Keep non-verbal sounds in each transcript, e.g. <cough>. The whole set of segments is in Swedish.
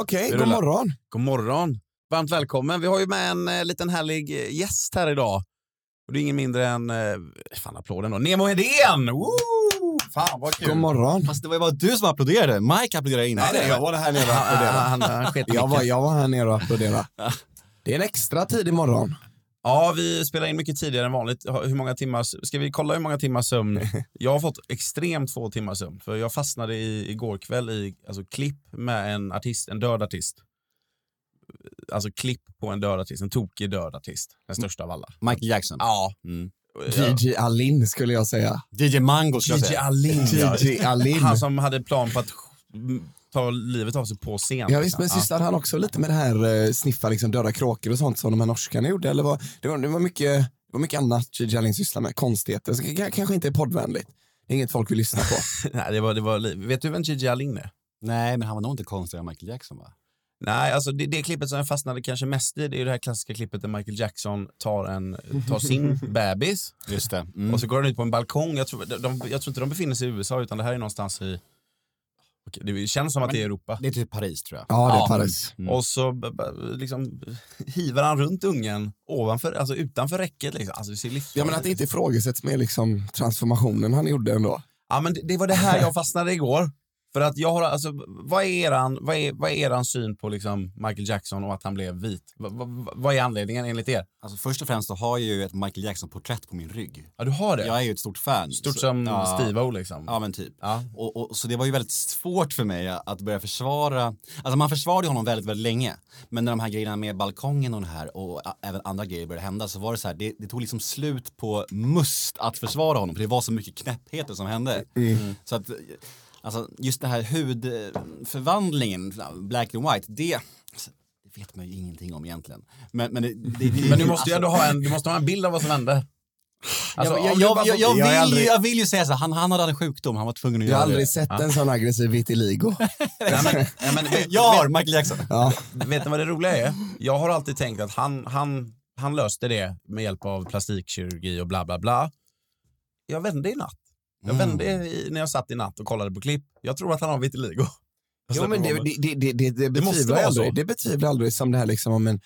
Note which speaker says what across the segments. Speaker 1: Okej,
Speaker 2: Vi
Speaker 1: god
Speaker 2: rullar.
Speaker 1: morgon.
Speaker 2: God morgon. Varmt välkommen. Vi har ju med en eh, liten härlig eh, gäst här idag. Och det är ingen mindre än, eh, fan applåden då, Nemo Hedén! Woo! Fan vad kul.
Speaker 1: God morgon.
Speaker 3: Fast det var ju bara du som applåderade. Mike applåderade inte.
Speaker 2: Nej, det-
Speaker 1: Jag var här nere och applåderade.
Speaker 2: <laughs> Han, han, han sket i
Speaker 1: Jag var,
Speaker 2: micken.
Speaker 1: jag var här nere och
Speaker 2: <laughs>
Speaker 1: applåderade. Det är en extra tidig morgon.
Speaker 2: Ja, vi spelar in mycket tidigare än vanligt. Ha- Hur många timmars, ska vi kolla hur många timmars
Speaker 3: <laughs>
Speaker 2: sömn? Jag har fått extremt få timmars sömn. För jag fastnade i, igår kväll i alltså, klipp med en artist, en död artist. Alltså klipp på en död artist, en tokig död artist. Den största av alla.
Speaker 3: Michael Jackson.
Speaker 2: Ja.
Speaker 3: Mm.
Speaker 1: DJ Alin skulle jag säga.
Speaker 3: DJ Mango skulle jag
Speaker 2: DJ
Speaker 3: säga.
Speaker 2: Alin. ja.
Speaker 1: DJ Alin.
Speaker 2: Han som hade plan på att mm, ta livet av sig på scen.
Speaker 1: Ja, visst, men
Speaker 2: liksom.
Speaker 1: sysslar han också lite med det här eh, sniffa liksom, döda kråkor och sånt som de här norskarna gjorde? Eller vad? Det, var, det, var mycket, det var mycket annat DJ Alin sysslar med, konstigheter. Så, k- kanske inte är poddvänligt. Det är inget folk vill lyssna på.
Speaker 2: <laughs> Ja. Nej, det var, det var, li- vet du vem Gigi Alin är?
Speaker 3: Nej, men han var nog inte konstigare än Michael Jackson va?
Speaker 2: Nej, alltså det, det klippet som jag fastnade kanske mest i det är ju det här klassiska klippet där Michael Jackson tar, en, tar
Speaker 3: <laughs>
Speaker 2: sin bebis
Speaker 3: Just det. Mm.
Speaker 2: och så går han ut på en balkong. Jag tror, de, de, jag tror inte de befinner sig i USA utan det här är någonstans i... Okej, det känns som att det är Europa.
Speaker 3: Det är typ Paris tror jag.
Speaker 1: Ja, det är Paris.
Speaker 3: Mm.
Speaker 2: Och så b- b- liksom, hivar han runt ungen ovanför, alltså utanför räcket. Liksom. Alltså, det ser livsfarligt
Speaker 1: Ja, men att det inte ifrågasätts med liksom, transformationen han gjorde ändå.
Speaker 2: Ja, men det, det var det här jag fastnade igår. För att jag har, alltså, vad, är eran, vad, är, vad är eran syn på liksom Michael Jackson och att han blev vit? Va, va, va- vad är anledningen enligt er?
Speaker 3: Alltså, först och främst så har jag ju ett Michael Jackson-porträtt på min rygg.
Speaker 2: Ja, du har det?
Speaker 3: Jag är ju ett stort fan.
Speaker 2: Stort
Speaker 3: Så-
Speaker 2: som
Speaker 3: ja.
Speaker 2: Steve-O liksom.
Speaker 3: Ja, men typ.
Speaker 2: Ja.
Speaker 3: Och, och, så det var ju väldigt svårt för mig att börja försvara. Alltså man försvarade honom väldigt, väldigt länge. Men när de här grejerna med balkongen och det här och ä- även andra grejer började hända så var det så här, det, det tog liksom slut på must att försvara honom. För det var så mycket knäppheter som hände.
Speaker 2: Mm.
Speaker 3: Så att, alltså just den här hudförvandlingen, black and white, det, det vet man ju ingenting om egentligen. Men, men, det, det, det,
Speaker 2: Men du måste ju ändå ha en, du måste ha en bild av vad som hände. Alltså,
Speaker 3: Alltså- jag,
Speaker 2: om
Speaker 3: jag,
Speaker 2: du bara
Speaker 3: jag,
Speaker 2: får-
Speaker 3: jag, vill,
Speaker 1: jag är aldrig-
Speaker 3: ju- jag vill ju säga så här, han, han hade en sjukdom, han var tvungen att
Speaker 1: Jag
Speaker 3: göra
Speaker 1: har aldrig
Speaker 3: det.
Speaker 1: sett en sån aggressiv <laughs> vitiligo.
Speaker 2: Nej, men, nej, men, vet,
Speaker 3: <laughs> Jag har Michael Jackson.
Speaker 1: Ja.
Speaker 2: vet, vet ni vad det roliga är? Jag har alltid tänkt att han, han, han löste det med hjälp av plastikkirurgi och bla bla bla. Jag vände i natt. Jag vände i, när jag satt i natt och kollade på klipp. Jag tror att han har vitiligo. Jag
Speaker 1: Jo,
Speaker 2: släpper
Speaker 1: men det,
Speaker 2: honom.
Speaker 1: det, det, det, det, det
Speaker 2: måste
Speaker 1: betvivlar
Speaker 2: vara
Speaker 1: jag aldrig.
Speaker 2: så.
Speaker 1: Det betvivlar jag aldrig som det här liksom om en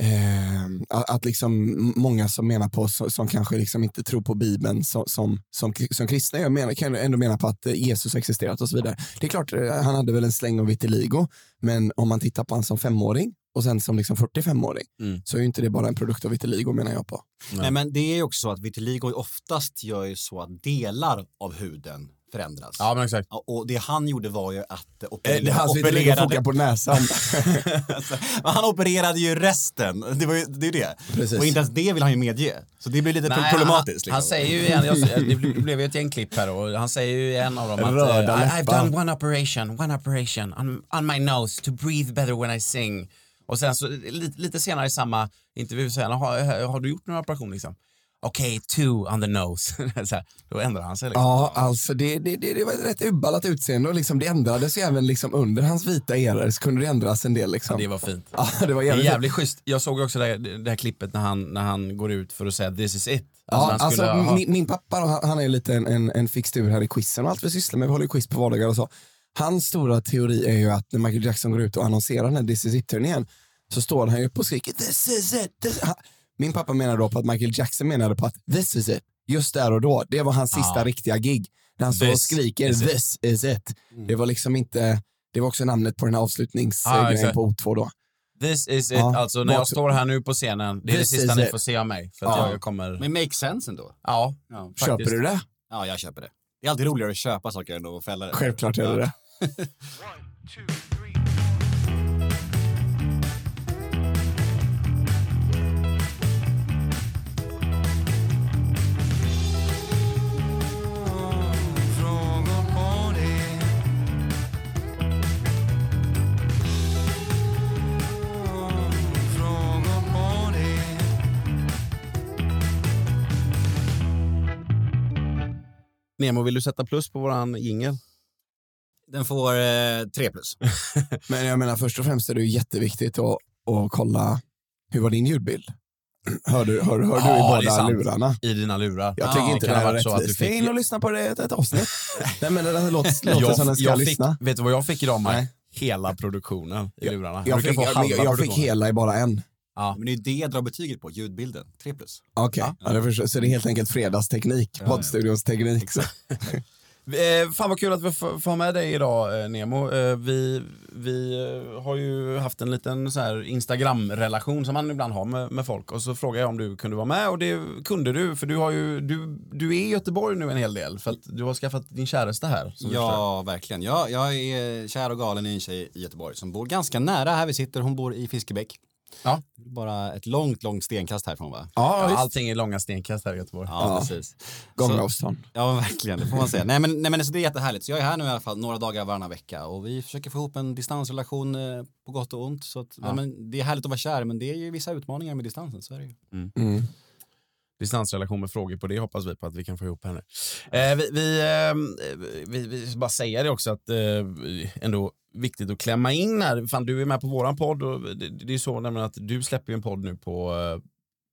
Speaker 1: ehm, att att liksom många som menar på, som, som kanske liksom inte tror på Bibeln som, som, som, kri- som kristna, jag menar, kan ändå mena på att eh, Jesus existerat och så vidare. Det är klart, eh, han hade väl en släng av vitiligo, men om man tittar på han som femåring och sen som liksom 45-åring,
Speaker 2: Mm.
Speaker 1: så är ju inte det bara en produkt av vitiligo menar jag på.
Speaker 3: Nej, men det är ju också så att vitiligo oftast gör ju så att delar av huden förändras.
Speaker 2: Ja, men exakt.
Speaker 3: Ja, Och det han gjorde var ju att
Speaker 1: Eh, Det är
Speaker 3: operera,
Speaker 1: hans vitiligo
Speaker 3: opererade,
Speaker 1: funkar på näsan. <laughs>
Speaker 3: <laughs> alltså, han opererade ju resten. Det var ju det. Är ju det.
Speaker 1: Precis.
Speaker 3: Och inte ens det vill han ju medge. Så det blir lite
Speaker 2: Nej,
Speaker 3: problematiskt. liksom.
Speaker 2: Han,
Speaker 1: liksom.
Speaker 2: han säger ju igen, jag, det blev- det blev ju ett gäng klipp här och han säger ju i en av dem att
Speaker 1: Röda
Speaker 2: eh, I, I've
Speaker 1: läppar.
Speaker 2: done one operation, one operation on, on my nose to breathe better when I sing. Och sen så lite, lite senare i samma intervju säger han, har, har du gjort några operationer liksom? Okej, two on the nose. <laughs> så här, då ändrar han sig. Liksom.
Speaker 1: Ja, alltså det, det, det, det var ett rätt ubballat utseende och liksom det ändrades ju även liksom under hans vita era så kunde det ändras en del. Liksom.
Speaker 2: Det var fint.
Speaker 1: Ja, det var
Speaker 2: Det är
Speaker 1: jävligt.
Speaker 2: jävligt schysst. Jag såg ju också det här, det här klippet när han, när han går ut för att säga this is it.
Speaker 1: Ja,
Speaker 2: han
Speaker 1: alltså,
Speaker 2: skulle ha-
Speaker 1: min, min pappa, då, han- han är ju lite en, en, en fixtur här i quizen och allt vi sysslar med. Vi håller ju quiz på vardagar och så. Hans stora teori är ju att när Michael Jackson går ut och annonserar den här This is it-turnén så står han ju upp och skriker This is it! This... ha- Min pappa menar då på att Michael Jackson menade på att This is it, just där och då. Det var hans sista riktiga gig. När han står och
Speaker 2: This
Speaker 1: skriker
Speaker 2: is it. Mm.
Speaker 1: This is it. Det var liksom inte, det var också namnet på den här
Speaker 2: Ah,
Speaker 1: avslutningsgrejen
Speaker 2: exakt.
Speaker 1: på O2 då.
Speaker 2: This is it,
Speaker 1: Ja,
Speaker 2: alltså när jag
Speaker 1: bak-
Speaker 2: står här nu på scenen, det är det
Speaker 1: This
Speaker 2: sista
Speaker 1: is
Speaker 2: ni
Speaker 1: it.
Speaker 2: får se av mig. För att
Speaker 1: Ja.
Speaker 2: jag kommer...
Speaker 3: Men makes sense ändå.
Speaker 2: Ja,
Speaker 3: Ja,
Speaker 1: Köper du det?
Speaker 3: ja, jag köper det. Det är alltid roligare att köpa saker än att fälla det.
Speaker 1: Självklart gör du det.
Speaker 2: Nemo, vill du sätta plus på våran jingel?
Speaker 3: Den får eh, tre
Speaker 2: <laughs>
Speaker 3: plus.
Speaker 1: Men jag menar, först och främst är det ju jätteviktigt att, att kolla, hur var din ljudbild? <clears throat> Hör du, hör, hör du
Speaker 2: Ja,
Speaker 1: i
Speaker 2: det är
Speaker 1: båda
Speaker 2: sant.
Speaker 1: lurarna?
Speaker 2: I dina lurar.
Speaker 1: Jag
Speaker 3: Ja,
Speaker 1: tycker
Speaker 3: det
Speaker 1: inte det
Speaker 2: kan ha
Speaker 1: här är
Speaker 2: varit så att du
Speaker 1: rättvist.
Speaker 2: fick-
Speaker 1: Gå in och lyssna på det, ett
Speaker 2: <laughs>
Speaker 1: avsnitt. Nej, men det här låter, låter som den ska
Speaker 2: jag fick,
Speaker 1: lyssna.
Speaker 2: vet du vad jag fick idag, Mike?
Speaker 1: Nej.
Speaker 2: Hela produktionen i lurarna. Du
Speaker 1: Jag
Speaker 2: kan
Speaker 1: fick,
Speaker 2: få
Speaker 1: jag,
Speaker 2: halva
Speaker 1: jag, jag fick
Speaker 2: produktionen.
Speaker 1: hela i bara en.
Speaker 3: Men det är ju det jag drar betyget på, ljudbilden. Tre plus.
Speaker 1: Okej, ja. det förstår- så det är helt enkelt fredagsteknik, poddstudions teknik.
Speaker 2: <laughs>
Speaker 1: Så.
Speaker 2: Eh, fan vad kul att vi får får ha med dig idag eh, Nemo. Eh, vi, vi eh, har ju haft en liten så här Instagram-relation som man ibland har med, med folk och så frågade jag om du kunde vara med och det kunde du för du, har ju, du, du är i Göteborg nu en hel del för att du har skaffat din käresta här. som du förstår.
Speaker 3: Ja, verkligen. Jag, jag är kär och galen i en tjej i Göteborg som bor ganska nära här vi sitter. Hon bor i Fiskebäck.
Speaker 2: Ja.
Speaker 3: Bara ett långt, långt stenkast härifrån va?
Speaker 1: Ja,
Speaker 2: Ja,
Speaker 1: visst.
Speaker 2: allting är långa stenkast här i Göteborg.
Speaker 3: Ja, precis.
Speaker 1: Gångna
Speaker 3: Så-
Speaker 1: avstånd.
Speaker 3: Ja, verkligen. Det får man säga. nej, men, nej, men så det är jättehärligt. Så jag är här nu i alla fall några dagar varannan vecka och vi försöker få ihop en distansrelation eh, på gott och ont. Så att, ja. men, det är härligt att vara kär, men det är ju vissa utmaningar med distansen. Så är det ju.
Speaker 1: Mm.
Speaker 2: distansrelation med frågor på det hoppas vi på att vi kan få ihop här nu. Eh, vi, vi, eh, vi, vi ska bara säga det också att eh, ändå viktigt att klämma in här. Fan, du är med på våran podd och det, det är så nämligen att du släpper ju en podd nu på, eh,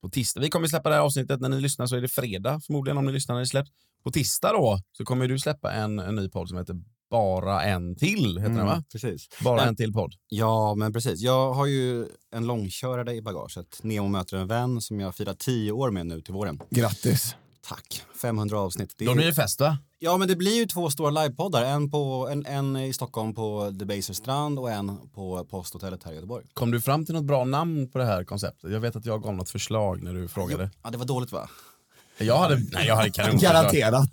Speaker 2: på tisdag. Vi kommer släppa det här avsnittet när ni lyssnar så är det fredag förmodligen om ni lyssnar när det släpps. På tisdag då så kommer du släppa en, en ny podd som heter Bara en till. Heter den, va?
Speaker 3: Precis.
Speaker 2: Mm. Bara
Speaker 3: Ja.
Speaker 2: en till podd.
Speaker 3: Ja, men precis. Jag har ju en långkörare i bagaget. Nemo möter en vän som jag firar tio år med nu till våren.
Speaker 1: Grattis.
Speaker 3: Tack. 500 avsnitt. Det är
Speaker 2: Då
Speaker 3: ju-
Speaker 2: blir det fest va?
Speaker 3: Ja, men det blir ju två stora livepoddar. En, på, en, en i Stockholm på The Baser Strand och en på Posthotellet här i Göteborg.
Speaker 2: Kom du fram till något bra namn på det här konceptet? Jag vet att jag gav något förslag när du frågade.
Speaker 3: Ja, det var dåligt va? <laughs>
Speaker 2: Jag hade, nej, jag hade
Speaker 1: <laughs>
Speaker 2: kanon.
Speaker 1: Garanterat.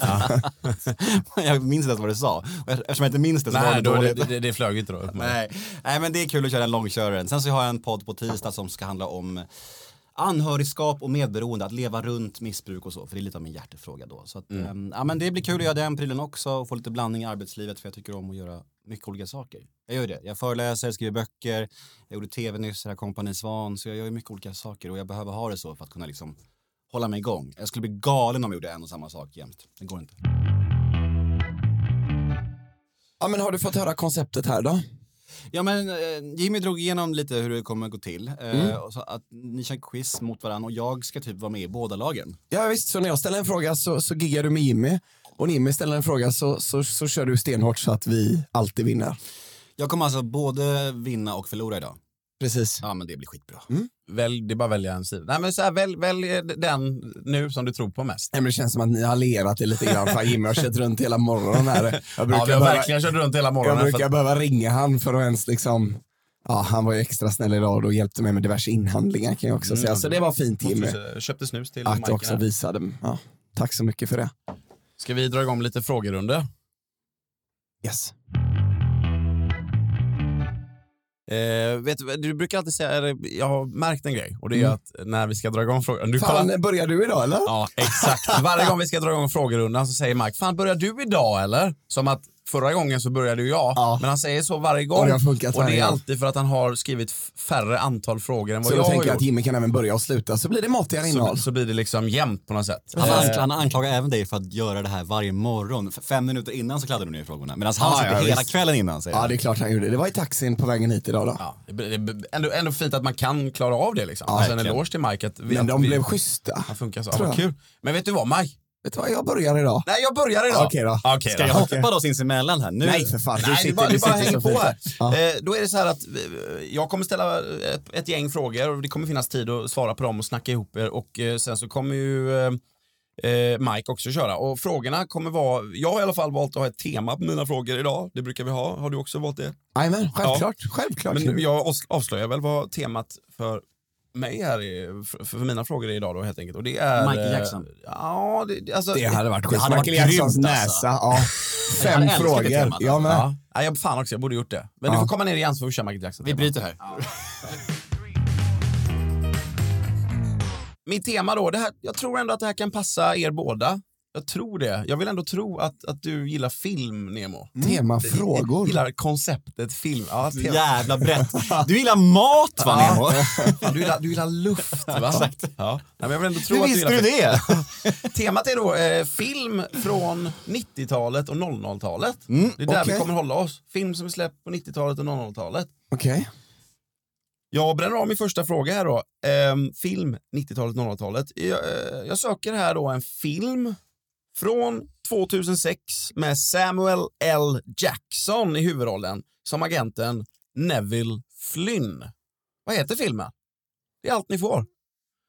Speaker 3: jag minns inte ens vad du sa. Och Eftersom jag inte minns det så var det
Speaker 2: Nej, då, det,
Speaker 3: dåligt.
Speaker 2: det, det flög inte då. uppenbarligen.
Speaker 3: Nej. Nej, men det är kul att köra en långkörare. Sen så har jag en podd på tisdag som ska handla om anhörigskap och medberoende, att leva runt missbruk och så, för det är lite av min hjärtefråga då. Så att, ehm, ja, men det blir kul att göra den prylen också och få lite blandning i arbetslivet för jag tycker om att göra mycket olika saker. Jag gör det. Jag föreläser, skriver böcker, jag gjorde tv nyss, här Kompani Svan, så jag gör ju mycket olika saker och jag behöver ha det så för att kunna liksom hålla mig igång. Jag skulle bli galen om jag gjorde en och samma sak jämt. Det går inte.
Speaker 1: <laughs> Ja, men har du fått höra konceptet här då?
Speaker 3: Ja, men eh, Jimmy drog igenom lite hur det kommer att gå till. Eh,
Speaker 1: Mm.
Speaker 3: och så att ni kör quiz mot varandra och jag ska typ vara med i båda lagen.
Speaker 1: Ja, visst, så när jag ställer en fråga så, så giggar du med Jimmy. Och när Jimmy ställer en fråga så, så, så kör du stenhårt så att vi alltid vinner.
Speaker 3: Jag kommer alltså både vinna och förlora idag.
Speaker 1: Precis.
Speaker 3: Ja, men det blir skitbra.
Speaker 1: Mm.
Speaker 2: Välj, det är bara att välja en sida. Nej, men så här, välj, välj eh, den nu som du tror på mest.
Speaker 1: Nej, men det känns som att ni har lerat det lite grann. Fan, Jimmy har kört runt hela morgonen här. Jag brukar,
Speaker 2: Ja, vi har
Speaker 1: behöva,
Speaker 2: verkligen kört runt hela
Speaker 1: jag
Speaker 2: morgonen.
Speaker 1: brukar
Speaker 2: för att,
Speaker 1: behöva ringa han för att ens liksom... Ja, han var ju extra snäll idag och då hjälpte mig med diverse inhandlingar kan jag också säga.
Speaker 2: Mm.
Speaker 1: Så det var fint Jimmy
Speaker 2: Jag eh, köpte snus till
Speaker 1: att du
Speaker 2: Mike
Speaker 1: också
Speaker 2: här.
Speaker 1: visade. Ja, tack så mycket för det.
Speaker 2: Ska vi dra igång lite frågerunder?
Speaker 1: Yes.
Speaker 2: Eh, vet du, du brukar alltid säga, eller, jag har märkt en grej och det är att när vi ska dra igång frågan. Du kollar,
Speaker 1: Mm. Fan, börjar du idag eller?
Speaker 2: Ja, exakt. Varje gång vi ska dra igång frågerundan så säger Mark, fan börjar du idag eller? Som att förra gången så började ju jag.
Speaker 1: Ja.
Speaker 2: Men han säger så varje gång.
Speaker 1: Och det har funkat
Speaker 2: Och det
Speaker 1: varje
Speaker 2: är
Speaker 1: gång.
Speaker 2: alltid för att han har skrivit f- färre antal frågor än vad
Speaker 1: Så då
Speaker 2: jag har
Speaker 1: tänker jag
Speaker 2: gjort.
Speaker 1: att Jimmy kan även börja och sluta så blir det matigare
Speaker 2: så,
Speaker 1: innehåll.
Speaker 2: så blir det liksom jämnt på något sätt.
Speaker 1: Eh.
Speaker 3: Han, ank- han anklagar även dig för att göra det här varje morgon. F- Fem minuter innan så kladdar du ner frågorna. Medan han
Speaker 1: Ja,
Speaker 3: sitter
Speaker 1: ja,
Speaker 3: hela
Speaker 1: visst.
Speaker 3: kvällen innan säger
Speaker 1: Ja,
Speaker 3: han.
Speaker 1: det är klart han gjorde. Det var i taxin på vägen hit idag då.
Speaker 2: Ja, det blir- det blir ändå, ändå fint att man kan klara av det liksom. alltså en
Speaker 3: verkligen.
Speaker 2: eloge till Mike att vi,
Speaker 1: Men
Speaker 2: att
Speaker 1: de
Speaker 2: vi,
Speaker 1: blev schyssta.
Speaker 2: han funkar så. Ja,
Speaker 1: tror
Speaker 2: vad
Speaker 1: jag.
Speaker 2: kul. Men vet du vad Mike?
Speaker 1: Vet du vad, jag börjar idag.
Speaker 2: Nej, jag börjar idag.
Speaker 1: Okej då.
Speaker 2: Okej
Speaker 3: Ska
Speaker 2: då.
Speaker 3: jag hoppa då sinsemellan här nu?
Speaker 1: Nej, för fan.
Speaker 2: Nej, det bara, det bara hänger
Speaker 1: så fint.
Speaker 2: på här.
Speaker 1: Ja.
Speaker 2: Eh, då är det så här att eh, jag kommer ställa ett, ett gäng frågor och det kommer finnas tid att svara på dem och snacka ihop er och eh, sen så kommer ju eh, eh, Mike också köra och frågorna kommer vara, jag har i alla fall valt att ha ett tema på mina frågor idag, det brukar vi ha, har du också valt det?
Speaker 1: Jajamän, självklart. Självklart.
Speaker 2: Men
Speaker 1: nu.
Speaker 2: jag avs- avslöjar väl vad temat för mig här är, för, för mina frågor är idag då helt enkelt och det är...
Speaker 3: Michael
Speaker 2: eh,
Speaker 3: Jackson.
Speaker 2: Ja, det, det, alltså,
Speaker 1: Det hade varit schysst.
Speaker 3: hade varit
Speaker 1: Michael Jacksons
Speaker 3: grymt, alltså.
Speaker 1: näsa. Ja. Fem
Speaker 3: älskat det
Speaker 1: frågor.
Speaker 3: temat.
Speaker 1: Ja, men.
Speaker 2: alltså. Ja. Nej, jag, fan också, jag borde gjort det. Men du får komma ner igen så får vi köra Michael Jackson.
Speaker 3: Vi bryter här.
Speaker 2: Mitt tema då, det här, jag tror ändå att det här kan passa er båda. Jag tror det. Jag vill ändå tro att, att du gillar film, Nemo.
Speaker 1: Temafrågor.
Speaker 2: Mm. Gillar konceptet film. Ja, tema.
Speaker 3: Jävla brett. Du gillar mat va Nemo?
Speaker 2: Fan, du, gillar, du gillar luft, va?
Speaker 3: <laughs> Exakt.
Speaker 2: Ja. Nej, men jag vill ändå tro
Speaker 3: Hur
Speaker 2: att du
Speaker 3: visste
Speaker 2: gillar
Speaker 3: du
Speaker 2: film.
Speaker 3: det?
Speaker 2: Temat är då eh, film från 90-talet och 00-talet.
Speaker 3: Mm,
Speaker 2: det är där
Speaker 1: okej.
Speaker 2: vi kommer hålla oss. Film som är släppt på 90-talet och 00-talet.
Speaker 1: Okej.
Speaker 2: Jag bränner av min första fråga här då. Ehm, film 90-talet, 00-talet. Jag, eh, jag söker här då en film från 2006 med Samuel L. Jackson i huvudrollen som agenten Neville Flynn. Vad heter filmen? Det är allt ni får.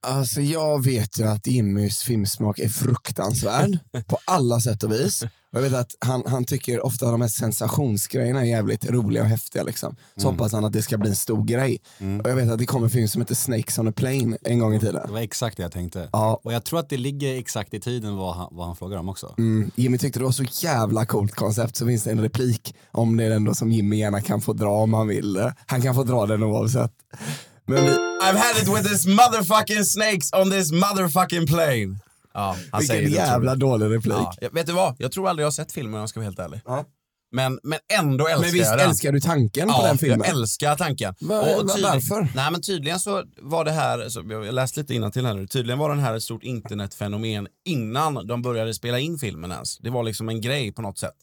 Speaker 1: Alltså jag vet ju att Jimmys filmsmak är
Speaker 2: <laughs>
Speaker 1: fruktansvärd på alla sätt och vis. Och jag vet att han, han tycker ofta att de här sensationsgrejerna är jävligt roliga och häftiga. Liksom. Så
Speaker 2: Mm.
Speaker 1: hoppas han att det ska bli en stor grej. Och jag vet att det kommer en film som heter Snakes on a plane en gång i tiden.
Speaker 3: Det var exakt det jag tänkte.
Speaker 1: Ja.
Speaker 3: Och jag tror att det ligger exakt i tiden vad han, vad han frågar om också.
Speaker 1: Mm, Jimmy tyckte det var så jävla coolt koncept så finns det en replik om det är den då som Jimmy gärna kan få dra om han vill. Han kan få dra den oavsett. Men vi,
Speaker 2: I've had it with this motherfucking snakes on this motherfucking plane. Ja, han säger
Speaker 1: vilken
Speaker 2: det, tror
Speaker 1: jävla
Speaker 2: jag.
Speaker 1: dålig replik.
Speaker 2: Ja, jag- vet du vad? Jag tror aldrig jag har sett filmen om jag ska vara helt ärlig. Men, men ändå älskar
Speaker 1: Men visst
Speaker 2: jag den.
Speaker 1: älskar du tanken på
Speaker 2: Ja,
Speaker 1: den filmen?
Speaker 2: jag älskar tanken.
Speaker 1: Va- va- varför?
Speaker 2: Nej, men tydligen så var det här, så jag läste lite innantill här nu, tydligen var den här ett stort internetfenomen innan de började spela in filmen ens. Det var liksom en grej på något sätt.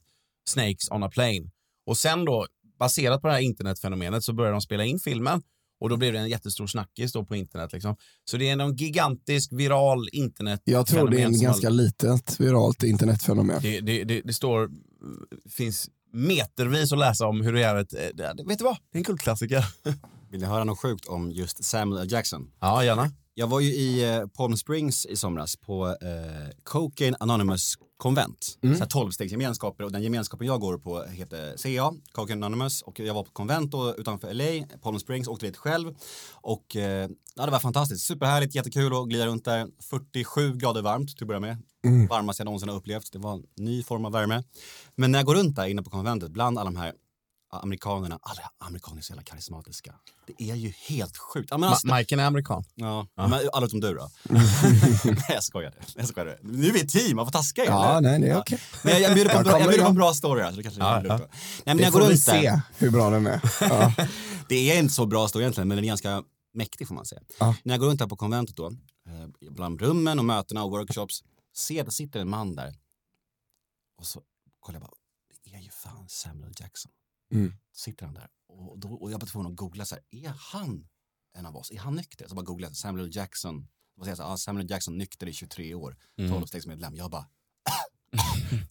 Speaker 2: Snakes on a plane. Och sen då, baserat på det här internetfenomenet så började de spela in filmen och då blev det en jättestor snackis då på internet. Liksom. Så det är någon gigantisk viral internet.
Speaker 1: Jag tror det är en
Speaker 2: fenomen som har-
Speaker 1: ganska litet viralt internetfenomen.
Speaker 2: det, det, det, det står, finns metervis att läsa om hur det är ett, eh, det- vet du vad, det är en kultklassiker.
Speaker 3: Vill ni höra något sjukt om just Samuel L. Jackson?
Speaker 2: Ja, gärna.
Speaker 3: Jag var ju i eh, Palm Springs i somras på eh, Cocaine Anonymous konvent.
Speaker 2: Mm.
Speaker 3: Så här tolvstegsgemenskaper och den gemenskapen jag går på heter CA, Cocaine Anonymous och jag var på konvent då, utanför LA, Palm Springs, åkte dit själv och eh, ja, det var fantastiskt, superhärligt, jättekul att glida runt där, 47 grader varmt till att börja med,
Speaker 2: Mm.
Speaker 3: varmast jag någonsin har upplevt, det var en ny form av värme. Men när jag går runt där inne på konventet bland alla de här amerikanerna, alla amerikaner är så jävla karismatiska. Det är ju helt sjukt. Ja, men alltså-
Speaker 2: Ma- Majken är amerikan.
Speaker 3: Ja, men alla utom
Speaker 1: <laughs>
Speaker 3: du då. nej, jag skojade. Jag skojade. Nu är vi ett team, man får taska
Speaker 1: Ja,
Speaker 3: eller?
Speaker 1: nej, det är okej.
Speaker 3: Men jag, jag bjuder på en
Speaker 1: Jag
Speaker 3: bra, jag
Speaker 1: kommer
Speaker 3: bjuder på
Speaker 1: igen.
Speaker 3: en bra story här, så det kanske är lugnt då. Nej, men
Speaker 1: Det
Speaker 3: jag går
Speaker 1: får vi
Speaker 3: runt där.
Speaker 1: se hur bra den är. Ja.
Speaker 3: <laughs> Det är inte så bra story egentligen, men den är ganska mäktig får man säga.
Speaker 1: Ja.
Speaker 3: När jag går runt här på konventet då, eh, bland rummen och mötena och workshops, ser det sitter en man där. Och så kollar jag bara, det är ju fan Samuel Jackson.
Speaker 1: Mm.
Speaker 3: Sitter han där. Och, då, och jag var tvungen att googla så här, är han en av oss? Är han nykter? Så bara googlade jag Samuel Jackson. Vad säger jag så här, ah, Samuel Jackson nykter i 23 år,
Speaker 1: Mm.
Speaker 3: 12-stegsmedlem. Jag bara,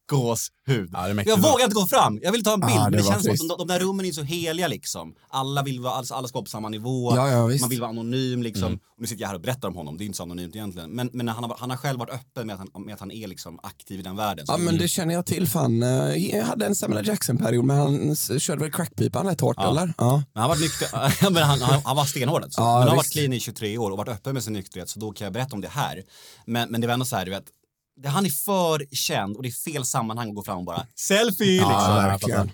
Speaker 3: gåshud.
Speaker 2: Ja, det är mäktigt.
Speaker 3: Jag vågar inte gå fram. Jag vill ta en bild.
Speaker 1: Ah,
Speaker 3: men
Speaker 1: det
Speaker 3: det
Speaker 1: var
Speaker 3: känns som att de,
Speaker 1: trist.
Speaker 3: de där rummen är så heliga liksom. Alla vill vara, alltså, alla ska vara på samma nivå.
Speaker 1: Ja, ja, visst. Mm.
Speaker 3: Man vill vara anonym liksom. Och nu sitter jag här och berättar om honom. Det är inte så anonymt egentligen. Men, men han, har, han har själv varit öppen med att han, med att han är liksom aktiv i den världen. Så
Speaker 1: ja, men det känner jag till. Fan. Eh, Jag hade en Samuel L. Jackson-period, men han s- körde väl crackpipan rätt hårt, eller? Ja.
Speaker 3: Men han var nykter, <laughs> men han, han, han var stenhård alltså.
Speaker 1: Ja,
Speaker 3: men han har varit
Speaker 1: visst.
Speaker 3: clean i 23 år och varit öppen med sin nykterhet så då kan jag berätta om det här. Men, men det var ändå så här, du vet, det, han är för känd och det är fel sammanhang att gå fram och bara selfie liksom.
Speaker 1: Ja, verkligen.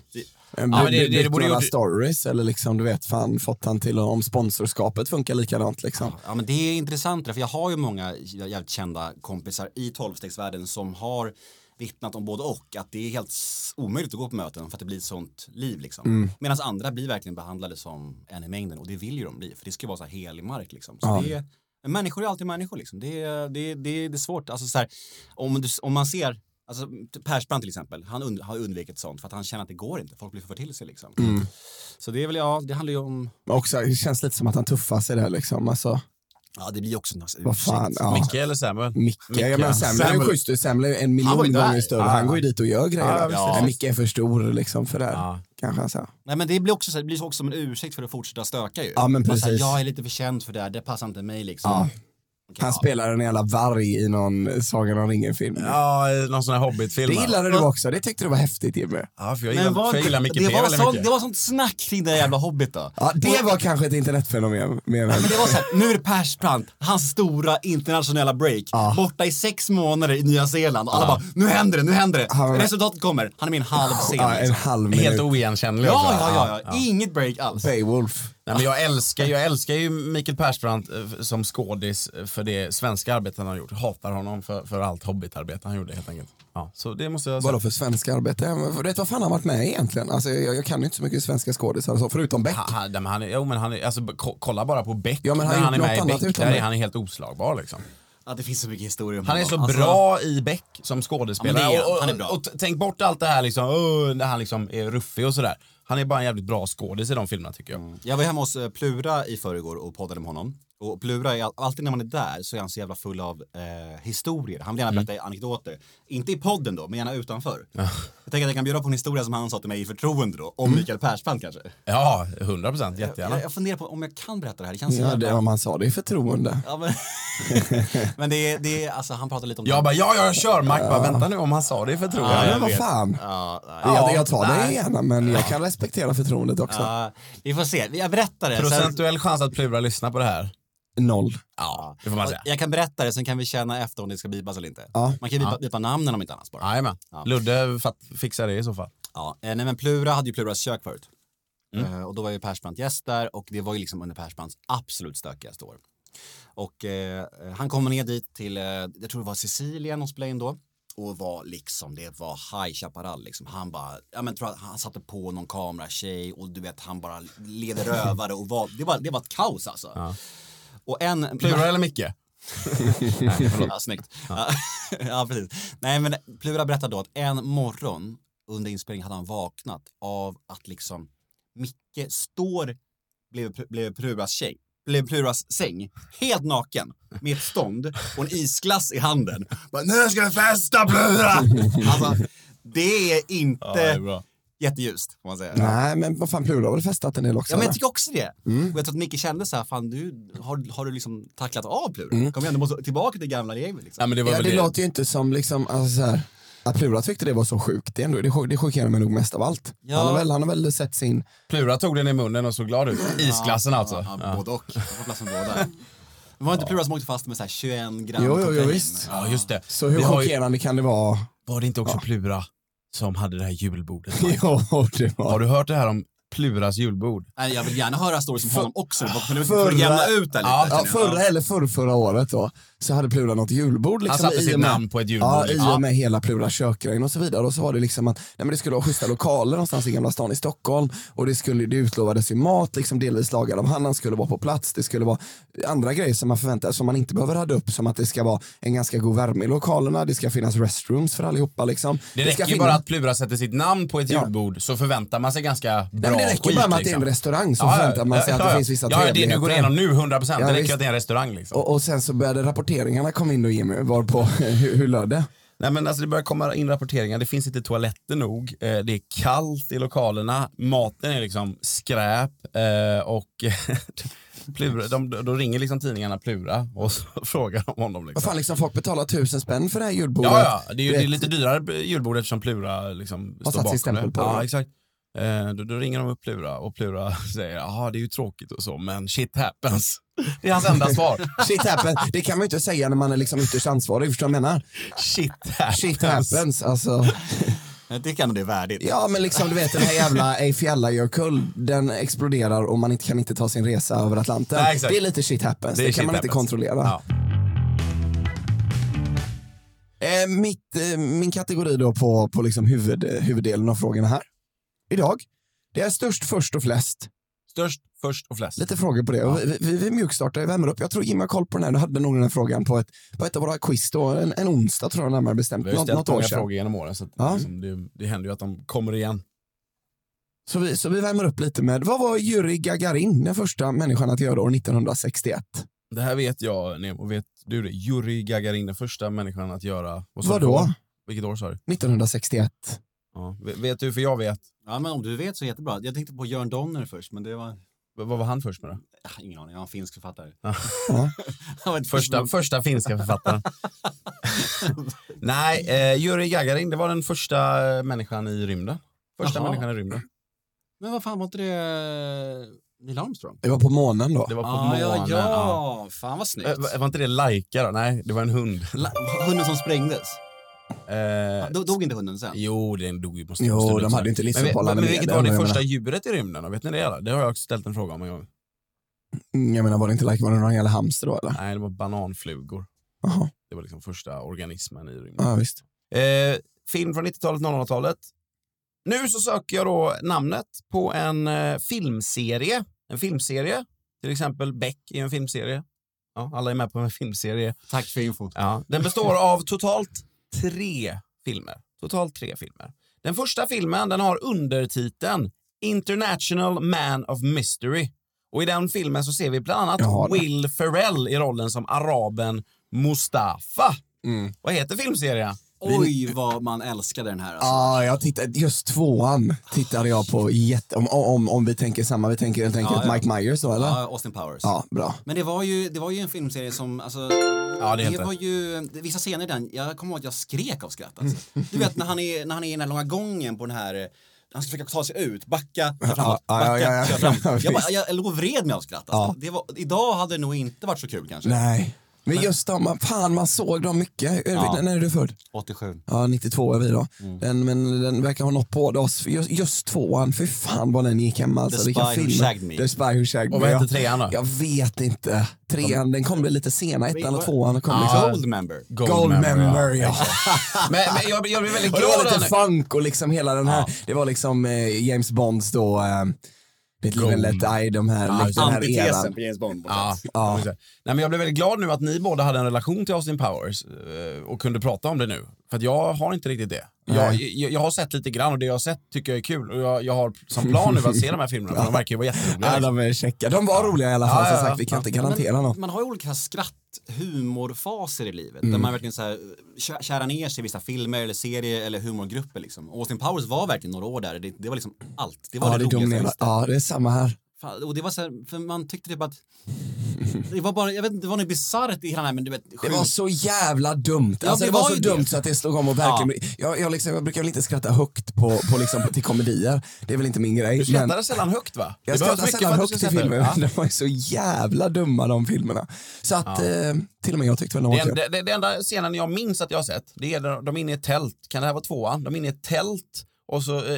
Speaker 1: Men
Speaker 2: men
Speaker 1: ja,
Speaker 2: det- det-
Speaker 1: det,
Speaker 2: det borde
Speaker 1: några
Speaker 2: gjort-
Speaker 1: stories eller liksom, du vet, fan, fått han till om sponsorskapet funkar likadant. Liksom.
Speaker 3: Ja men det är intressant för jag har ju många jävligt kända kompisar i tolvstegsvärlden som har vittnat om både och att det är helt s- omöjligt att gå på möten för att det blir ett sånt liv liksom.
Speaker 1: Mm.
Speaker 3: Medan andra blir verkligen behandlade som en i mängden och det vill ju de bli för det ska ju vara så här helig mark liksom. Så det är, men människor är alltid människor liksom. Det är, det är, det är, det är svårt, alltså så här, om, du, om man ser Alltså Persbrandt till exempel, han und- har undvikit sånt för att han känner att det går inte, folk blir för till sig liksom.
Speaker 1: Mm.
Speaker 3: Så det är väl, ja, det handlar ju om,
Speaker 1: Men också, det känns lite som att han tuffar sig där. Liksom. Alltså,
Speaker 3: ja det blir ju också en massa
Speaker 1: vad fan.
Speaker 3: ursäkt.
Speaker 1: Ja.
Speaker 2: Micke eller Samuel?
Speaker 1: Micke, jag menar Samuel är ju
Speaker 2: Samuel.
Speaker 1: schysst. Samuel är en
Speaker 3: Han var
Speaker 1: miljon
Speaker 3: ju där.
Speaker 1: gånger större. Han går ju dit och gör
Speaker 2: Ja,
Speaker 1: grejer.
Speaker 2: visst.
Speaker 1: Nej, Micke är för stor liksom, för det. här, Kanske han säger.
Speaker 3: Nej men det blir också, så här- det blir också som en ursäkt för att fortsätta stöka ju.
Speaker 1: Ja, men
Speaker 3: Man säger,
Speaker 1: precis.
Speaker 3: jag är lite för känd för det här, det passar inte mig liksom. Okej,
Speaker 1: Han spelar en jävla varg i någon Sagan om ringen-film.
Speaker 2: Ja, i någon sån här Hobbit-film.
Speaker 1: Det
Speaker 2: va?
Speaker 1: gillade du också. Det tyckte du var häftigt, Jimmy.
Speaker 2: Ja, för jag
Speaker 3: Men
Speaker 2: gillar,
Speaker 3: var
Speaker 2: för jag
Speaker 3: inte,
Speaker 2: gillar Micke P
Speaker 3: det, var
Speaker 2: väldigt
Speaker 3: sånt,
Speaker 2: mycket.
Speaker 3: det var sånt snack kring det där jävla Hobbit då.
Speaker 1: Ja, det var kanske ett internetfenomen. Menar jag.
Speaker 3: Men det var såhär, nu är det Persbrandt, hans stora internationella break, borta i sex månader i Nya Zeeland och alla bara, nu händer det, nu händer det.
Speaker 1: Han var-
Speaker 3: Resultatet kommer, han är med i en halv scen.
Speaker 1: Ja, en
Speaker 3: liksom.
Speaker 1: halv minut.
Speaker 2: Helt oigenkännlig
Speaker 3: ja,
Speaker 2: också.
Speaker 3: ja, ja, ja, inget break alls.
Speaker 1: Beowulf.
Speaker 2: Nej, men jag, älskar, jag älskar ju Mikael Persbrandt eh, som skådis eh, för det svenska arbetet han har gjort. Hatar honom för, för allt hobbitarbete han gjorde helt enkelt. Ja, så det måste jag säga.
Speaker 1: Vadå för svenska arbete? Ja, men för- Vet du vad fan han varit med i egentligen? Alltså, jag, jag kan ju inte så mycket svenska skådisar, så, förutom Beck.
Speaker 2: Han, han, nej, men han är, jo, men han är, alltså, b- ko- kolla bara på Beck.
Speaker 1: Ja, men han
Speaker 2: När
Speaker 1: har
Speaker 2: han är
Speaker 1: gjort något
Speaker 2: med i
Speaker 1: annat
Speaker 2: Beck,
Speaker 1: utan
Speaker 2: där
Speaker 1: det.
Speaker 2: är han helt oslagbar liksom.
Speaker 3: Att det finns så mycket historier om
Speaker 2: Han är så
Speaker 3: honom. Alltså,
Speaker 2: bra i Beck som skådespelare.
Speaker 3: Ja, men det är han.
Speaker 2: Och- och-
Speaker 3: Han är bra.
Speaker 2: Och, t- tänk bort allt det här liksom, "Åh", när han liksom är ruffig och sådär. Han är bara en jävligt bra skådis i de filmerna tycker jag.
Speaker 3: Jag var hemma hos eh, Plura i förrgår och poddade med honom. Och Plura, är all- alltid när man är där så är han så jävla full av eh, historier. Han vill gärna berätta anekdoter. Inte i podden då, men gärna utanför. Jag tänker att jag kan bjuda på en historia som han sa till mig i förtroende då, om Mikael Persbrandt kanske.
Speaker 2: Ja, 100 procent, jättegärna.
Speaker 3: Jag, jag funderar på om jag kan berätta det här, det känns så
Speaker 1: Ja,
Speaker 3: jävla...
Speaker 1: det, om han sa det i förtroende.
Speaker 3: Ja, men men <laughs> det, är, det är, alltså han pratar lite om...
Speaker 2: Jag bara, ja, ja, jag kör. Mark bara, vänta nu om han sa det för tror
Speaker 1: Ja,
Speaker 2: jag.
Speaker 1: men vad
Speaker 3: vet.
Speaker 1: fan.
Speaker 3: Ja, nej.
Speaker 1: jag, jag tar
Speaker 3: nej.
Speaker 1: det gärna, men jag kan respektera förtroendet också.
Speaker 3: Ja, vi får se, jag berättar det. sen-
Speaker 2: Procentuell chans att Plura lyssnar på det här. <laughs>
Speaker 1: Noll.
Speaker 2: Ja, det får man säga.
Speaker 3: Jag kan berätta det, sen kan vi känna efter om det ska bipas eller inte.
Speaker 1: Ja.
Speaker 3: Man kan ju bipa, bipa namnen om inte annars bara.
Speaker 2: Jajamän.
Speaker 3: Ja.
Speaker 2: Ludde fat- fixar det i så fall.
Speaker 3: Ja, eh, nej men Plura hade ju Pluras kök förut. Eh, och då var ju Persbrandt gäst där och det var ju liksom under Persbrandts absolut stökigaste år. Och eh, han kom ner dit till, eh, jag tror det var Sicilien och spelade in då. Och var liksom, det var High Chaparral liksom. Han bara, ja men tror att han satte på någon kameratjej och du vet han bara leder rövare och var, det var, det var ett kaos alltså. Och en...
Speaker 2: Plura eller Micke?
Speaker 3: Ja, snyggt. Ja. ja, <laughs> precis. Nej, men Plura berättade då att en morgon under inspelningen hade han vaknat av att liksom Micke står blev, blev Pluras tjej blev Pluras säng, helt naken, med ett stånd och en isglass i handen. Bara, nu ska vi festa Plura! <laughs> Alltså, det är inte
Speaker 2: bra.
Speaker 3: jätteljust, får man säga.
Speaker 1: Nej, men vad fan, Plura har väl festat en del också?
Speaker 3: Ja, men
Speaker 1: va?
Speaker 3: jag tycker också det. Och jag tror att Micke kände så här, fan du, har, har du liksom tacklat av Plura? Kom igen, du måste tillbaka till gamla regler. Liksom.
Speaker 2: Ja, men det var
Speaker 1: ja,
Speaker 2: väl
Speaker 1: det
Speaker 2: det.
Speaker 1: låter ju inte som liksom, alltså, så här, att Plura tyckte det var så sjukt. Det, är ändå, det, chock- det chockerar mig nog mest av allt.
Speaker 3: Ja.
Speaker 1: Han, har väl, han har väl sett sin...
Speaker 2: Plura tog den i munnen och såg glad ut. Isglassen alltså.
Speaker 3: Ja, både och. Jag får plats med båda. Det var inte Plura som åkte fast med så här 21 gram
Speaker 1: Jo, jo, jo,
Speaker 3: kokain.
Speaker 1: visst.
Speaker 2: Ja, just det.
Speaker 1: Så hur
Speaker 2: Vi har ju-
Speaker 1: chockerande kan det <laughs> vara?
Speaker 2: Var det inte också Plura som hade det här julbordet?
Speaker 3: <laughs>
Speaker 1: jo, det var
Speaker 2: Har du hört det här om Pluras julbord?
Speaker 3: Nej, jag vill gärna höra stories om honom också. För, för,
Speaker 1: Förra-
Speaker 3: för att liksom jämna ut det lite.
Speaker 2: Ja,
Speaker 1: Ja,
Speaker 3: känner jag.
Speaker 1: förra eller förr, förra året då, så hade Plura något julbord. Liksom,
Speaker 2: satte
Speaker 1: i
Speaker 2: sitt
Speaker 1: och med-
Speaker 2: namn på ett julbord,
Speaker 1: Ja,
Speaker 2: liksom.
Speaker 1: i och med hela Plura kökgrejen och så vidare. Och så var det liksom att nej, men det skulle vara schyssta lokaler någonstans i Gamla stan i Stockholm. Och det, skulle, det utlovades ju mat, liksom, delvis lagad av han. Han skulle vara på plats. Det skulle vara andra grejer som man förväntar som man inte behöver rada upp. Som att det ska vara en ganska god värme i lokalerna. Det ska finnas restrooms för allihopa. Liksom.
Speaker 2: Det
Speaker 1: ska
Speaker 2: räcker ju
Speaker 1: finnas-
Speaker 2: bara att Plura sätter sitt namn på ett julbord så förväntar man sig ganska bra
Speaker 1: Nej, men det räcker
Speaker 2: skit.
Speaker 1: bara med att det är
Speaker 2: liksom.
Speaker 1: en restaurang så
Speaker 2: Ja, ja,
Speaker 1: förväntar man sig
Speaker 2: ja,
Speaker 1: att det
Speaker 2: ja.
Speaker 1: finns vissa
Speaker 2: Ja, det
Speaker 1: trevligheter.
Speaker 2: du går igenom nu, 100 procent.
Speaker 1: Ja,
Speaker 2: det räcker
Speaker 1: visst.
Speaker 2: att det är en restaurang liksom.
Speaker 1: Och, och sen så började rapporteringarna komma in och ge mig var på <laughs> hur, hur löd det?
Speaker 2: Nej men alltså det börjar komma in rapporteringar, det finns inte toaletter nog, eh, det är kallt i lokalerna, maten är liksom skräp eh, och <laughs> Plura, de, då ringer liksom tidningarna Plura och <laughs> så frågar de honom.
Speaker 1: Vad
Speaker 2: Liksom.
Speaker 1: fan, liksom, folk betalar tusen spänn för det här julbordet.
Speaker 2: Ja, ja, det är ju
Speaker 1: Du
Speaker 2: det
Speaker 1: vet,
Speaker 2: är lite dyrare julbord eftersom Plura liksom
Speaker 1: Har
Speaker 2: står
Speaker 1: satt
Speaker 2: bakom
Speaker 1: sin stämpel
Speaker 2: det.
Speaker 1: på
Speaker 2: ja,
Speaker 1: det.
Speaker 2: exakt. Eh, då, då ringer de upp Plura och Plura <laughs> säger jaha det är ju tråkigt och så men shit happens. <laughs> Det är hans enda
Speaker 1: <laughs>
Speaker 2: svar.
Speaker 1: <laughs> Shit happens. Det kan man ju inte säga när man är liksom ytterst ansvarig, förstår du vad jag menar?
Speaker 2: Shit happens.
Speaker 1: Shit happens, alltså.
Speaker 3: Jag tycker ändå det är värdigt.
Speaker 1: Ja, men liksom du vet den här jävla Ey Fjallajökull, den exploderar och man inte, kan inte ta sin resa över Atlanten.
Speaker 2: Nej, exakt.
Speaker 1: det är lite shit happens, det,
Speaker 2: är
Speaker 1: kan
Speaker 2: shit
Speaker 1: man inte
Speaker 2: happens.
Speaker 1: kontrollera.
Speaker 2: Ja.
Speaker 1: Eh, mitt, eh, min kategori då på, på liksom huvud, eh, huvuddelen av frågorna här idag, det är störst, först och flest.
Speaker 2: Störst, först och flest.
Speaker 1: Lite frågor på det. Och Vi, vi, vi mjukstartar i Värmer upp. Jag tror Jimmy har koll på den här. Du hade nog den här frågan på ett, på ett av våra quiz då, en, en onsdag tror jag närmare bestämt.
Speaker 2: Vi har ju
Speaker 1: Något,
Speaker 2: ställt
Speaker 1: något år
Speaker 2: många
Speaker 1: sedan.
Speaker 2: frågor genom åren så att
Speaker 1: Ja.
Speaker 2: liksom, det, det händer ju att de kommer igen.
Speaker 1: Så vi, så vi värmer upp lite med, vad var Yuri Gagarin den första människan att göra år 1961?
Speaker 2: Det här vet jag Nemo, vet du det? Yuri Gagarin, den första människan att göra... vad sa du
Speaker 1: Vadå?
Speaker 2: på? Vilket år sa du?
Speaker 1: 1961.
Speaker 2: Ja. Vet, vet du, för jag vet.
Speaker 3: Ja, men om du vet så är det jättebra. Jag tänkte på Jörn Donner först, men det var...
Speaker 2: V- Vad var han först med då?
Speaker 3: Jag har ingen aning, jag är en finsk författare. <laughs>
Speaker 1: Ja.
Speaker 3: Han var inte-
Speaker 2: Första, första finska författaren. Nej, eh, Yuri Gagarin, det var den första eh, människan i rymden. Första
Speaker 3: Jaha.
Speaker 2: människan i rymden.
Speaker 3: Men vad fan var inte det eh, Neil Armstrong?
Speaker 1: Det var på månen då.
Speaker 2: Det var på
Speaker 3: Ah,
Speaker 2: månen.
Speaker 3: ja,
Speaker 2: ja.
Speaker 3: ja, fan vad snyggt.
Speaker 2: Eh, va- var inte det Laika då? Nej, det var en hund.
Speaker 3: La- Hunden som sprängdes.
Speaker 2: Eh,
Speaker 3: Då dog inte hunden sen?
Speaker 2: Jo, den dog ju på
Speaker 1: Jo,
Speaker 2: stunden
Speaker 1: de
Speaker 2: sen.
Speaker 1: hade ju inte
Speaker 2: Men vi-
Speaker 1: livsuppehållande
Speaker 2: Men vilket
Speaker 1: medel,
Speaker 2: var det
Speaker 1: jag
Speaker 2: första
Speaker 1: menar.
Speaker 2: djuret i rymden då? Vet ni det? Eller? Det har jag också ställt en fråga om en gång.
Speaker 1: Mm, Jag menar, var det inte like, var det någon jävla hamster då eller?
Speaker 2: Nej, det var bananflugor.
Speaker 1: Jaha,
Speaker 2: Det var liksom första organismen i rymden.
Speaker 1: ja visst.
Speaker 2: Eh, film från 90-talet, 00-talet. Nu så söker jag då namnet på en eh, filmserie. En filmserie. Till exempel Beck är en filmserie. Ja, alla är med på en filmserie.
Speaker 3: Tack för infot.
Speaker 2: Ja, den består av totalt tre filmer. Totalt tre filmer. Den första filmen den har undertiteln International Man of Mystery. Och I den filmen så ser vi bland annat
Speaker 1: Jag har den.
Speaker 2: Will Ferrell i rollen som araben Mustafa.
Speaker 1: Mm.
Speaker 2: Vad heter filmserien?
Speaker 3: Oj, vad man älskade den här. Alltså.
Speaker 1: Ah, jag tittade, just tvåan tittade jag på jätte... Om, om, om vi tänker samma, vi tänker helt enkelt
Speaker 3: Ja, ja.
Speaker 1: Mike Myers då eller?
Speaker 3: Ja,
Speaker 1: Ja,
Speaker 3: Austin Powers.
Speaker 1: bra.
Speaker 3: Men det var, ju, det var ju en filmserie som, alltså,
Speaker 2: Ja, det
Speaker 3: det,
Speaker 2: heter
Speaker 3: var ju, det- vissa scener i den, jag kommer ihåg att jag skrek av skratt alltså. Du vet när han är, när han är i den här långa gången på den här, eh, han ska försöka ta sig ut, backa, kör framåt,
Speaker 1: Ja, ja,
Speaker 3: backa,
Speaker 1: ja, ja.
Speaker 3: kör framåt.
Speaker 1: <laughs> Ja,
Speaker 3: Jag, bara,
Speaker 1: visst.
Speaker 3: jag låg och vred mig av skratt alltså. det var, Idag hade det nog inte varit så kul kanske.
Speaker 1: Nej. Men just de, man- fan man såg dem mycket. Ja. När är du född?
Speaker 3: 87.
Speaker 1: Ja, 92 är vi då. Den, men den verkar ha nått både oss. Just, just tvåan, för fan vad den gick hem alltså.
Speaker 3: The
Speaker 1: Vilka
Speaker 3: Spy Who
Speaker 1: filmer.
Speaker 3: Shagged Me.
Speaker 1: The Spy Who Shagged
Speaker 2: Och
Speaker 1: Me,
Speaker 2: vad
Speaker 1: ja.
Speaker 2: hette trean då?
Speaker 1: Jag vet inte. Trean, den kom väl lite senare. Ettan och tvåan kom liksom.
Speaker 3: Ah, Gold member.
Speaker 1: Goldmember, ja.
Speaker 2: Men, men jag, jag blir väldigt
Speaker 1: Och det var
Speaker 2: glad.
Speaker 1: lite
Speaker 2: här nu.
Speaker 1: funk och liksom hela den här. Det var liksom eh, James Bonds då, eh, Mitt liv är lätt eye, de här, liksom, den här
Speaker 3: Antitesen
Speaker 1: eran.
Speaker 3: på James Bond.
Speaker 2: Ja, ja. Nej, men jag blev väldigt glad nu att ni båda hade en relation till Austin Powers eh, och kunde prata om det nu. För att jag har inte riktigt det. Jag, jag, jag har sett lite grann och det jag har sett tycker jag är kul. Och jag, jag har som plan nu att se de här filmerna för de verkar ju vara jätteroliga.
Speaker 1: Ja, de är checka. De var roliga i alla fall,
Speaker 2: Ja,
Speaker 1: som
Speaker 2: ja,
Speaker 1: sagt. Vi kan
Speaker 2: ja.
Speaker 1: inte garantera något.
Speaker 3: Man har ju olika skratt-humorfaser i livet där man verkligen så här, kä- kärar ner sig i vissa filmer eller serier eller humorgrupper liksom. Och Austin Powers var verkligen några år där, det, det var liksom allt. Det var
Speaker 1: Ja,
Speaker 3: det,
Speaker 1: det
Speaker 3: roligaste. jag
Speaker 1: dominerar.
Speaker 3: visste.
Speaker 1: Ja, det är samma här.
Speaker 3: Fan, Och det var så här, för man tyckte typ att det var bara, jag vet inte, det var något bisarrt i hela den här men du vet,
Speaker 1: Det
Speaker 3: sjuk-
Speaker 1: var så jävla dumt.
Speaker 3: Ja,
Speaker 1: alltså,
Speaker 3: det
Speaker 1: det, var,
Speaker 3: var
Speaker 1: så
Speaker 3: ju
Speaker 1: dumt
Speaker 3: det.
Speaker 1: så att det slog om och verkligen... Jag, jag, liksom, jag brukar väl inte skratta högt på, på liksom, till komedier. Det är väl inte min grej.
Speaker 2: Du skrattade sällan högt va?
Speaker 1: Jag skrattar sällan högt i filmer. <laughs>
Speaker 2: Ja.
Speaker 1: De var ju så jävla dumma de filmerna. Så att eh, till och med jag tyckte väl de var
Speaker 2: Det,
Speaker 1: kul.
Speaker 2: en- det, det enda scenen jag minns att jag har sett, det är när de är inne i ett tält. Kan det här vara tvåan? De är inne i ett tält och så, eh,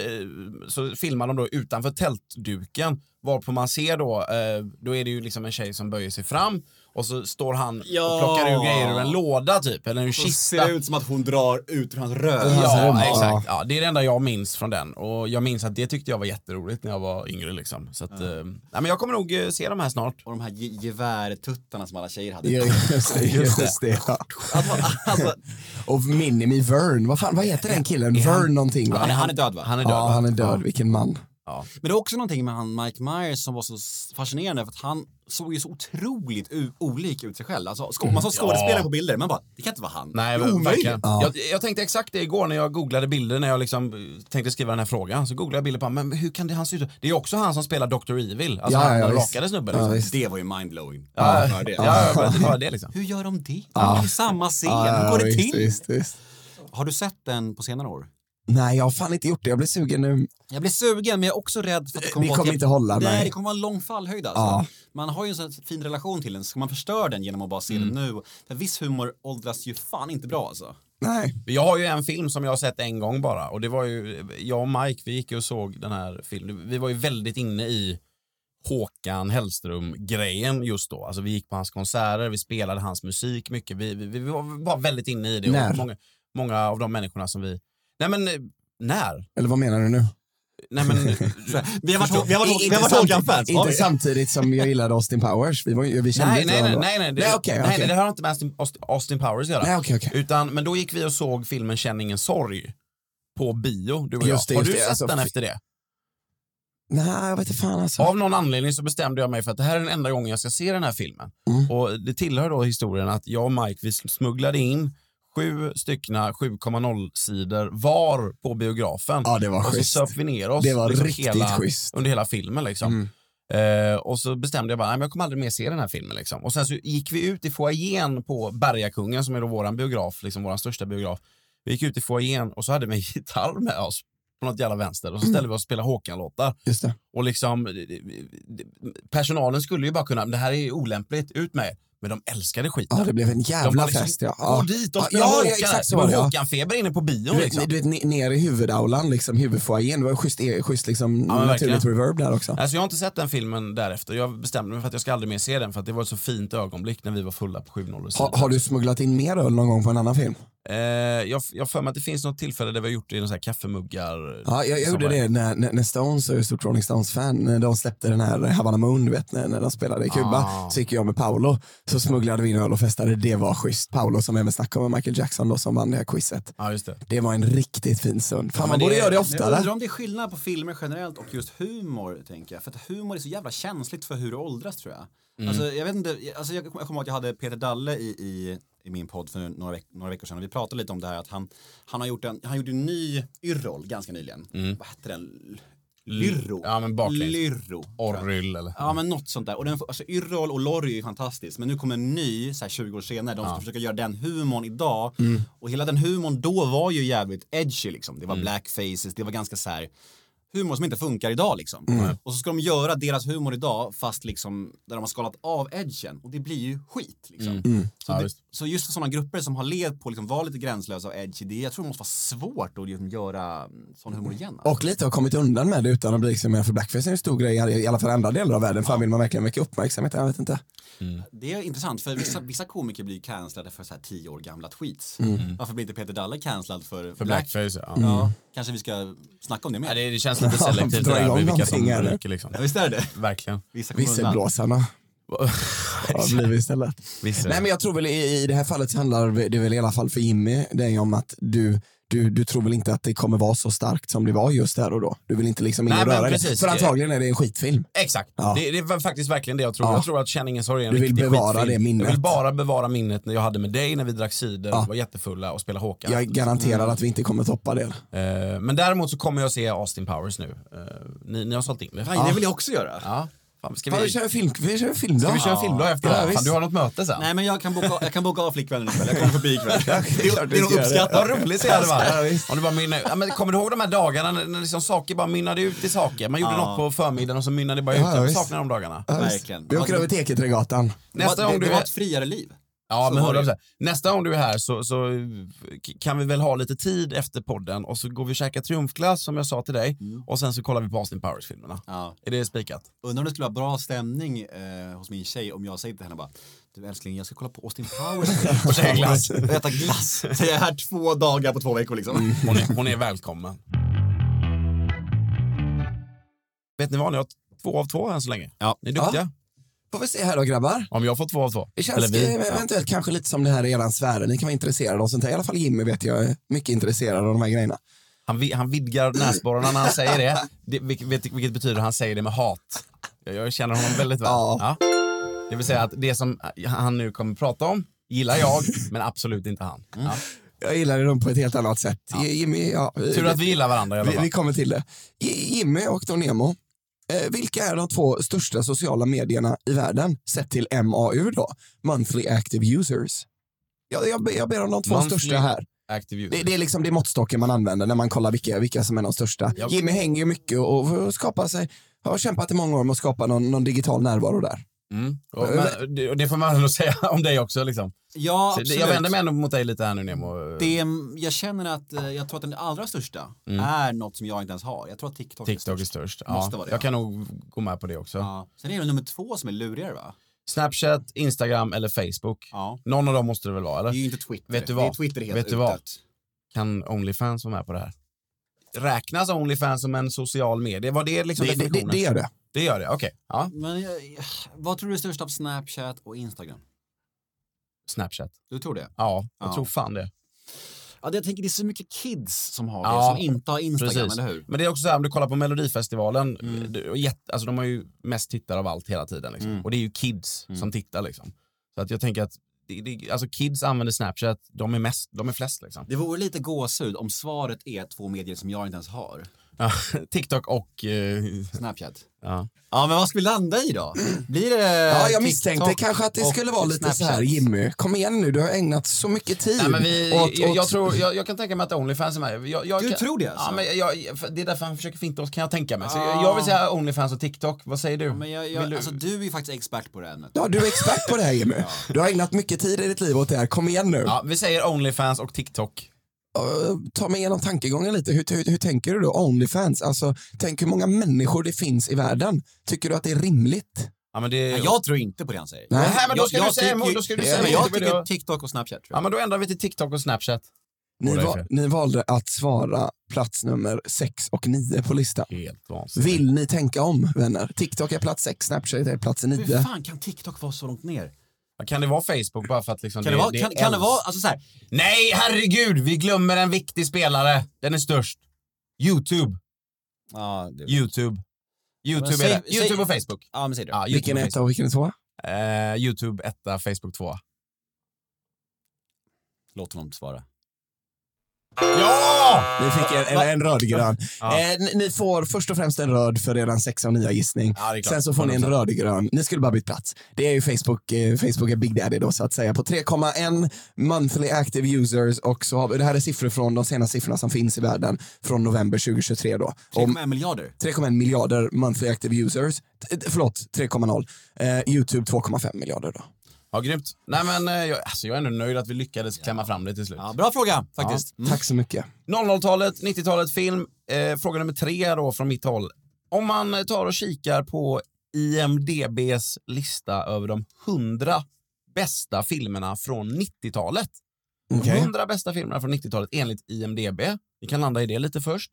Speaker 2: så filmar de då utanför tältduken. Varpå man ser då, eh, då är det ju liksom en tjej som böjer sig fram och så står han och
Speaker 3: Ja.
Speaker 2: plockar ur grejer ur en låda typ, eller en
Speaker 3: så ser
Speaker 2: kista.
Speaker 3: det ut som att hon drar ut ur hans röv. Alltså,
Speaker 2: Ja,
Speaker 1: rum.
Speaker 2: exakt. Ja, det är det enda jag minns från den. Och jag minns att det tyckte jag var jätteroligt när jag var yngre. Liksom. Så att, eh, nej, men jag kommer nog eh, se de här snart.
Speaker 3: Och de här ge- gevärtuttarna som alla tjejer hade.
Speaker 1: Ja, <laughs> Just det. Just det ja.
Speaker 3: Alltså, alltså,
Speaker 1: <laughs> Och Minimi Vern, vad fan vad heter den killen? Vern någonting va?
Speaker 3: han, är- han är död va?
Speaker 2: Han är död.
Speaker 1: Ja,
Speaker 2: va?
Speaker 1: han är död. Vilken man.
Speaker 3: Men det är också någonting med han Mike Myers som var så s- fascinerande för att han såg ju så otroligt u- olik ut sig själv. Alltså, sko- man såg skådespelare
Speaker 2: Mm. Ja.
Speaker 3: på bilder, man bara, det kan inte vara han.
Speaker 2: Nej,
Speaker 3: det är
Speaker 2: men verkligen.
Speaker 1: Ja.
Speaker 2: Jag, jag tänkte exakt det igår när jag googlade bilder när jag liksom eh, tänkte skriva den här frågan. Så googlade jag bilder på honom, men hur kan det han se ut? Det är också han som spelar Dr. Evil, alltså
Speaker 1: Ja,
Speaker 2: han
Speaker 1: ja,
Speaker 2: den
Speaker 1: visst.
Speaker 2: rakade snubben.
Speaker 1: Ja,
Speaker 2: liksom.
Speaker 1: visst.
Speaker 3: Det var ju mindblowing.
Speaker 2: Ja,
Speaker 3: det.
Speaker 2: ja, ja,
Speaker 1: <laughs>
Speaker 2: det var det liksom.
Speaker 3: Hur gör de det? Det är ju samma scen, hur går det
Speaker 1: visst,
Speaker 3: till?
Speaker 1: visst, visst.
Speaker 3: Har du sett den på senare år?
Speaker 1: Nej, jag har fan inte gjort det. Jag blir sugen nu.
Speaker 3: Jag blir sugen men jag är också rädd för att det kommer
Speaker 1: Vi
Speaker 3: vara- typ
Speaker 1: kommer inte hålla,
Speaker 3: Nej,
Speaker 1: nej.
Speaker 3: det kommer vara en lång fallhöjd alltså. Man har ju en sån här fin relation till den, ska man förstöra den genom att bara se den
Speaker 2: Mm.
Speaker 3: nu? För viss humor åldras ju fan inte bra alltså.
Speaker 1: Nej.
Speaker 2: Jag har ju en film som jag har sett en gång bara och det var ju, eh, jag och Mike vi gick ju och såg den här filmen. Vi var ju väldigt inne i Håkan Hellström-grejen just då. Alltså vi gick på hans konserter, vi spelade hans musik mycket. Vi, vi, vi var bara väldigt inne i det.
Speaker 1: När?
Speaker 2: Och många, många av de människorna som vi... Nej men, eh, när?
Speaker 1: Eller vad menar du nu?
Speaker 2: Nej men,
Speaker 1: <laughs>
Speaker 3: Vi har varit, vi har varit, vi
Speaker 1: Inte
Speaker 3: har varit
Speaker 1: samt-
Speaker 3: Håkan-fans.
Speaker 1: Inte samtidigt som jag gillade Austin Powers. Vi, var, ju- vi kände
Speaker 2: nej,
Speaker 1: inte
Speaker 2: nej, nej,
Speaker 1: varandra.
Speaker 2: nej, nej, det,
Speaker 1: Nej, okej,
Speaker 2: nej,
Speaker 1: okej.
Speaker 2: nej, det har inte med Austin, Aust- Austin Powers att göra.
Speaker 1: Nej, okej, okej.
Speaker 2: Utan, men då gick vi och såg filmen Känn ingen sorg på bio, du och
Speaker 1: Just det,
Speaker 2: jag. Har
Speaker 1: just
Speaker 2: du
Speaker 1: det,
Speaker 2: sett
Speaker 1: alltså,
Speaker 2: den
Speaker 1: fi-
Speaker 2: efter det?
Speaker 1: Nej, jag vet inte fan alltså.
Speaker 2: Av någon anledning så bestämde jag mig för att det här är den enda gången jag ska se den här filmen.
Speaker 1: Mm.
Speaker 2: Och det tillhör då historien att jag och Mike vi smugglade in sju styckna 7,0 sidor var på biografen.
Speaker 1: Ja, det var
Speaker 2: och så
Speaker 1: schysst.
Speaker 2: söp vi ner oss
Speaker 1: Det var
Speaker 2: liksom
Speaker 1: riktigt
Speaker 2: hela,
Speaker 1: schysst. Mm,
Speaker 2: under hela filmen. Liksom. Eh, och så bestämde jag bara, nej, men jag kommer aldrig mer se den här filmen. Liksom. Och sen så gick vi ut i foajén på Bergakungen som är då våran biograf, liksom våran största biograf. Vi gick ut i foajén och så hade vi en <laughs> gitarr med oss på något jävla vänster och så ställde vi oss och spelade Håkan-låtar.
Speaker 1: Just det.
Speaker 2: Och liksom, det- det- det- personalen skulle ju bara kunna, det här är olämpligt, ut med er. Men de älskade skiten.
Speaker 1: Ja, det blev en
Speaker 2: de
Speaker 1: jävla
Speaker 2: bara liksom,
Speaker 1: fest. Ja.
Speaker 2: gå
Speaker 1: Ja.
Speaker 2: dit, de
Speaker 1: Ja,
Speaker 2: spelar
Speaker 1: ja, ja,
Speaker 2: Håkan.
Speaker 1: exakt så
Speaker 2: det var
Speaker 1: var det, ja.
Speaker 2: Håkan-feber inne på bion
Speaker 1: Du
Speaker 2: liksom.
Speaker 1: vet, du vet, ne- ner i huvudaulan, liksom, huvudfoajén. Det var schysst, e- schysst liksom,
Speaker 2: men
Speaker 1: naturligt
Speaker 2: verkligen.
Speaker 1: reverb där också.
Speaker 2: Alltså jag har inte sett den filmen därefter. Jag bestämde mig för att jag ska aldrig mer se den för att det var ett så fint ögonblick när vi var fulla på 7
Speaker 1: Ha, har du smugglat in mer öl någon gång på en annan film?
Speaker 2: Eh, jag jag har för mig att det finns något tillfälle där vi har gjort det i någon sån här kaffemuggar...
Speaker 1: Ja, jag, jag gjorde
Speaker 2: sammanhang.
Speaker 1: det när, när, när Stones, jag är ett stort Rolling Stones-fan, när de släppte den här Havana Moon, du vet, när, när de spelade i Kuba,
Speaker 2: Ah.
Speaker 1: så gick jag med Paolo, så smugglade vi in öl och festade. Det var schysst. Paolo som även snackade med Michael Jackson då, som vann det här quizet.
Speaker 2: Ja, just det.
Speaker 1: Det var en riktigt fin stund. Fan, man
Speaker 2: men
Speaker 1: borde
Speaker 2: det-
Speaker 1: göra det
Speaker 3: Men Jag
Speaker 1: oftare.
Speaker 3: undrar om det är skillnad på filmer generellt och just humor, tänker jag. För att humor är så jävla känsligt för hur det åldras, tror jag.
Speaker 2: Mm.
Speaker 3: Alltså, jag vet inte, alltså, jag kommer jag kommer ihåg att jag hade Peter Dalle i, i, i min podd för några, veck, några veckor sedan och vi pratade lite om det här att han, han har gjort en, han gjorde en ny yrrol ganska nyligen. Vad hette den? Lyrro.
Speaker 2: Mm. Ja, men baklänges.
Speaker 3: Lyrro. tror jag.
Speaker 2: Orryl eller?
Speaker 3: Ja men något sånt där. Och den, alltså, Yrrol och Lorry är ju fantastiskt men nu kommer en ny så här 20 år senare. De ska försöka göra den humorn idag. Och hela den humorn då var ju jävligt edgy liksom. Det var blackfaces, det var ganska så här humor som inte funkar idag liksom. Och så ska de göra deras humor idag fast liksom där de har skalat av edgen och det blir ju skit liksom. Så,
Speaker 2: Ja,
Speaker 3: det,
Speaker 2: visst.
Speaker 3: så just för sådana grupper som har levt på att liksom vara lite gränslösa och edgy, det, jag tror det måste vara svårt att liksom, göra sån humor igen. alltså.
Speaker 1: Och lite har kommit undan med det utan att bli liksom, för blackface är en stor grej i i alla fall i andra delar av världen. Fan vill man verkligen väcka uppmärksamhet? Jag vet inte.
Speaker 3: Det är intressant för vissa, vissa komiker blir ju cancellade för så här tio år gamla tweets.
Speaker 1: Mm.
Speaker 3: Varför blir inte Peter Dalle cancellad för,
Speaker 2: För blackface, ja.
Speaker 3: Ja, kanske vi ska snacka om det mer.
Speaker 2: ja det, det
Speaker 1: <laughs>
Speaker 2: känns lite selektivt
Speaker 1: Dra
Speaker 2: det där
Speaker 1: igång
Speaker 2: med vilka som
Speaker 1: någonting här nu.
Speaker 2: ryker liksom.
Speaker 3: Ja, Visst är det?
Speaker 2: Verkligen.
Speaker 3: Vissa kommer undan.
Speaker 1: Visselblåsarna har blivit istället.
Speaker 2: Vissa.
Speaker 1: Nej men jag tror väl i, i det här fallet så handlar det väl i alla fall för Jimmy det är ju om att du, du, du tror väl inte att det kommer vara så starkt som det var just där och då. Du vill inte liksom in
Speaker 2: Nej,
Speaker 1: och
Speaker 2: men
Speaker 1: röra dig.
Speaker 2: precis.
Speaker 1: För antagligen är det en skitfilm.
Speaker 2: <laughs> Exakt,
Speaker 1: Ja.
Speaker 2: det, det är faktiskt verkligen det jag tror.
Speaker 1: Ja.
Speaker 2: Jag tror att Känn ingen sorg är en
Speaker 1: Du vill
Speaker 2: riktig
Speaker 1: bevara
Speaker 2: skitfilm.
Speaker 1: det minnet.
Speaker 2: Jag vill bara bevara minnet när jag hade med dig när vi drack cider och var jättefulla och spelade Håkan.
Speaker 1: Jag garanterar att vi inte kommer toppa det.
Speaker 2: Eh, Mm. men däremot så kommer jag se Austin Powers nu. Eh, ni, ni har sålt in det.
Speaker 3: Fan, det vill jag också göra.
Speaker 2: Ja. Fan, ska
Speaker 1: Fan,
Speaker 2: vi,
Speaker 1: vi kör en film, vi kör en film
Speaker 2: ska vi köra filmdag efter det här? Fan,
Speaker 1: visst.
Speaker 2: du har något möte sen.
Speaker 3: Nej men jag kan boka, jag kan boka av flickvännen ikväll, jag kommer
Speaker 1: <laughs>
Speaker 3: förbi ikväll. det, är-
Speaker 1: klart
Speaker 3: det
Speaker 1: du
Speaker 3: är
Speaker 1: ska
Speaker 3: nog
Speaker 1: göra det.
Speaker 2: Vad
Speaker 3: uppskattat.
Speaker 2: roligt det hade varit. Om du bara mynnar, ja, men kommer du ihåg de här dagarna när, när liksom saker bara mynnade ut i saker? Man gjorde något på förmiddagen och så mynnade det bara ut.
Speaker 1: Ja,
Speaker 2: jag
Speaker 1: visst.
Speaker 2: saknar de dagarna.
Speaker 3: Verkligen. Alltså,
Speaker 1: Vi åker över Teketregatan.
Speaker 2: Nästa
Speaker 3: det,
Speaker 2: gång
Speaker 3: det
Speaker 2: du
Speaker 3: var
Speaker 2: är,
Speaker 3: ett friare liv.
Speaker 2: ja,
Speaker 3: så
Speaker 2: men
Speaker 3: var det.
Speaker 2: 100%. Nästa gång du är här så, så k- kan vi väl ha lite tid efter podden och så går vi och käkar triumfglass som jag sa till dig och sen så kollar vi på Austin Powers-filmerna.
Speaker 3: Mm. Ja.
Speaker 2: Är det spikat?
Speaker 3: Undrar om det skulle vara bra stämning eh, hos min tjej om jag säger till henne bara Du älskling, jag ska kolla på Austin
Speaker 1: <laughs>
Speaker 3: Powers
Speaker 2: Och käka glass.
Speaker 3: och äta glass. Så jag är här två dagar på två veckor liksom.
Speaker 1: Mm.
Speaker 2: Hon är, hon är välkommen. Vet ni vad, ni har två av två än så länge.
Speaker 3: Ja.
Speaker 2: Ni är duktiga.
Speaker 1: Får vi se här då grabbar.
Speaker 2: Om jag får två av två.
Speaker 1: Det känns
Speaker 2: vi.
Speaker 1: eh, eventuellt kanske lite som det här i eran sfär. Ni kan vara intresserade av sånt här. I alla fall Jimmy vet jag är mycket intresserad av de här grejerna.
Speaker 2: Han, vi- han vidgar näsborrarna när han säger
Speaker 3: <laughs>
Speaker 2: det. det vilket, vet- vilket betyder att han säger det med hat. Jag, jag känner honom väldigt väl.
Speaker 1: Ja.
Speaker 2: Ja. Det vill säga att det som han nu kommer prata om gillar jag, men absolut inte han.
Speaker 3: Mm.
Speaker 2: Ja.
Speaker 1: Jag gillar dem på ett helt annat sätt. Jimmy, ja.
Speaker 2: Tur att vi gillar varandra i alla
Speaker 1: Vi,
Speaker 2: fall.
Speaker 1: vi kommer till det. J- Jimmy och Don Nemo. Eh, vilka är de två största sociala medierna i världen sett till MAU då? Monthly Active Users. Jag, jag, be- jag ber om de två
Speaker 2: Monthly-
Speaker 1: största här.
Speaker 2: Active user.
Speaker 1: Det, det är liksom det måttstocken man använder när man kollar vilka, vilka som är de största.
Speaker 2: Ja.
Speaker 1: Jimmy hänger ju mycket och, och skapar sig, har kämpat i många år med att skapa någon, någon digital närvaro där.
Speaker 2: Mm. Och, men, det, och det får man ändå <laughs> säga om dig också. Liksom.
Speaker 3: Ja,
Speaker 2: Så det-
Speaker 3: absolut.
Speaker 2: Jag vänder mig ändå mot dig lite här nu Nemo.
Speaker 3: Det, jag känner att, eh, jag tror att den allra största är något som jag inte ens har. Jag tror att TikTok, är
Speaker 2: Mm. TikTok
Speaker 3: störst.
Speaker 2: är störst.
Speaker 3: Måste
Speaker 2: Ja.
Speaker 3: vara det,
Speaker 2: Jag
Speaker 3: ja.
Speaker 2: kan nog gå med på det också.
Speaker 3: Ja. Sen är det nummer två som är lurigare va?
Speaker 2: Snapchat, Instagram eller Facebook.
Speaker 3: Ja.
Speaker 2: Någon av dem måste det väl vara?
Speaker 3: Det är
Speaker 2: Eller?
Speaker 3: ju inte Twitter.
Speaker 2: Vet du
Speaker 3: Det är
Speaker 2: vad?
Speaker 3: Twitter helt
Speaker 2: Vet du vad?
Speaker 3: utdött.
Speaker 2: kan Onlyfans vara med på det här? Räknas Onlyfans som en social media? Var det liksom
Speaker 1: Det, det, det,
Speaker 2: definitionen?
Speaker 1: det gör det.
Speaker 2: Det gör det, okej. Ja.
Speaker 3: Men jag, vad tror du är störst av Snapchat och Instagram?
Speaker 2: Snapchat.
Speaker 3: Du tror det?
Speaker 2: Ja, jag
Speaker 3: Ja.
Speaker 2: tror fan det.
Speaker 3: Ja, det- jag tänker det är så mycket kids som har det,
Speaker 2: Ja,
Speaker 3: som inte har Instagram,
Speaker 2: Precis.
Speaker 3: eller hur?
Speaker 2: Men det är också så här, om du kollar på Melodifestivalen,
Speaker 1: Mm.
Speaker 2: det- och jätte, alltså de har ju mest tittare av allt hela tiden. Liksom.
Speaker 1: Mm.
Speaker 2: Och det är ju kids som tittar. Liksom. Så att jag tänker att det, det, alltså kids använder Snapchat, de är, mest, de är flest. Liksom.
Speaker 3: Det vore lite gåshud om svaret är två medier som jag inte ens har.
Speaker 2: Ja, <laughs> TikTok och... eh,
Speaker 3: Snapchat.
Speaker 2: ja.
Speaker 3: Ja, men vad ska vi landa i då? Blir det
Speaker 1: Ja, jag
Speaker 2: Eh,
Speaker 3: TikTok
Speaker 1: misstänkte kanske att det
Speaker 3: och
Speaker 1: skulle vara lite
Speaker 3: Snapchat?
Speaker 1: så här, Jimmy, kom igen nu, du har ägnat så mycket tid
Speaker 2: Nej, men vi,
Speaker 1: åt, åt
Speaker 2: jag, jag, tror, jag, jag kan tänka mig att Onlyfans är med. Jag, jag
Speaker 3: Du
Speaker 2: kan,
Speaker 3: tror det alltså? Ah.
Speaker 2: Ja, men jag, för- det är därför han försöker finta oss kan jag tänka mig. Så jag, jag vill säga Onlyfans och TikTok, vad säger du?
Speaker 3: Men jag,
Speaker 2: Vill
Speaker 3: jag,
Speaker 2: du?
Speaker 3: alltså, du är ju faktiskt expert på det här ämnet.
Speaker 1: Ja, du är expert på det här
Speaker 2: <laughs>
Speaker 1: Jimmy. Du har ägnat mycket tid i ditt liv åt det här. Kom igen nu.
Speaker 2: Ja, vi säger Onlyfans och TikTok.
Speaker 1: Uh, ta mig igenom tankegången lite. Hur, hur, hur tänker du då? Onlyfans, alltså tänk hur många människor det finns i världen. Tycker du att det är rimligt?
Speaker 2: Ja, men det...
Speaker 3: Ja, Jag tror inte på det han säger.
Speaker 1: Nej.
Speaker 2: Nej, men då ska
Speaker 3: jag,
Speaker 2: du säga emot. Då ska du
Speaker 3: Ja,
Speaker 2: säga
Speaker 3: men
Speaker 2: emot.
Speaker 3: jag
Speaker 2: Det vill
Speaker 3: tycker TikTok och Snapchat. Tror
Speaker 2: Ja,
Speaker 3: jag.
Speaker 2: men då ändrar vi till TikTok och Snapchat.
Speaker 1: Ni,
Speaker 2: Båda är
Speaker 1: va-
Speaker 2: fel.
Speaker 1: ni valde att svara plats nummer 6 och 9 på listan.
Speaker 2: Helt vansinnigt.
Speaker 1: Vill ni tänka om vänner? TikTok är plats 6, Snapchat är plats
Speaker 3: Hur
Speaker 1: 9.
Speaker 3: fan kan TikTok vara så långt ner?
Speaker 2: Kan det vara Facebook bara för att liksom
Speaker 3: Kan det, vara, kan, kan det vara, alltså så här,
Speaker 2: Nej, herregud! Vi glömmer en viktig spelare. Den är störst. YouTube.
Speaker 3: ja, det,
Speaker 2: YouTube.
Speaker 3: Men
Speaker 2: YouTube,
Speaker 3: säg-
Speaker 2: är det.
Speaker 3: säg-
Speaker 2: YouTube och Facebook.
Speaker 3: ja men säg det.
Speaker 2: Ja, YouTube
Speaker 1: Vilken
Speaker 2: och
Speaker 1: är
Speaker 2: Facebook.
Speaker 1: etta och vilken är tvåa?
Speaker 2: Eh, YouTube etta, Facebook tvåa.
Speaker 3: Låt honom svara.
Speaker 2: Ja!
Speaker 1: Ni fick en, en, en rödgrön.
Speaker 2: Ah, Ja.
Speaker 1: Eh, ni- ni får först och främst en röd för eran sexa och nia gissning.
Speaker 2: Ja, det är klart.
Speaker 1: Sen så får ni en rödgrön. Ni skulle bara bytt plats. Det är ju Facebook, eh, Facebook är Big Daddy då så att säga. På 3,1 monthly active users och så har vi, det här är siffror från de senaste siffrorna som finns i världen från november 2023 då. Om
Speaker 3: 3,1 miljarder.
Speaker 1: 3,1 miljarder monthly active users, eh, förlåt 3,0. Eh, Youtube 2,5 miljarder då.
Speaker 2: Ja, grymt. Nej, men eh, jag, alltså, jag är ändå nöjd att vi lyckades klämma fram det till slut.
Speaker 3: Ja, bra fråga faktiskt.
Speaker 2: Mm.
Speaker 3: Mm.
Speaker 1: Ja, tack så mycket.
Speaker 2: 00-talet, 90-talet, film. Eh, fråga nummer tre då från mitt håll. Om man eh, tar och kikar på IMDBs lista över de 100 bästa filmerna från 90-talet.
Speaker 1: Okej.
Speaker 2: 100 bästa filmerna från 90-talet enligt IMDB. Vi kan landa i det lite först.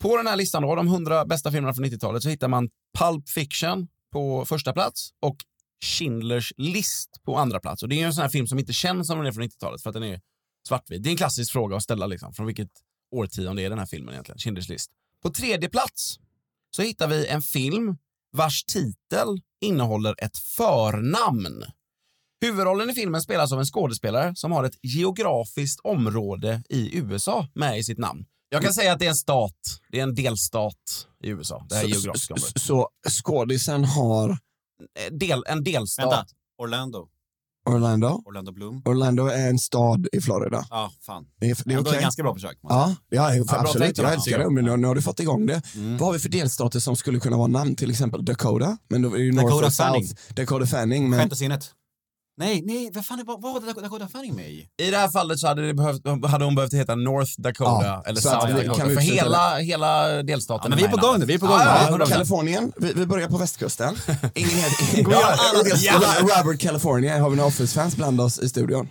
Speaker 2: På den här listan då, de 100 bästa filmerna från 90-talet, så hittar man Pulp Fiction på första plats och Schindlers list på andra plats. Och det är ju en sån här film som inte känns som den är från 90-talet för att den är svartvit. Det är en klassisk fråga att ställa liksom, från vilket årtionde är den här filmen egentligen? Schindlers list. På tredje plats så hittar vi en film vars titel innehåller ett förnamn. Huvudrollen i filmen spelas av en skådespelare som har ett geografiskt område i USA med i sitt namn. Jag
Speaker 3: Mm.
Speaker 2: kan säga att det är en stat, det är en delstat i USA. Det här
Speaker 1: Så-
Speaker 2: geografiska
Speaker 1: så,
Speaker 2: området.
Speaker 1: så skådisen har
Speaker 2: Eh, Del, en delstat.
Speaker 3: Vänta, Orlando.
Speaker 1: Orlando.
Speaker 3: Orlando Bloom.
Speaker 1: Orlando är en stad i Florida.
Speaker 3: Ja, fan.
Speaker 1: Det är, det är
Speaker 3: Ändå ett
Speaker 1: okej.
Speaker 3: ganska bra försök. måste jag
Speaker 1: Ja, ja, för
Speaker 2: bra
Speaker 1: absolut.
Speaker 2: tänkt,
Speaker 1: Jag
Speaker 2: ja.
Speaker 1: älskar det. Men nu, nu har du fått igång det.
Speaker 3: Mm.
Speaker 1: Vad har vi för delstater som skulle kunna vara namn? Till exempel Dakota. Men då är det ju North
Speaker 3: Dakota
Speaker 1: och South.
Speaker 3: Fanning.
Speaker 1: Dakota Fanning.
Speaker 3: säga.
Speaker 1: Men
Speaker 3: Femte sinnet. Nej, nej, vad fan är, vad vad var det Dakota- Dakota Fanning med i?
Speaker 2: I det här fallet så hade, det behövt, hade hon behövt heta North Dakota
Speaker 1: Ja,
Speaker 2: eller
Speaker 1: så att
Speaker 2: South
Speaker 1: vi-
Speaker 2: Dakota.
Speaker 1: kan vi
Speaker 2: För
Speaker 1: utesluta
Speaker 2: hela, hela delstaten.
Speaker 3: Ja, men vi är
Speaker 2: med
Speaker 3: på gång
Speaker 2: i
Speaker 3: nu, vi är på
Speaker 2: namnet.
Speaker 3: gång nu.
Speaker 2: Ja,
Speaker 3: Vi
Speaker 2: ja,
Speaker 3: är på gång.
Speaker 1: Kalifornien. Vi, vi börjar på västkusten. Ingen helt... Gå
Speaker 2: Ja,
Speaker 1: igenom-
Speaker 2: alla-
Speaker 1: Ro- Robert California. Har vi några Office-fans bland oss i studion?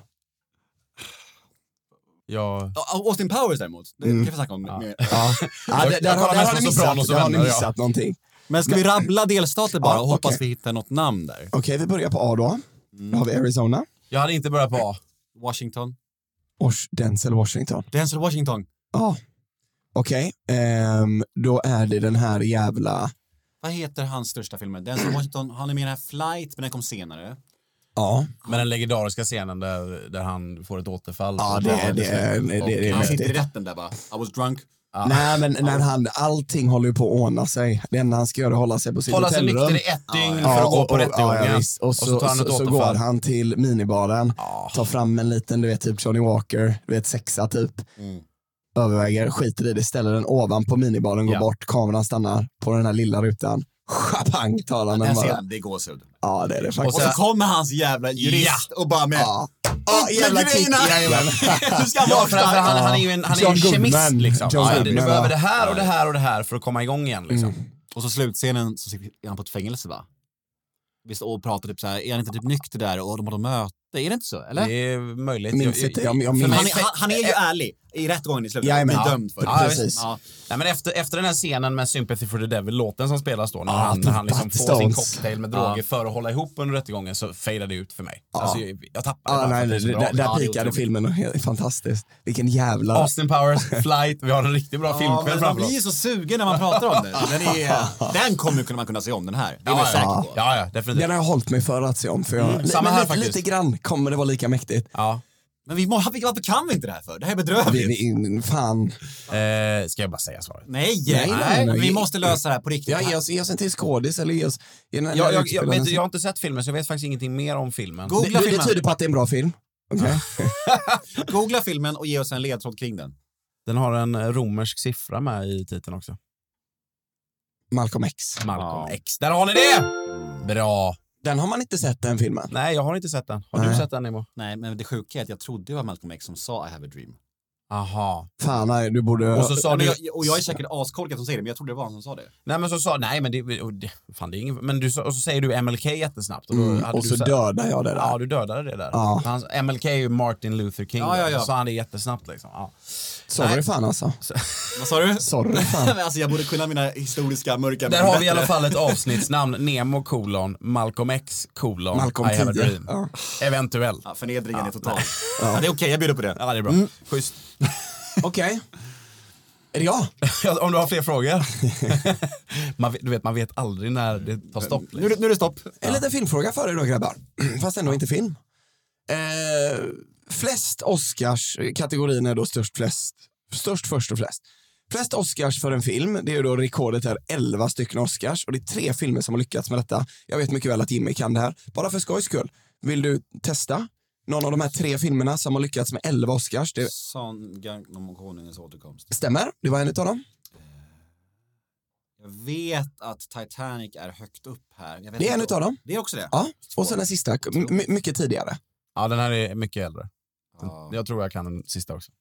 Speaker 2: Ja.
Speaker 3: Ja, Austin Powers däremot. Det
Speaker 2: Mm.
Speaker 3: kan vi snacka om. mer.
Speaker 1: Ja. ja
Speaker 2: Jag-
Speaker 1: där,
Speaker 2: jag
Speaker 1: där, har-
Speaker 2: kollar
Speaker 1: där
Speaker 2: mest
Speaker 1: har ni
Speaker 2: på Sopranos
Speaker 1: missat,
Speaker 2: och
Speaker 1: där har ni
Speaker 2: vänner, ja.
Speaker 1: missat någonting.
Speaker 3: Men ska vi rabbla delstater bara
Speaker 1: Ja,
Speaker 3: och hoppas
Speaker 1: okej.
Speaker 3: vi hittar något namn där?
Speaker 1: Okej, vi börjar på A då. Då har vi Arizona.
Speaker 2: Jag hade inte börjat på A.
Speaker 3: Washington.
Speaker 1: Och Denzel Washington.
Speaker 3: Denzel Washington.
Speaker 1: Ja. Okej, ehm, då är det den här jävla...
Speaker 3: Vad heter hans största filmer? Denzel Washington, han är med i den här Flight, men den kom senare.
Speaker 1: Ja.
Speaker 2: Men den legendariska scenen där, där han får ett återfall.
Speaker 1: Ja, det är- det är- det är- det är-
Speaker 2: Och-
Speaker 3: Han
Speaker 1: vet
Speaker 3: sitter i
Speaker 1: inte.
Speaker 3: rätten där va? I was drunk.
Speaker 1: Nej, men när han, allting håller ju på att ordna sig. Det enda han ska göra är att hålla sig på sitt
Speaker 2: Hålla sig
Speaker 1: hotellrum.
Speaker 2: nykter i ett dygn för
Speaker 1: Ja,
Speaker 2: att gå
Speaker 1: och-
Speaker 2: på
Speaker 1: och-
Speaker 2: rättegången.
Speaker 1: ja, visst. och, så, och
Speaker 2: tar han
Speaker 1: så,
Speaker 2: ett
Speaker 1: så,
Speaker 2: återfall.
Speaker 1: går han till minibaren, tar fram en liten, du vet, typ Johnny Walker, du vet, sexa typ.
Speaker 2: Mm.
Speaker 1: Överväger, skiter i det, ställer den ovanpå minibaren, går
Speaker 2: Ja.
Speaker 1: bort, kameran stannar på den här lilla rutan. <laughs> Chapang tar han den
Speaker 3: Den
Speaker 1: bara.
Speaker 3: scenen, det är gåshud.
Speaker 1: Ja, det är det
Speaker 3: Och
Speaker 1: faktiskt.
Speaker 3: så kommer hans jävla jurist och bara med...
Speaker 1: Ja, ja jävla kick. Jajamän.
Speaker 3: <laughs> Du ska
Speaker 2: Ja,
Speaker 3: vara
Speaker 2: för att han, han är ju en, han är ju
Speaker 1: John
Speaker 2: en kemist
Speaker 1: Goodman.
Speaker 2: liksom.
Speaker 1: John
Speaker 2: Ja, du
Speaker 1: Goodman,
Speaker 2: behöver
Speaker 1: ja. Mm.
Speaker 2: det här och det här och det här för att komma igång igen liksom.
Speaker 3: Och så slutscenen så sitter är han på ett fängelse va? Visst, och pratar typ så här, är han inte typ nykter där och de har ett möte? Är det inte så? Eller?
Speaker 2: Det är möjligt.
Speaker 1: Minns inte, jag- jag
Speaker 2: för
Speaker 1: minns-
Speaker 2: mig-
Speaker 3: Han, är- han, han är ju ärlig i rättegången i slutet.
Speaker 1: Jajamän.
Speaker 3: Blir dömd för det.
Speaker 1: Ja, precis.
Speaker 3: Ja.
Speaker 2: Nej, men efter, efter den här scenen med Sympathy for the Devil-låten som spelas då, när han, när han liksom
Speaker 1: Pat
Speaker 2: får sin
Speaker 1: Stones.
Speaker 2: cocktail med droger för att hålla ihop under rättegången, så fejdar det ut för mig. Alltså, jag, jag tappar
Speaker 1: Mm. Ja,
Speaker 2: bara för
Speaker 1: nej,
Speaker 2: att det
Speaker 1: nej,
Speaker 2: är så
Speaker 1: där,
Speaker 2: bra.
Speaker 1: där
Speaker 2: Ja, det är
Speaker 1: pikade
Speaker 2: otroligt.
Speaker 1: filmen och helt fantastiskt. Vilken jävla...
Speaker 2: Austin Powers, Flight, vi har en riktigt bra
Speaker 3: Ja,
Speaker 2: filmkväll
Speaker 3: men
Speaker 2: framför
Speaker 3: man blir
Speaker 2: oss.
Speaker 3: ju så sugen när man pratar om den. Den,
Speaker 2: <laughs>
Speaker 3: är, den kommer ju man kunna se om den här. Det är man
Speaker 2: Ja,
Speaker 3: säker
Speaker 2: ja,
Speaker 3: på.
Speaker 2: ja, ja, definitivt.
Speaker 1: Den har jag hållit mig för att se om. För jag,
Speaker 2: samma
Speaker 1: men
Speaker 2: här
Speaker 1: lite,
Speaker 2: faktiskt.
Speaker 1: lite grann kommer det vara lika mäktigt.
Speaker 2: Ja.
Speaker 3: Men vi må, varför kan vi inte det här för? Det här är
Speaker 1: Det,
Speaker 3: bedrövligt.
Speaker 1: det, in- fan.
Speaker 2: Eh, ska jag bara säga svaret?
Speaker 3: Nej,
Speaker 1: Nej,
Speaker 3: nej,
Speaker 1: nej, nej, nej.
Speaker 3: vi måste lösa det här på riktigt.
Speaker 1: Ja, ge, oss, ge oss en till skådis eller ge oss... ge den- den
Speaker 2: Jag, jag, jag,
Speaker 1: utspelaren
Speaker 2: vet, du,
Speaker 1: sen.
Speaker 2: jag har inte sett filmen så jag vet faktiskt ingenting mer om filmen.
Speaker 3: Go- googla
Speaker 1: det, det, det
Speaker 3: filmen.
Speaker 1: tyder på att det är en bra film. Okej.
Speaker 3: Googla filmen och ge oss en ledtråd kring den.
Speaker 2: Den har en eh, romersk siffra med i titeln också.
Speaker 1: Malcolm X.
Speaker 2: Malcolm X. Där har ni det! Bra.
Speaker 1: Den har man inte sett, den filmen.
Speaker 2: Mm. Nej, jag har inte sett den. Har du
Speaker 1: Nej.
Speaker 2: sett den Nemo?
Speaker 3: Nej, men det sjuka är att jag trodde det var Malcolm X som sa I have a dream.
Speaker 2: Aha.
Speaker 1: Fan, nej, du borde...
Speaker 2: Och så sa
Speaker 3: Men
Speaker 2: du...
Speaker 3: jag, och jag är säkert askorkad som säger det, men jag trodde det var han som sa det.
Speaker 2: Nej men så sa... Nej men det... och det fan, det är ingen, men du, sa- och så säger du MLK jättesnabbt. Och, då
Speaker 1: mm,
Speaker 2: hade
Speaker 1: och
Speaker 2: du
Speaker 1: så
Speaker 2: sett-
Speaker 1: dödar jag det där.
Speaker 2: Ja, du dödade det där.
Speaker 1: Ja.
Speaker 2: Hans, MLK är ju Martin Luther King.
Speaker 3: Ja, ja, ja.
Speaker 2: Så han är jättesnabbt liksom. Ja.
Speaker 1: Sorry fan alltså.
Speaker 3: Vad sa du?
Speaker 1: Sorry fan.
Speaker 3: Men <laughs> alltså jag borde kunna mina historiska mörka
Speaker 2: Där har vi i alla fall ett avsnittsnamn. Nemo kolon Malcolm X kolon
Speaker 1: Malcolm
Speaker 2: I have a
Speaker 1: 10.
Speaker 2: dream.
Speaker 1: Ja.
Speaker 2: Eventuellt.
Speaker 3: Ja, förnedringen är total. Ja. det är okej, jag bjuder på det.
Speaker 2: Ja, det är bra.
Speaker 1: Mm.
Speaker 2: Schysst.
Speaker 1: <laughs> Okej. Är det jag?
Speaker 2: Ja, Om du har
Speaker 1: <laughs>
Speaker 2: fler frågor. man, vet- du vet, man vet aldrig när det Eh. tar stopp.
Speaker 3: Nu, är det- nu är det stopp.
Speaker 1: En liten filmfråga för er då grabbar. <clears throat> Fast ändå inte film. Eh, flest Oscars, eh, kategorin är då störst flest. Störst först och flest. Flest Oscars för en film, det är ju då rekordet är 11 stycken Oscars och det är tre filmer som har lyckats med detta. Jag vet mycket väl att Jimmy kan det här. Bara för skojs skull, vill du testa någon av de här tre filmerna som har lyckats med 11 Oscars? Det
Speaker 3: Sångan om konungens återkomst.
Speaker 1: stämmer, det var en av dem.
Speaker 3: Jag vet att Titanic är högt upp här. Jag vet
Speaker 1: Det är en
Speaker 3: inte-
Speaker 1: utav dem.
Speaker 3: Det är också det?
Speaker 1: Ja, och sen den sista, m- my- mycket tidigare.
Speaker 2: Ja, den här är mycket äldre.
Speaker 3: Ja.
Speaker 2: Jag tror jag kan den sista också.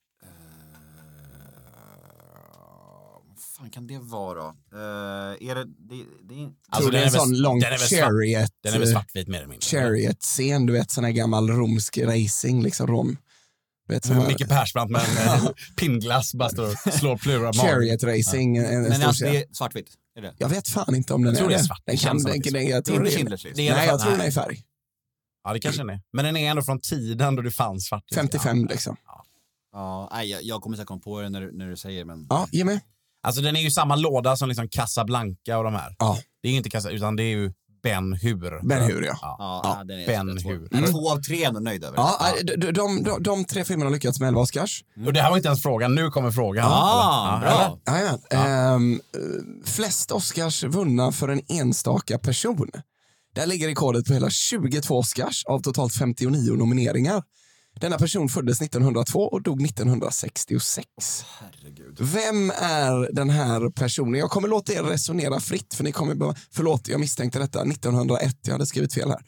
Speaker 3: Eh, Vad fan kan det vara då? Eh, är det, det, det är in-
Speaker 1: Tror det är en
Speaker 2: väl-
Speaker 1: sån lång
Speaker 2: Alltså, den är väl svart-
Speaker 1: chariot.
Speaker 2: Den är väl svartvit mer eller mindre.
Speaker 1: Chariot-scen, du vet sån här gammal romsk racing, liksom Rom. Du vet, sån här
Speaker 2: Micke Persbrandt med en <laughs> eh, pinnglass bara står och slår plura
Speaker 1: chariot-racing. eh, En, en
Speaker 3: Men
Speaker 1: stor
Speaker 3: alltså,
Speaker 1: scen.
Speaker 3: det är svartvitt? Är det?
Speaker 1: Jag vet fan inte om den
Speaker 2: Jag tror
Speaker 1: är
Speaker 2: det är svart.
Speaker 1: Den
Speaker 2: Det
Speaker 1: kan,
Speaker 2: känns som
Speaker 1: den,
Speaker 2: att det är
Speaker 1: den, jag
Speaker 3: Det är
Speaker 1: tror
Speaker 3: inte
Speaker 1: det är,
Speaker 3: Schindler's list.
Speaker 2: Det är-
Speaker 1: nej, jag
Speaker 2: Nej.
Speaker 1: tror den är i färg.
Speaker 2: Ja, det kanske den är. Men den är ändå från tiden då det fanns svart.
Speaker 1: 55 liksom.
Speaker 3: Ja, nej, jag, jag kommer säkert komma på det när, du- när du säger men...
Speaker 1: Ja, Jimmy?
Speaker 2: Alltså den är ju samma låda som liksom Casablanca och de här.
Speaker 1: Ja,
Speaker 2: Det är ju inte Casa, utan det är ju Ben Hur.
Speaker 1: Ben Hur ja.
Speaker 3: Ja,
Speaker 2: Ja,
Speaker 3: nej, den är
Speaker 2: Ben
Speaker 3: jag tror-
Speaker 2: Hur.
Speaker 3: Nej, Två av tre är jag ändå nöjd över.
Speaker 1: ja nej, de, de, de, de, de tre filmerna har lyckats med 11 Oscars.
Speaker 2: Och det här var inte ens frågan, nu kommer frågan.
Speaker 3: Ah,
Speaker 2: Eller?
Speaker 3: bra.
Speaker 1: Jajamän. Ehm, eh, flest Oscars vunna för en enstaka person. Där ligger rekordet på hela 22 Oscars av totalt 59 nomineringar. Denna person föddes 1902 och dog 1966.
Speaker 3: Herregud.
Speaker 1: Vem är den här personen? Jag kommer låta er resonera fritt, för ni kommer behöva... Förlåt, jag misstänkte detta. 1901, jag hade skrivit fel här.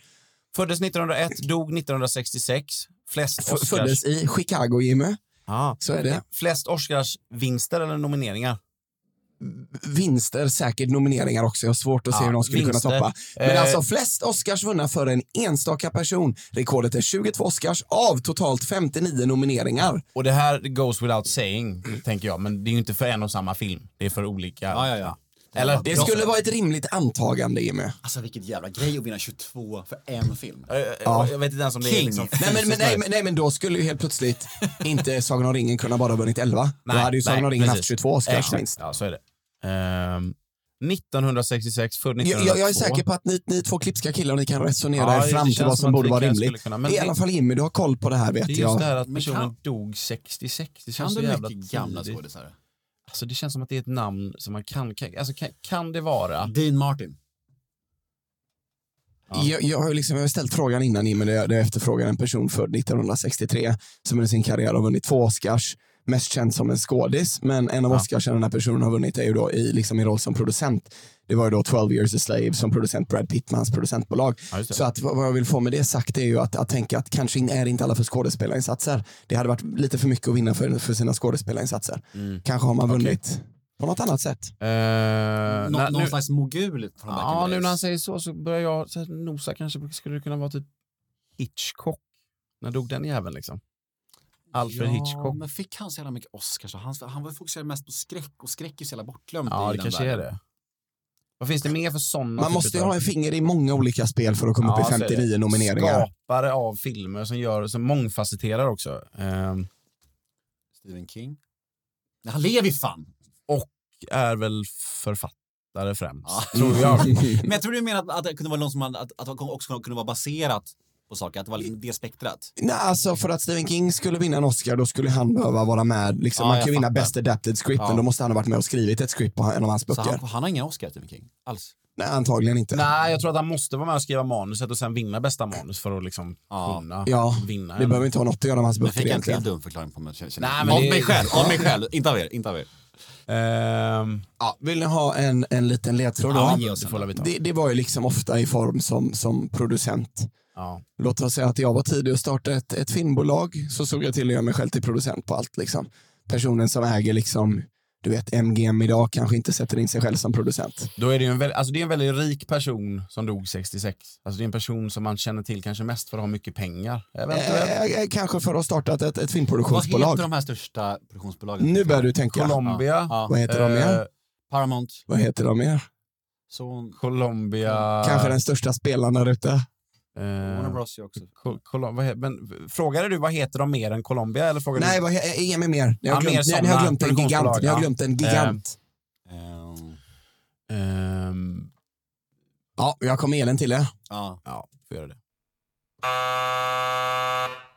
Speaker 2: Föddes 1901, dog 1966. Flest
Speaker 1: F-
Speaker 2: Oscars.
Speaker 1: Föddes i Chicago, Jimmy.
Speaker 2: Ah.
Speaker 1: Så är det.
Speaker 2: Flest Oscarsvinster eller nomineringar?
Speaker 1: Vinster, säkert nomineringar också. Jag har svårt att se
Speaker 2: Ja,
Speaker 1: hur de skulle
Speaker 2: vinster.
Speaker 1: kunna toppa. Men
Speaker 2: Eh.
Speaker 1: alltså flest Oscars vunna för en enstaka person. Rekordet är 22 Oscars av totalt 59 nomineringar.
Speaker 2: Och det här goes without saying, tänker jag, men det är ju inte för en och samma film. Det är för olika.
Speaker 3: Ja, ja, ja.
Speaker 2: Eller?
Speaker 1: Det skulle vara ett rimligt antagande, Jimmy.
Speaker 3: Alltså vilket jävla grej att vinna 22 för en film.
Speaker 2: Ja. Eh, Jag vet inte ens om det är
Speaker 3: King.
Speaker 2: liksom...
Speaker 1: Nej men,
Speaker 2: <laughs>
Speaker 1: men, nej, men, nej, men då skulle ju helt plötsligt inte Sagan om ringen kunna bara ha vunnit 11. då hade ju Sagan om ringen haft 22 Oscars
Speaker 2: Exakt.
Speaker 1: minst.
Speaker 2: Ja, så är det. Ehm, 1966, född 1902.
Speaker 1: Jag, jag, jag är säker på att ni, ni två klipska killar ni kan resonera
Speaker 2: Ja,
Speaker 1: er
Speaker 2: det
Speaker 1: fram
Speaker 2: känns
Speaker 1: till vad
Speaker 2: som
Speaker 1: som
Speaker 2: att
Speaker 1: borde
Speaker 2: vi
Speaker 1: vara
Speaker 2: kanske
Speaker 1: rimligt.
Speaker 2: skulle kunna, men
Speaker 1: I
Speaker 2: det-
Speaker 1: alla fall Jimmy, du har koll på det här vet
Speaker 2: Det är just
Speaker 1: jag.
Speaker 2: det här att
Speaker 3: Men
Speaker 2: personen
Speaker 3: kan-
Speaker 2: dog 66. Det känns
Speaker 3: Kan
Speaker 2: så
Speaker 3: du
Speaker 2: jävla
Speaker 3: mycket gamla
Speaker 2: tidigt.
Speaker 3: skådisar?
Speaker 2: Alltså det känns som att det är ett namn som man kan... kan alltså kan, kan det
Speaker 1: Mm.
Speaker 2: vara...
Speaker 3: Dean Martin.
Speaker 1: Jag, jag har ju liksom, jag har ställt frågan innan Jimmy, där jag, där jag efterfrågar en person född 1963 som under sin karriär har vunnit två Oscars. Mest känd som en skådis, men en av Oscarsen den här personen har vunnit är ju då i liksom i roll som producent. Det var ju då 12 years a slave som producent Brad Pittmans producentbolag.
Speaker 2: Ja, just det.
Speaker 1: så att, vad vad jag vill få med det sagt är ju att, att tänka att kanske in- är inte alla för skådespelarinsatser. Det hade varit lite för mycket att vinna för, för sina skådespelarinsatser. Kanske har man vunnit på något annat sätt.
Speaker 2: Mm. Uh,
Speaker 3: Nå- någon slags mogul från back
Speaker 2: Ja,
Speaker 3: in the
Speaker 2: nu
Speaker 3: days.
Speaker 2: när han säger så så börjar jag så här, nosa kanske skulle det kunna vara typ Hitchcock. När dog den jäveln liksom? Alfred
Speaker 3: ja,
Speaker 2: Hitchcock.
Speaker 3: men fick han så jävla mycket Oscars? Och Han, han var fokuserad mest på skräck och skräck är så jävla bortglömt
Speaker 2: Ja,
Speaker 3: i
Speaker 2: det
Speaker 3: den
Speaker 2: kanske är
Speaker 3: världen.
Speaker 2: det. Vad finns det mer för sådana?
Speaker 1: Man måste ju ha en finger i många olika spel för att komma upp i 59 nomineringar.
Speaker 2: Skapare av filmer som, gör, som mångfacetterar också. Ehm,
Speaker 3: Stephen King. Nej, han lever ju fan!
Speaker 2: är väl författare främst,
Speaker 3: Ja.
Speaker 2: tror jag.
Speaker 3: <laughs>
Speaker 2: <laughs>
Speaker 3: Men jag tror du menar att, att det kunde vara någon som hade, att, att det också kunde vara baserat på saker? Att det var liksom det spektrat?
Speaker 1: Nej, alltså för att Stephen King skulle vinna en Oscar, då skulle han behöva vara med. Liksom,
Speaker 3: Ja,
Speaker 1: man
Speaker 3: jag
Speaker 1: kan ju vinna
Speaker 3: fattar.
Speaker 1: Best Adapted Script, men då måste han ha varit med och skrivit ett script på en av hans
Speaker 3: Så
Speaker 1: böcker.
Speaker 3: han, han har ingen Oscar, Stephen King? Alls?
Speaker 1: Nej, antagligen inte.
Speaker 2: Nej, jag tror att han måste vara med och skriva manuset och sen vinna bästa manus för att liksom kunna
Speaker 1: Ja,
Speaker 2: vinna.
Speaker 1: det behöver inte ha något att göra med hans
Speaker 3: Jag
Speaker 1: böcker
Speaker 3: fick en till
Speaker 1: egentligen.
Speaker 3: dum förklaring på mig. känner jag.
Speaker 2: Nej, men
Speaker 3: av
Speaker 2: det-
Speaker 3: mig själv, av mig själv. Inte av er, inte av er.
Speaker 2: Ehm,
Speaker 1: Ja, vill ni ha en, en liten ledtråd då?
Speaker 2: ja, det får vi ta.
Speaker 1: det, det var ju liksom ofta i form som, som producent.
Speaker 2: Ja.
Speaker 1: Låt oss säga att jag var tidig och startade ett, ett filmbolag så såg jag till att göra mig själv till producent på allt. Liksom. Personen som äger liksom, du vet, MGM idag kanske inte sätter in sig själv som producent.
Speaker 2: Då är det, ju en, väl, alltså det är en väldigt rik person som dog 66. Alltså det är en person som man känner till kanske mest för att ha mycket pengar. Eventuellt.
Speaker 1: Eh, eh, kanske för att ha startat ett, ett
Speaker 3: Vad heter
Speaker 1: filmproduktionsbolag.
Speaker 3: de här största produktionsbolagen?
Speaker 1: Nu börjar du tänka.
Speaker 2: Colombia.
Speaker 3: Ja.
Speaker 1: Vad heter de mer?
Speaker 2: eh,
Speaker 3: Paramount,
Speaker 1: Vad heter de mer?
Speaker 3: Son,
Speaker 2: Colombia.
Speaker 1: Kanske den största spelaren där ute.
Speaker 3: Warner
Speaker 2: Eh,
Speaker 3: Bros ju också.
Speaker 2: Col- Colom- vad he- men, frågade du vad heter de mer än Colombia? Eller frågade
Speaker 1: Nej,
Speaker 2: du?
Speaker 1: vad, he- eh, ge mig mer. Ni har
Speaker 2: Ja, mer
Speaker 1: glömt, ni, ni
Speaker 2: sådana
Speaker 1: har glömt en gigant.
Speaker 2: produktionsbolag,
Speaker 1: Ni har
Speaker 2: ja. Eh.
Speaker 1: glömt en gigant.
Speaker 3: Ehm,
Speaker 2: Ehm,
Speaker 1: Ja, jag kom med en till det.
Speaker 3: ja.
Speaker 2: ja, får göra det.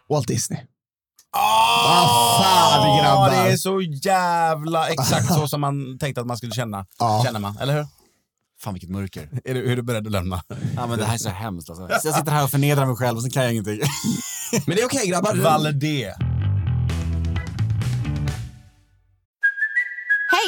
Speaker 1: Walt Disney.
Speaker 2: Vad
Speaker 1: fan, grabbar.
Speaker 2: Det är så jävla exakt så som man tänkte att man skulle känna.
Speaker 1: Ja.
Speaker 2: Känner man, eller hur?
Speaker 3: Fan vilket mörker.
Speaker 2: Är du, är du beredd att lämna?
Speaker 3: Ja, men det här är så hemskt alltså. Så Jag sitter här och förnedrar mig själv och sen kan jag ingenting.
Speaker 1: Men det är okej grabbar.
Speaker 2: Valdé.
Speaker 4: Hey,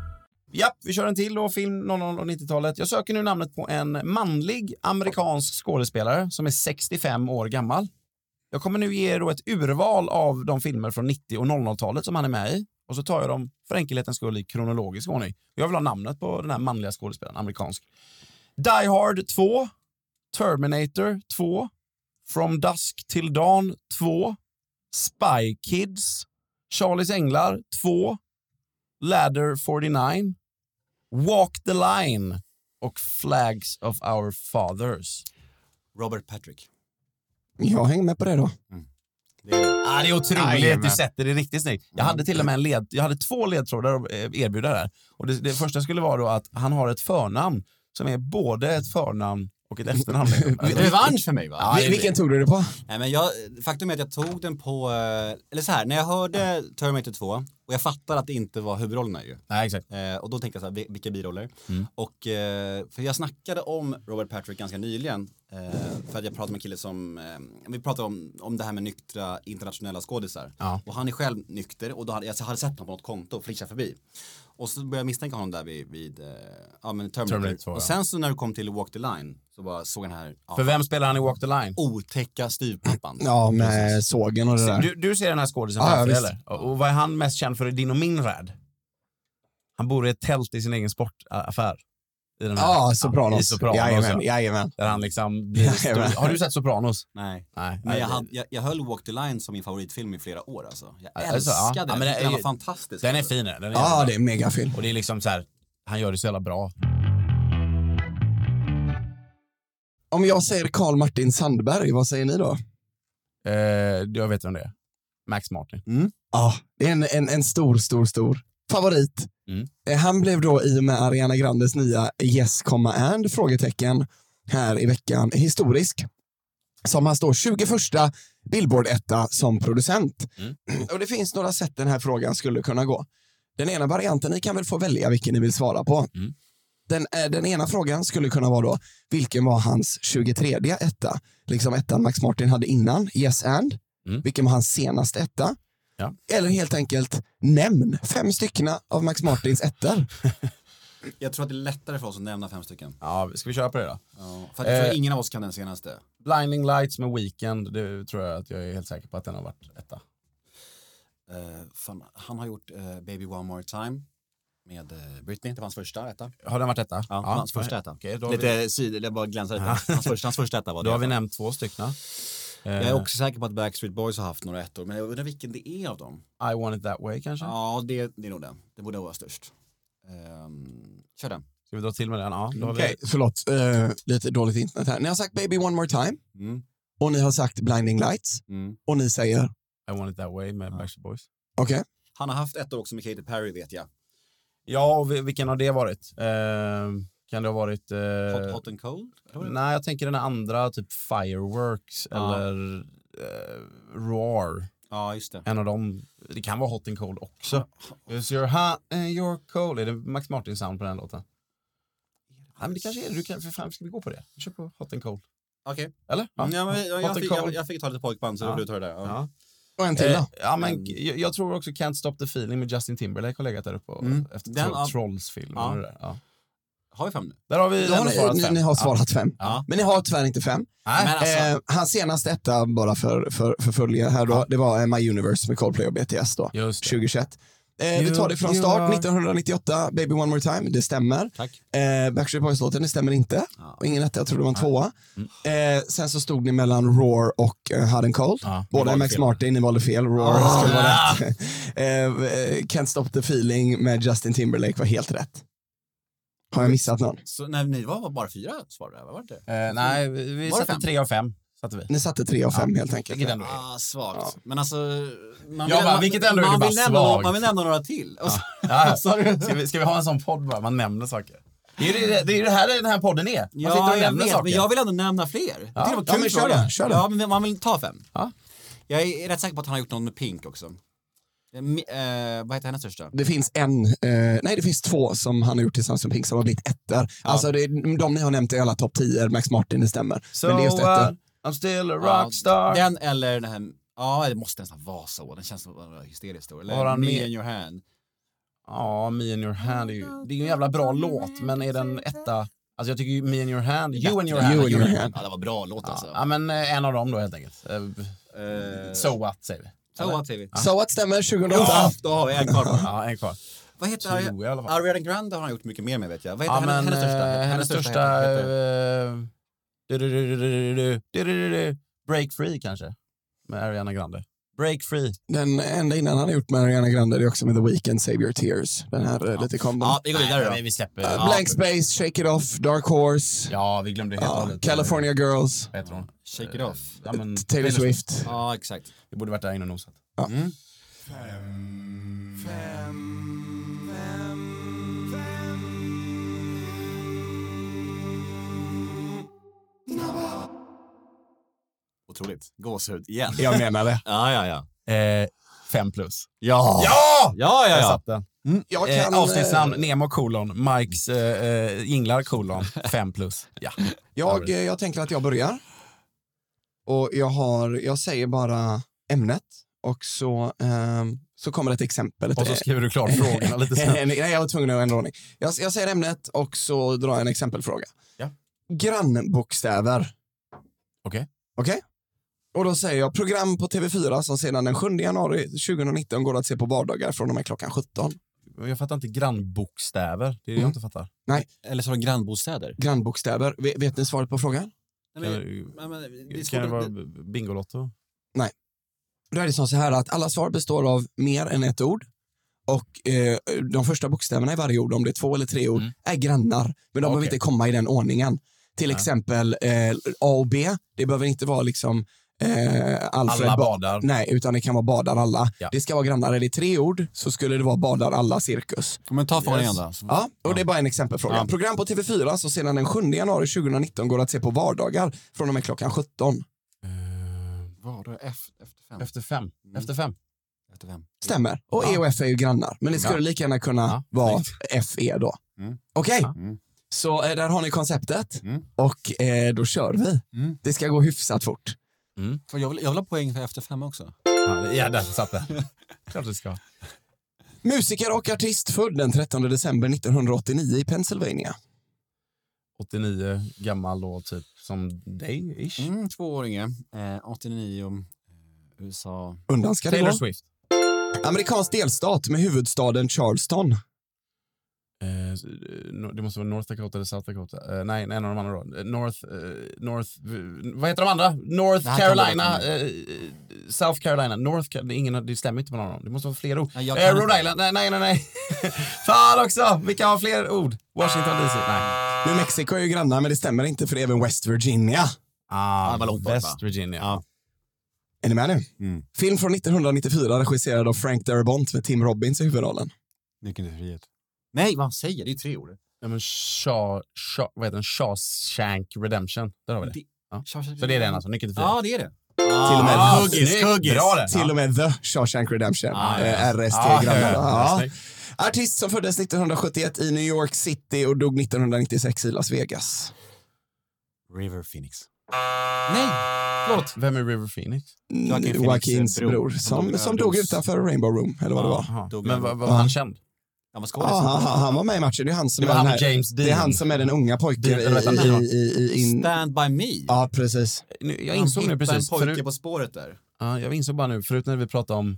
Speaker 2: Japp, vi kör en till då, film 00 och 90-talet. Jag söker nu namnet på en manlig amerikansk skådespelare som är 65 år gammal. Jag kommer nu ge er då ett urval av de filmer från 90 och 00-talet som han är med i. Och så tar jag dem för enkelhetens skull i kronologisk ordning. Jag vill ha namnet på den här manliga skådespelaren, amerikansk. Die Hard 2, Terminator 2, From Dusk Till Dawn 2, Spy Kids, Charlies Änglar 2, Ladder 49, Walk the Line och Flags of Our Fathers.
Speaker 3: Robert Patrick.
Speaker 1: Jag hänger med på det då.
Speaker 3: Det är det.
Speaker 2: Ah, det är otroligt,
Speaker 3: Jajamän.
Speaker 2: du sätter det riktigt snyggt. Jag hade till och med en led, jag hade två ledtrådar att eh, erbjuda där. Och det, det första skulle vara då att han har ett förnamn som är både ett förnamn och ett efternamn.
Speaker 1: <laughs>
Speaker 2: Alltså,
Speaker 3: Revansch för mig va?
Speaker 2: Ja, det
Speaker 1: Vil-
Speaker 2: är
Speaker 1: vilken tog du det på?
Speaker 3: Nej, men jag, faktum är att jag tog den på, eh, eller så här, när jag hörde Terminator 2 och jag fattade att det inte var huvudrollerna ju.
Speaker 2: Nej, exakt. Mm.
Speaker 3: Eh, och då tänkte jag så här, vi- vilka biroller? Och, eh, för jag snackade om Robert Patrick ganska nyligen. Eh, för att jag pratade med en kille som, eh, vi pratade om, om det här med nyktra internationella skådisar.
Speaker 2: Ja.
Speaker 3: Och han är själv nykter och då hade, jag hade sett honom på något konto flischa förbi. Och så började jag misstänka honom där vid, vid eh, ja, men Terminator.
Speaker 2: Terminator 2, ja.
Speaker 3: och sen så när du kom till Walk the Line så bara såg jag den här ja,
Speaker 2: För vem spelar han i Walk the Line?
Speaker 3: otäcka styvpappan.
Speaker 1: Ja, med sågen och det där. Ah,
Speaker 2: Du, du ser den här skådisen
Speaker 1: Ja,
Speaker 2: framför dig
Speaker 1: ja,
Speaker 2: eller? Och, och vad är han mest känd för i din och min värld? Han bor i ett tält i sin egen sportaffär. I den här-
Speaker 1: Ja,
Speaker 2: i
Speaker 1: Ah, Sopranos.
Speaker 2: Sopranos
Speaker 1: Jajamän,
Speaker 2: ja.
Speaker 1: jajamän.
Speaker 2: Där han liksom blir
Speaker 1: Jajamän.
Speaker 2: stor. Har du sett Sopranos?
Speaker 3: Nej.
Speaker 2: Nej.
Speaker 3: Men jag, hade, jag, jag höll Walk the Line som min favoritfilm i flera år alltså. Jag
Speaker 2: Alltså,
Speaker 3: älskade
Speaker 2: ja. Ja,
Speaker 3: den,
Speaker 2: men det är
Speaker 3: den var
Speaker 2: ju-
Speaker 3: fantastisk.
Speaker 2: Den är
Speaker 3: alltså.
Speaker 2: fin. Den
Speaker 1: Ja,
Speaker 2: är jävla-
Speaker 1: det är en megafilm.
Speaker 2: Och det är liksom så här, han gör det så jävla bra.
Speaker 1: Om jag säger Karl Martin Sandberg, vad säger ni då?
Speaker 2: Eh, jag vet vem det är. Max Martin.
Speaker 1: Ja, det är en, en, en stor, stor, stor favorit.
Speaker 2: Mm.
Speaker 1: Eh, Han blev då i och med Ariana Grandes nya Yes, comma and? frågetecken här i veckan historisk. Som han står 21 billboard etta som producent.
Speaker 2: Mm.
Speaker 1: <clears throat> Och det finns några sätt den här frågan skulle kunna gå. Den ena varianten, ni kan väl få välja vilken ni vill svara på.
Speaker 2: Mm.
Speaker 1: Den, eh, den ena frågan skulle kunna vara då, vilken var hans 23 etta? Liksom ettan Max Martin hade innan, Yes and.
Speaker 2: Mm.
Speaker 1: Vilken var hans senaste etta?
Speaker 2: Ja.
Speaker 1: Eller helt enkelt, nämn fem stycken av Max Martins ettor.
Speaker 3: Jag tror att det är lättare för oss att nämna fem stycken.
Speaker 2: Ja, ska vi köra på det då?
Speaker 3: Ja, för att jag
Speaker 2: Eh.
Speaker 3: tror ingen av oss kan den senaste.
Speaker 2: Blinding Lights med Weekend, det tror jag att jag är helt säker på att den har varit etta.
Speaker 3: Eh, fan, han har gjort eh, Baby One More Time med eh, Britney, det var hans första etta. Ja,
Speaker 2: Har den varit etta?
Speaker 3: det var hans första etta.
Speaker 2: Okej, då, har vi,
Speaker 3: lite syd, jag bara glänsar lite. Hans första, hans första etta var det.
Speaker 2: då har vi nämnt eh, två stycken.
Speaker 3: Jag är också säker på att Backstreet Boys har haft några ettor, men jag undrar vilken det är av dem.
Speaker 2: I want it that way kanske?
Speaker 3: Ja, det, det är nog den. Det borde vara störst. Ehm, kör den.
Speaker 2: Ska vi dra till med den? Ja, då har
Speaker 1: Okej, förlåt. Eh, lite dåligt internet här. Ni har sagt Baby One More Time
Speaker 3: Mm.
Speaker 1: och ni har sagt Blinding Lights
Speaker 3: Mm.
Speaker 1: och ni säger...
Speaker 2: vi I want it that way med Backstreet Boys.
Speaker 1: Okej.
Speaker 3: Han har haft ettor också med Katy Perry vet jag.
Speaker 2: Ja, och vi- vilken har det varit? Ehm, kan det ha varit... eh,
Speaker 3: Hot, hot and cold? Eller vad är det?
Speaker 2: Nej, jag tänker den här andra, typ Fireworks
Speaker 3: Ja.
Speaker 2: eller eh, Roar.
Speaker 3: Ja, just det.
Speaker 2: En av dem. Det kan vara Hot and Cold också. Is your hot and your cold. Är det Max Martin-sound på den här låten? Ja, men det kanske är det. Du kan, för fan, ska vi gå på det? Vi kör på Hot and Cold.
Speaker 3: Okej. Mm,
Speaker 2: Eller?
Speaker 3: Ja, men jag, jag,
Speaker 2: Hot
Speaker 3: jag,
Speaker 2: and
Speaker 3: fick,
Speaker 2: Cold.
Speaker 3: jag, jag fick ta lite pojkband så
Speaker 2: Ja.
Speaker 3: då får du ta det där. Ja.
Speaker 2: Ja.
Speaker 1: Och en till
Speaker 2: Eh,
Speaker 1: då.
Speaker 2: ja, men, jag, jag tror också Can't Stop The Feeling med Justin Timberlake har legat där uppe och,
Speaker 3: Mm.
Speaker 2: efter
Speaker 3: Den
Speaker 2: tro,
Speaker 3: av-
Speaker 2: Trolls-filmen.
Speaker 3: Ja.
Speaker 2: och det där. Ja.
Speaker 3: Har vi fem nu?
Speaker 2: Där har vi
Speaker 1: Då
Speaker 2: ändå
Speaker 1: har
Speaker 2: svarat
Speaker 1: ni, ni,
Speaker 2: fem.
Speaker 1: ni har
Speaker 2: Ja.
Speaker 1: svarat fem.
Speaker 3: Ja.
Speaker 1: Men ni har tyvärr inte fem.
Speaker 2: Nej.
Speaker 3: Men alltså,
Speaker 1: Eh, hans senaste etta, bara för, för, för följare här då, det var eh, My Universe med Coldplay och BTS då,
Speaker 2: Just det.
Speaker 1: 2021. Eh, vi tar det från
Speaker 2: You- you
Speaker 1: start,
Speaker 2: are-
Speaker 1: 1998, Baby One More Time, det stämmer.
Speaker 3: Tack.
Speaker 1: Eh, Backstreet Boys-låten, det stämmer inte. Och ingen etta, jag tror det var en tvåa. Eh, sen så stod ni mellan Roar och eh, Hard and Cold.
Speaker 2: Mm. Ja, ni
Speaker 1: Båda är
Speaker 2: valde
Speaker 1: Max
Speaker 2: fel. Ah.
Speaker 1: Martin, ni valde fel. Roar skulle vara rätt. <laughs> eh, eh, Can't Stop The Feeling med Justin Timberlake var helt rätt. Har jag missat någon?
Speaker 3: Så när ni var bara fyra svar där, vad var det?
Speaker 2: Eh, nej, vi, vi
Speaker 3: Var det
Speaker 2: satte
Speaker 3: fem?
Speaker 2: tre av fem. Satte vi.
Speaker 1: Ni satte tre av fem helt enkelt.
Speaker 2: Vilket ändå är...
Speaker 3: Ah, svagt. Men alltså... Man
Speaker 2: Jag bara, vilket ändå är
Speaker 3: man
Speaker 2: det
Speaker 3: vill
Speaker 2: bara
Speaker 3: nämna några-
Speaker 2: svagt.
Speaker 3: Man vill nämna några till. Och så,
Speaker 2: Ja, ska, vi, ska vi ha en sån podd bara? Man nämner saker. Det är ju det, det, är ju det här den här podden är. Man sitter och
Speaker 3: Ja, jag
Speaker 2: nämner
Speaker 3: vet,
Speaker 2: saker.
Speaker 3: men jag vill ändå nämna fler.
Speaker 2: Ja.
Speaker 3: Jag tyckte det var
Speaker 2: Ja,
Speaker 3: kul
Speaker 2: men kör
Speaker 3: fråga.
Speaker 2: den, kör den.
Speaker 3: Ja, men man vill ta fem.
Speaker 2: Ja.
Speaker 3: Jag är rätt säker på att han har gjort någon med Pink också. Eh, mi- eh, vad heter hennes största?
Speaker 1: Det finns en, eh, nej det finns två som han har gjort tillsammans med Pink som har blivit ettor. Alltså det, är- de ni har nämnt i alla topp 10, Max Martin, det stämmer.
Speaker 2: so,
Speaker 1: Men det är just ettor.
Speaker 2: uh, I'm still a
Speaker 3: Ja,
Speaker 2: rockstar.
Speaker 3: Den eller den här, ja det måste nästan vara så, den känns som en hysterisk stor.
Speaker 2: Har
Speaker 3: Eller
Speaker 2: han
Speaker 3: Me
Speaker 2: med-
Speaker 3: and your hand.
Speaker 2: Ja, Me and your hand är ju... Det är ju en jävla bra låt, men är den etta... Alltså jag tycker ju Me and your hand... You and your hand.
Speaker 1: You and
Speaker 2: <laughs>
Speaker 1: your hand.
Speaker 3: Ja det var bra låt alltså.
Speaker 2: Ja, men eh, en av dem då helt enkelt. Eh,
Speaker 3: Eh,
Speaker 2: So what säger vi.
Speaker 3: Så vad säger vi?
Speaker 1: So what stämmer 2008?
Speaker 3: Ja, då har vi en kvar bara.
Speaker 2: Ja, en kvar.
Speaker 3: <laughs> Vad heter
Speaker 2: Tror jag i alla fall.
Speaker 3: Ariana Grande har han gjort mycket mer med vet jag. Vad heter
Speaker 2: Ja,
Speaker 3: hennes,
Speaker 2: men
Speaker 3: hennes
Speaker 2: eh, hennes största...
Speaker 3: största? heter- heter-
Speaker 2: eh, du-du-du-du-du-du, du-du-du-du, Break Free kanske, med Ariana Grande. Break Free.
Speaker 1: Den enda innan han har gjort med Ariana Grande det är också med The Weeknd, Save Your Tears. Den här eh, lite kombon.
Speaker 3: Ja, vi går vidare då.
Speaker 2: Nej, vi släpper...
Speaker 1: Eh,
Speaker 2: ja.
Speaker 1: Blank Space, Shake It Off, Dark Horse,
Speaker 2: Ja, vi glömde helt och
Speaker 1: ja,
Speaker 2: hållet. eh,
Speaker 1: California Girls,
Speaker 2: Vad heter hon?
Speaker 3: Shake it off.
Speaker 2: Ja, men,
Speaker 1: Taylor Swift.
Speaker 3: Ja, exakt.
Speaker 2: Vi borde varit där inne och nosat.
Speaker 3: Otroligt. Gåshud igen.
Speaker 1: Jag menar det.
Speaker 3: Ja, ja, ja.
Speaker 2: <laughs> Eh, fem plus.
Speaker 3: Ja!
Speaker 2: Ja!
Speaker 3: Ja, ja,
Speaker 2: Där
Speaker 3: ja.
Speaker 2: satt den.
Speaker 1: Jag kan,
Speaker 2: Eh, avsnittsnamn
Speaker 1: eh,
Speaker 2: Nemo kolon, Mikes eh, eh,
Speaker 1: <laughs>
Speaker 2: jinglar kolon, fem plus. Ja.
Speaker 1: Jag, eh, jag tänker att jag börjar. Och jag, har, jag säger bara ämnet och så, ehm, så kommer ett exempel. Ett,
Speaker 2: Och så skriver du klart
Speaker 1: <laughs>
Speaker 2: frågorna lite snabbt.
Speaker 1: en, nej, jag var tvungen att ändra ordning. Jag, jag säger ämnet och så drar jag en exempelfråga.
Speaker 2: Ja.
Speaker 1: Grannbokstäver.
Speaker 2: Okej.
Speaker 1: Okej? Och då säger jag program på TV4 som sedan den 7 januari 2019 går att se på vardagar från och med klockan 17.
Speaker 2: Jag fattar inte grannbokstäver. Det är det jag
Speaker 1: Mm.
Speaker 2: inte fattar.
Speaker 3: Eller så har de grannbostäder.
Speaker 1: Grannbokstäver. Vet, vet ni svaret på frågan?
Speaker 3: Nej,
Speaker 2: Kan,
Speaker 3: men,
Speaker 2: det-
Speaker 3: nej, men, eh, det är
Speaker 2: kan det
Speaker 3: svårt
Speaker 2: vara
Speaker 3: att...
Speaker 2: Bingolotto?
Speaker 1: Då är det som så här att alla svar består av mer än ett ord. Och eh, de första bokstäverna i varje ord, om det är två eller tre ord,
Speaker 2: Mm.
Speaker 1: är grannar. Men de behöver
Speaker 2: Okej.
Speaker 1: inte komma i den ordningen. Till
Speaker 2: Nej.
Speaker 1: exempel eh, A och B, det behöver inte vara liksom eh, Alfred ba-
Speaker 2: Alla badar.
Speaker 1: Nej, utan det kan vara badar alla.
Speaker 2: Ja.
Speaker 1: Det ska vara grannar. Är det tre ord så skulle det vara badar alla cirkus.
Speaker 3: Men ta frågan igen då.
Speaker 2: Mm.
Speaker 1: Ja, och det är bara en exempelfråga.
Speaker 3: Ja.
Speaker 1: Program på TV4 så sedan den 7 januari 2019 går att se på vardagar från och med klockan 17.
Speaker 3: Var då? Efter, efter fem?
Speaker 2: Efter fem. Efter fem.
Speaker 3: Efter fem.
Speaker 1: Stämmer. Och E och F är ju grannar. Men det skulle lika gärna kunna
Speaker 2: Ja,
Speaker 1: vara FE då.
Speaker 3: Mm.
Speaker 1: Okej,
Speaker 3: Mm.
Speaker 1: så eh, där har ni konceptet.
Speaker 3: Mm.
Speaker 1: Och eh, då kör vi.
Speaker 3: Mm.
Speaker 1: Det ska gå hyfsat fort.
Speaker 3: För jag, vill, jag vill ha poäng för efter fem också.
Speaker 2: Ja, ja, där satt
Speaker 3: <laughs>
Speaker 2: den. Klart du ska.
Speaker 1: Musiker och artist född den 13 december 1989 i Pennsylvania.
Speaker 2: 89 gammal då, typ som dig ish.
Speaker 3: Mm, tvååringe. Eh, 89 och eh, USA.
Speaker 1: Undan ska det
Speaker 2: Taylor
Speaker 1: gå.
Speaker 2: Swift.
Speaker 1: Amerikansk delstat med huvudstaden Charleston.
Speaker 2: Eh, eh, s- eh, no- det måste vara North Dakota eller South Dakota. Eh, nej, nej, en av de andra då. Eh, North, eh, North, v- vad heter de andra? North
Speaker 3: Det här kan
Speaker 2: Carolina,
Speaker 3: jag
Speaker 2: eh, South Carolina, North Ca- det, är ingen, det stämmer inte på någon av dem. Det måste vara fler ord.
Speaker 3: Nej, jag
Speaker 2: Eh,
Speaker 3: kan
Speaker 2: Rhode
Speaker 3: inte.
Speaker 2: Island, nej, nej, nej. <laughs> nej. Fan också, vi kan ha fler ord. Washington DC,
Speaker 3: Ah.
Speaker 2: nej.
Speaker 1: New Mexico är ju grannar, men det stämmer inte för det är även West Virginia.
Speaker 2: Ah,
Speaker 3: det var långt bort, va?
Speaker 2: West Virginia.
Speaker 3: Ja.
Speaker 1: Är ni med nu?
Speaker 2: Mm.
Speaker 1: Film från 1994 regisserad av Frank Darabont med Tim Robbins i huvudrollen.
Speaker 3: Nyckeln till frihet. Nej, vad säger jag? Det är ju tre ord.
Speaker 2: Ja, men Shaw, Shaw, vad heter den? Shawshank Redemption. Där har vi det. Ja. Så det är den alltså, nyckeln till frihet.
Speaker 3: Ja, det är det.
Speaker 1: Till och med
Speaker 2: Ah,
Speaker 1: The-
Speaker 3: Huggis,
Speaker 2: snyggt.
Speaker 3: Huggis.
Speaker 2: Bra det.
Speaker 1: Till och med The Shawshank Redemption.
Speaker 3: Ah, ja.
Speaker 1: eh, RST
Speaker 2: Ah, ja,
Speaker 1: grannar.
Speaker 2: ja, ja.
Speaker 1: Ja.
Speaker 2: Snyggt.
Speaker 1: Artist som föddes 1971 i New York City och dog 1996 i Las Vegas.
Speaker 3: River Phoenix. Nej, förlåt.
Speaker 2: Vem är River Phoenix?
Speaker 1: Mm,
Speaker 3: Joaquin Phoenix
Speaker 1: Joaquins
Speaker 3: bror.
Speaker 1: bror, som, som dog
Speaker 3: överdos.
Speaker 1: utanför Rainbow Room, eller vad det var.
Speaker 2: Jaha.
Speaker 3: Dog
Speaker 2: Men
Speaker 3: han.
Speaker 2: var, var han
Speaker 1: Ja.
Speaker 2: känd?
Speaker 3: Ja, vad ska
Speaker 1: Ja, han, han- han var med i matchen. Det är han som,
Speaker 2: Det var
Speaker 1: är,
Speaker 2: han
Speaker 1: den
Speaker 2: och
Speaker 1: här,
Speaker 2: James Dean.
Speaker 1: det är han som är den unga pojken i,
Speaker 2: Dean, eller vad heter han?
Speaker 1: i, i, i in...
Speaker 3: Stand by me.
Speaker 1: Ja, precis.
Speaker 2: Nu, jag insåg nu
Speaker 3: Han hittar
Speaker 2: precis,
Speaker 3: en pojke
Speaker 2: förut,
Speaker 3: på spåret där.
Speaker 2: ja, jag insåg bara nu, förut när vi pratade om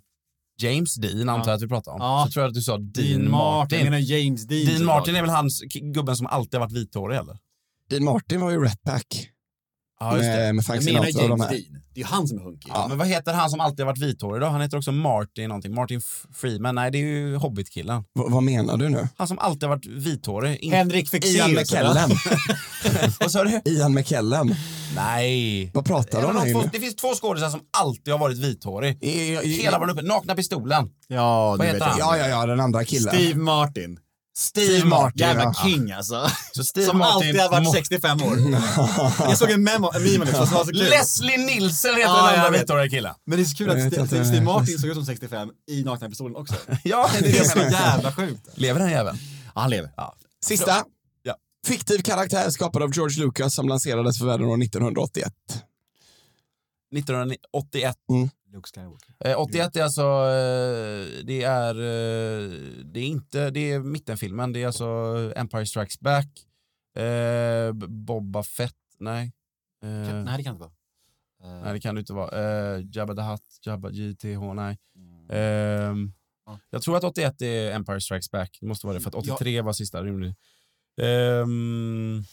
Speaker 2: James Dean, antar jag att vi pratade om,
Speaker 3: Ja.
Speaker 2: så tror jag att du sa Dean,
Speaker 3: Dean Martin. Jag
Speaker 2: Martin.
Speaker 3: menar James Dean.
Speaker 2: Dean
Speaker 3: såklart.
Speaker 2: Martin är väl hans k- gubben som alltid har varit vithårig eller?
Speaker 1: Dean Martin var ju Rat Pack
Speaker 2: Ja, just det.
Speaker 1: med, med Frank
Speaker 3: Jag menar
Speaker 1: Sinatra och de
Speaker 3: James
Speaker 1: här.
Speaker 3: Dean. Det är ju han som är hunky.
Speaker 2: Ja, men vad heter han som alltid har varit vithårig då? Han heter också Martin någonting. Martin F- Freeman. Nej, det är ju Hobbit-killen.
Speaker 1: V- vad menar du nu?
Speaker 2: Han som alltid har varit vithårig. In-
Speaker 3: Henrik
Speaker 1: Ian
Speaker 3: Fexeus.
Speaker 1: McKellen.
Speaker 2: <laughs> Vad sa du?
Speaker 1: Ian McKellen.
Speaker 2: Nej.
Speaker 1: Vad pratar du
Speaker 2: Ja,
Speaker 1: om
Speaker 2: men de
Speaker 1: nu?
Speaker 2: två, det finns två skådisar som alltid har varit vithårig. Hela var uppe. Nakna pistolen.
Speaker 3: Ja,
Speaker 2: Vad
Speaker 3: nu
Speaker 2: heter
Speaker 3: vet
Speaker 2: han?
Speaker 3: jag.
Speaker 1: Ja, ja, ja, den andra killen.
Speaker 3: Steve Martin. Steve,
Speaker 1: Martin,
Speaker 3: Jävla
Speaker 1: ja.
Speaker 3: king alltså. <laughs>
Speaker 2: Så Steve
Speaker 3: som
Speaker 2: Martin-
Speaker 3: alltid har varit
Speaker 2: Mo-
Speaker 3: 65 år. <laughs> jag såg en memo, en meme om det, som var så kul.
Speaker 2: Leslie Nielsen heter
Speaker 3: Ja,
Speaker 2: den
Speaker 3: jag
Speaker 2: andra
Speaker 3: vet.
Speaker 2: vithåriga killen.
Speaker 3: Men det är så kul
Speaker 1: Jag
Speaker 3: att
Speaker 1: vet
Speaker 3: Ste-
Speaker 1: inte,
Speaker 3: Steve
Speaker 1: jag-
Speaker 3: Martin såg ut som 65 i Nakna pistolen <laughs> också.
Speaker 2: <laughs> Ja, det är
Speaker 3: Det
Speaker 2: det
Speaker 3: är
Speaker 2: jag
Speaker 3: så
Speaker 2: menar.
Speaker 3: jävla sjukt.
Speaker 2: Lever den jäveln?
Speaker 3: Ja, han lever. Ja.
Speaker 1: Sista.
Speaker 2: Ja.
Speaker 1: Fiktiv karaktär skapad av George Lucas som lanserades för världen år 1981.
Speaker 2: 1981.
Speaker 3: Luke Skywalker.
Speaker 2: Eh, 81 är alltså, eh, det är, eh, det är inte, det är mittenfilmen, det är alltså Empire Strikes Back, eh, B- Boba Fett, nej. Eh,
Speaker 3: Nej, det kan det inte vara. Eh,
Speaker 2: nej, det kan det inte vara. Eh, Jabba the Hutt, Jabba GTH, nej. Ehm,
Speaker 3: Ja.
Speaker 2: jag tror att 81 är Empire Strikes Back, det måste vara det, för att 83 var sista rymden. Ehm,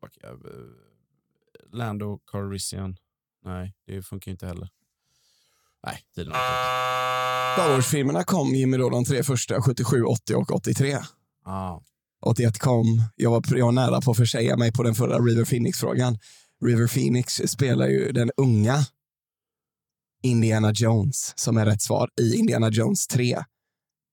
Speaker 2: vad kan jag- eh, Lando Calrissian, nej, det funkar ju inte heller. Nej, tiden har gått ut.
Speaker 1: Star Wars-filmerna kom Jimmy då de tre första, 77, 80 och 83.
Speaker 2: Ja.
Speaker 1: 81 kom, jag var, jag var nära på att försäga mig på den förra River Phoenix-frågan. River Phoenix spelar ju den unga Indiana Jones, som är rätt svar, i Indiana Jones 3.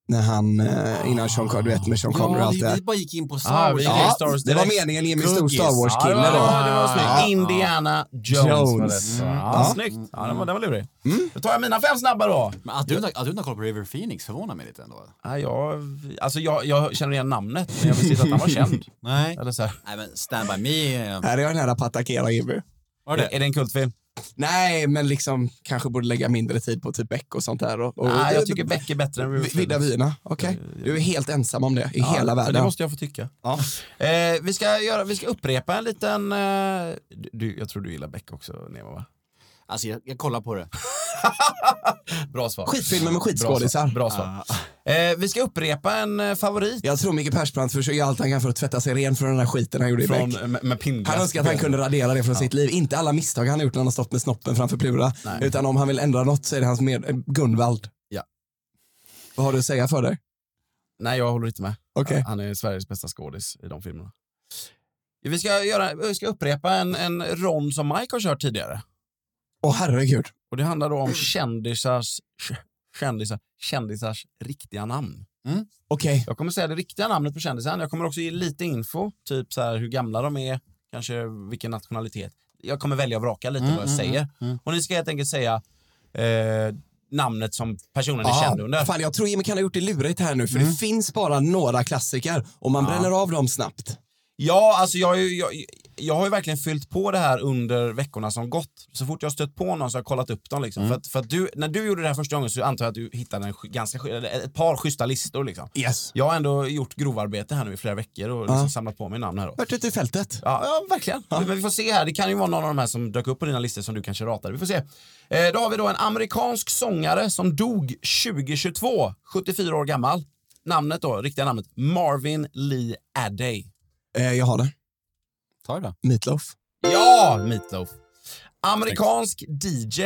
Speaker 1: När han, eh, innan Sean Connery, du vet med Sean Connery och
Speaker 3: Ja,
Speaker 1: allt det
Speaker 3: vi,
Speaker 1: här.
Speaker 3: vi bara gick in på
Speaker 2: Ah,
Speaker 3: Star Wars.
Speaker 2: vi-
Speaker 1: Ja,
Speaker 2: Star Wars
Speaker 1: det var
Speaker 2: direkt.
Speaker 1: meningen Jimmy Stor
Speaker 3: Kuggis.
Speaker 1: Star
Speaker 2: det
Speaker 1: Wars-kille
Speaker 2: var-
Speaker 1: då.
Speaker 2: det var snyggt.
Speaker 1: Ja.
Speaker 2: Indiana Jones. var
Speaker 1: Jones.
Speaker 2: det.
Speaker 1: Mm.
Speaker 2: Ja,
Speaker 1: Ja. Mm.
Speaker 2: Snyggt. Ja, den var, den var lurig. Då tar jag mina fem snabba då.
Speaker 3: Men att du, inte- att du inte har koll på River Phoenix förvånar mig lite ändå.
Speaker 2: Ja, jag, alltså jag, jag känner igen namnet, men jag visste inte att han var känd.
Speaker 3: Nej.
Speaker 2: Eller så här.
Speaker 3: Nej men Stand By Me. eh,
Speaker 1: Här är jag nära på att attackera Jimmy.
Speaker 3: Var det?
Speaker 2: Är det en kultfilm?
Speaker 1: Nej, men liksom kanske borde lägga mindre tid på typ Beck och sånt där. Och, och,
Speaker 2: Nej, Ah, jag tycker Beck är bättre än River
Speaker 1: V- Vidda
Speaker 2: Phoenix.
Speaker 1: vyerna, okej. Du är helt ensam om det i
Speaker 2: Ja,
Speaker 1: hela
Speaker 2: Det
Speaker 1: världen.
Speaker 2: måste jag få tycka.
Speaker 1: Ja.
Speaker 2: <laughs> Eh, vi, ska göra, vi ska upprepa en liten... Eh, du, jag tror du gillar Beck också, Nemo, va?
Speaker 3: Alltså jag, jag kollar på det.
Speaker 2: Bra svar.
Speaker 1: Skitfilmer med skitskådisar.
Speaker 2: Bra svar. Bra svar. Eh, vi ska upprepa en eh, favorit
Speaker 1: Jag tror Micke Persbrandt försöker allt han kan för att tvätta sig ren från den där skiten han gjorde i
Speaker 2: från,
Speaker 1: Beck.
Speaker 2: med, med pinnglass.
Speaker 1: Han önskar att han kunde radera det från sitt liv. Inte alla misstag han har gjort när han har stått med snoppen framför Plura. Utan om han vill ändra något så är det hans med eh, Gunvald.
Speaker 2: Ja.
Speaker 1: Vad har du att säga för dig?
Speaker 2: Nej, jag håller inte med.
Speaker 1: Okej.
Speaker 2: Han är Sveriges bästa skådis i de filmerna. Vi ska, göra, vi ska upprepa en, en rond som Mike har kört tidigare.
Speaker 1: Åh herregud.
Speaker 2: Och Det handlar då om kändisars, kä- kändisar, kändisars riktiga namn.
Speaker 1: Okej.
Speaker 2: Jag kommer säga det riktiga namnet på kändisen. Jag kommer också ge lite info, typ så här hur gamla de är, kanske vilken nationalitet. Jag kommer välja och vraka lite vad jag säger. Och ni ska helt enkelt säga eh, namnet som personen är känd under.
Speaker 1: Ah, Fan, jag tror Jimmy kan ha gjort det lurigt här nu för
Speaker 2: Mm.
Speaker 1: det finns bara några klassiker och man bränner av dem snabbt.
Speaker 2: Ja, alltså jag, har ju- jag, jag har ju verkligen fyllt på det här under veckorna som gått. Så fort jag har stött på någon så har jag kollat upp dem. Liksom. För att, för att du, när du gjorde det här första gången så antar jag att du hittade en, sch- ganska, sch- eller ett par schyssta listor. Liksom.
Speaker 1: Yes.
Speaker 2: Jag har ändå gjort grovarbete här nu i flera veckor och liksom samlat på mig namn här. Då.
Speaker 1: Vart ute i fältet.
Speaker 2: Ja, ja, verkligen. Men vi får se här. Det kan ju vara någon av de här som dök upp på dina listor som du kanske ratade. Vi får se. Eh, då har vi då en amerikansk sångare som dog 2022, 74 år gammal. namnet då, riktiga namnet, Marvin Lee Adday.
Speaker 1: Eh, jag har det.
Speaker 3: Ta det då.
Speaker 1: Meatloaf.
Speaker 2: Ja, Meatloaf. Amerikansk DJ,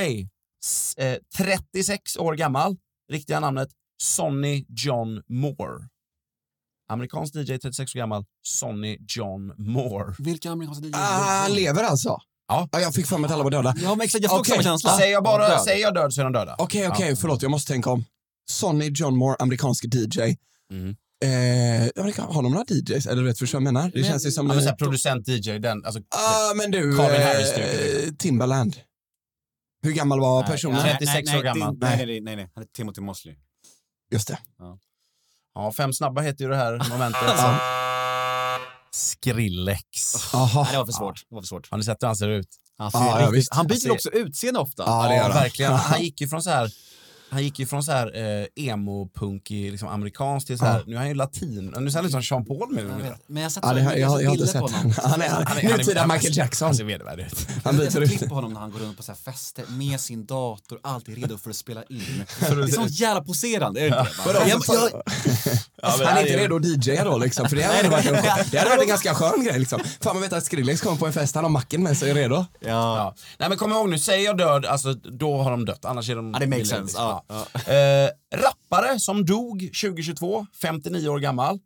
Speaker 2: s- eh, 36 år gammal. Riktiga namnet Sonny John Moore. Amerikansk DJ, 36 år gammal, Sonny John Moore.
Speaker 3: Vilka amerikanska DJs?
Speaker 1: Ah, han lever alltså?
Speaker 2: Ja.
Speaker 1: jag fick för mig att alla var döda. Okej,
Speaker 3: Ja, men exakt. Jag får också
Speaker 1: Okej,
Speaker 3: samma känsla.
Speaker 2: Säger jag bara
Speaker 3: Död.
Speaker 2: säger jag död så är de döda.
Speaker 1: Ah, okej, förlåt. Jag måste tänka om. Sonny John Moore, amerikansk DJ.
Speaker 3: Mm.
Speaker 1: Eh, jag vet inte, har de några DJs? Eller du vet, förstår du vad jag menar? Det
Speaker 3: Men-
Speaker 1: känns ju som...
Speaker 2: Ja, men så här, producent, DJ, den, alltså,
Speaker 1: Ah, men du,
Speaker 2: Calvin Harris tycker
Speaker 1: eh, Timbaland. Hur gammal var personen?
Speaker 2: nej. 36 år
Speaker 3: nej,
Speaker 2: gammal.
Speaker 3: Nej, nej, nej, nej, nej. Han är Timothy Mosley.
Speaker 1: Just det.
Speaker 2: ja, fem snabba heter ju det här momentet.
Speaker 1: Ja. Ah.
Speaker 2: Skrillex.
Speaker 1: Aha.
Speaker 3: Nej, det var för svårt. Det var för svårt.
Speaker 2: Har ni sett hur han ser ut?
Speaker 3: Han,
Speaker 1: Ja, ja,
Speaker 3: riktigt-
Speaker 1: visst.
Speaker 3: han byter
Speaker 2: Alltså,
Speaker 3: också utseende ofta.
Speaker 1: Ja, det gör han. <laughs>
Speaker 2: verkligen. Han gick ju från så här, han gick ju från så här eh, emo-punkig liksom amerikansk till så här,
Speaker 1: Ja.
Speaker 2: nu är han ju latin. Nu ser han ut som Sean Paul mer eller
Speaker 3: Jag
Speaker 2: mindre.
Speaker 3: vet, Men jag har sett
Speaker 1: Ja,
Speaker 3: så
Speaker 1: det har, jag, har- jag har inte
Speaker 3: bilder
Speaker 1: sett
Speaker 3: på
Speaker 1: Alltså, honom. Han är, han är, nutida
Speaker 2: han- Alltså,
Speaker 1: Michael Jackson.
Speaker 2: Han ser vedervärdig <laughs> ut.
Speaker 1: <laughs> Han
Speaker 3: Jag
Speaker 1: byter
Speaker 3: har klipp
Speaker 1: ut.
Speaker 3: på honom när han går runt på så här fester med sin dator, alltid redo för att spela
Speaker 1: <laughs>
Speaker 3: in. det är sånt jävla poserande, är det inte?
Speaker 1: Vadå?
Speaker 3: Jag- jag-
Speaker 2: Alltså,
Speaker 1: Han är inte redo att DJa då liksom, för det hade varit en, det hade varit en ganska skön grej liksom. Fan man vet att Skrillex kommer på en fest, han har macken med sig och är redo.
Speaker 3: Ja.
Speaker 2: Ja. Nej men kom ihåg nu, säger jag död, alltså, då har de dött. Annars är de...
Speaker 3: Ja, det makes
Speaker 2: liksom.
Speaker 3: sense. Ja,
Speaker 2: Eh, rappare som dog 2022, 59 år gammal.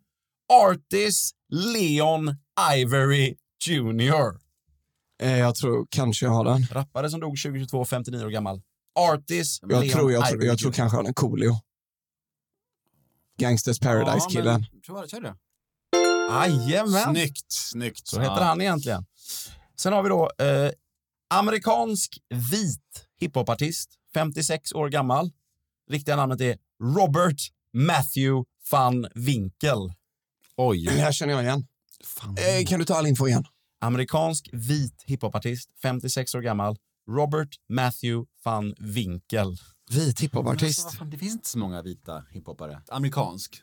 Speaker 2: Artist Leon Ivory Jr.
Speaker 1: Eh, jag tror kanske jag har den.
Speaker 2: Rappare som dog 2022, 59 år gammal. Artist
Speaker 1: Jag
Speaker 2: Leon
Speaker 1: tror, jag,
Speaker 2: Ivory
Speaker 1: tror, jag tror
Speaker 2: Jr.
Speaker 1: kanske jag har den. Coolio. Gangsters Paradise-killen.
Speaker 3: men- Kör kör det.
Speaker 2: Jajamän.
Speaker 3: Snyggt, snyggt.
Speaker 2: Så heter han egentligen. Sen har vi då eh, amerikansk vit hiphopartist, 56 år gammal. Riktiga namnet är Robert Matthew van Winkle.
Speaker 1: Det
Speaker 3: Oj.
Speaker 1: här känner jag igen.
Speaker 3: Fan.
Speaker 1: Eh, kan du ta all info igen?
Speaker 2: Amerikansk vit hiphopartist, 56 år gammal. Robert Matthew van Winkle.
Speaker 1: Vit
Speaker 3: Artist.
Speaker 1: hiphopartist.
Speaker 3: Alltså, vad fan, det finns inte så många vita hiphopare. Amerikansk.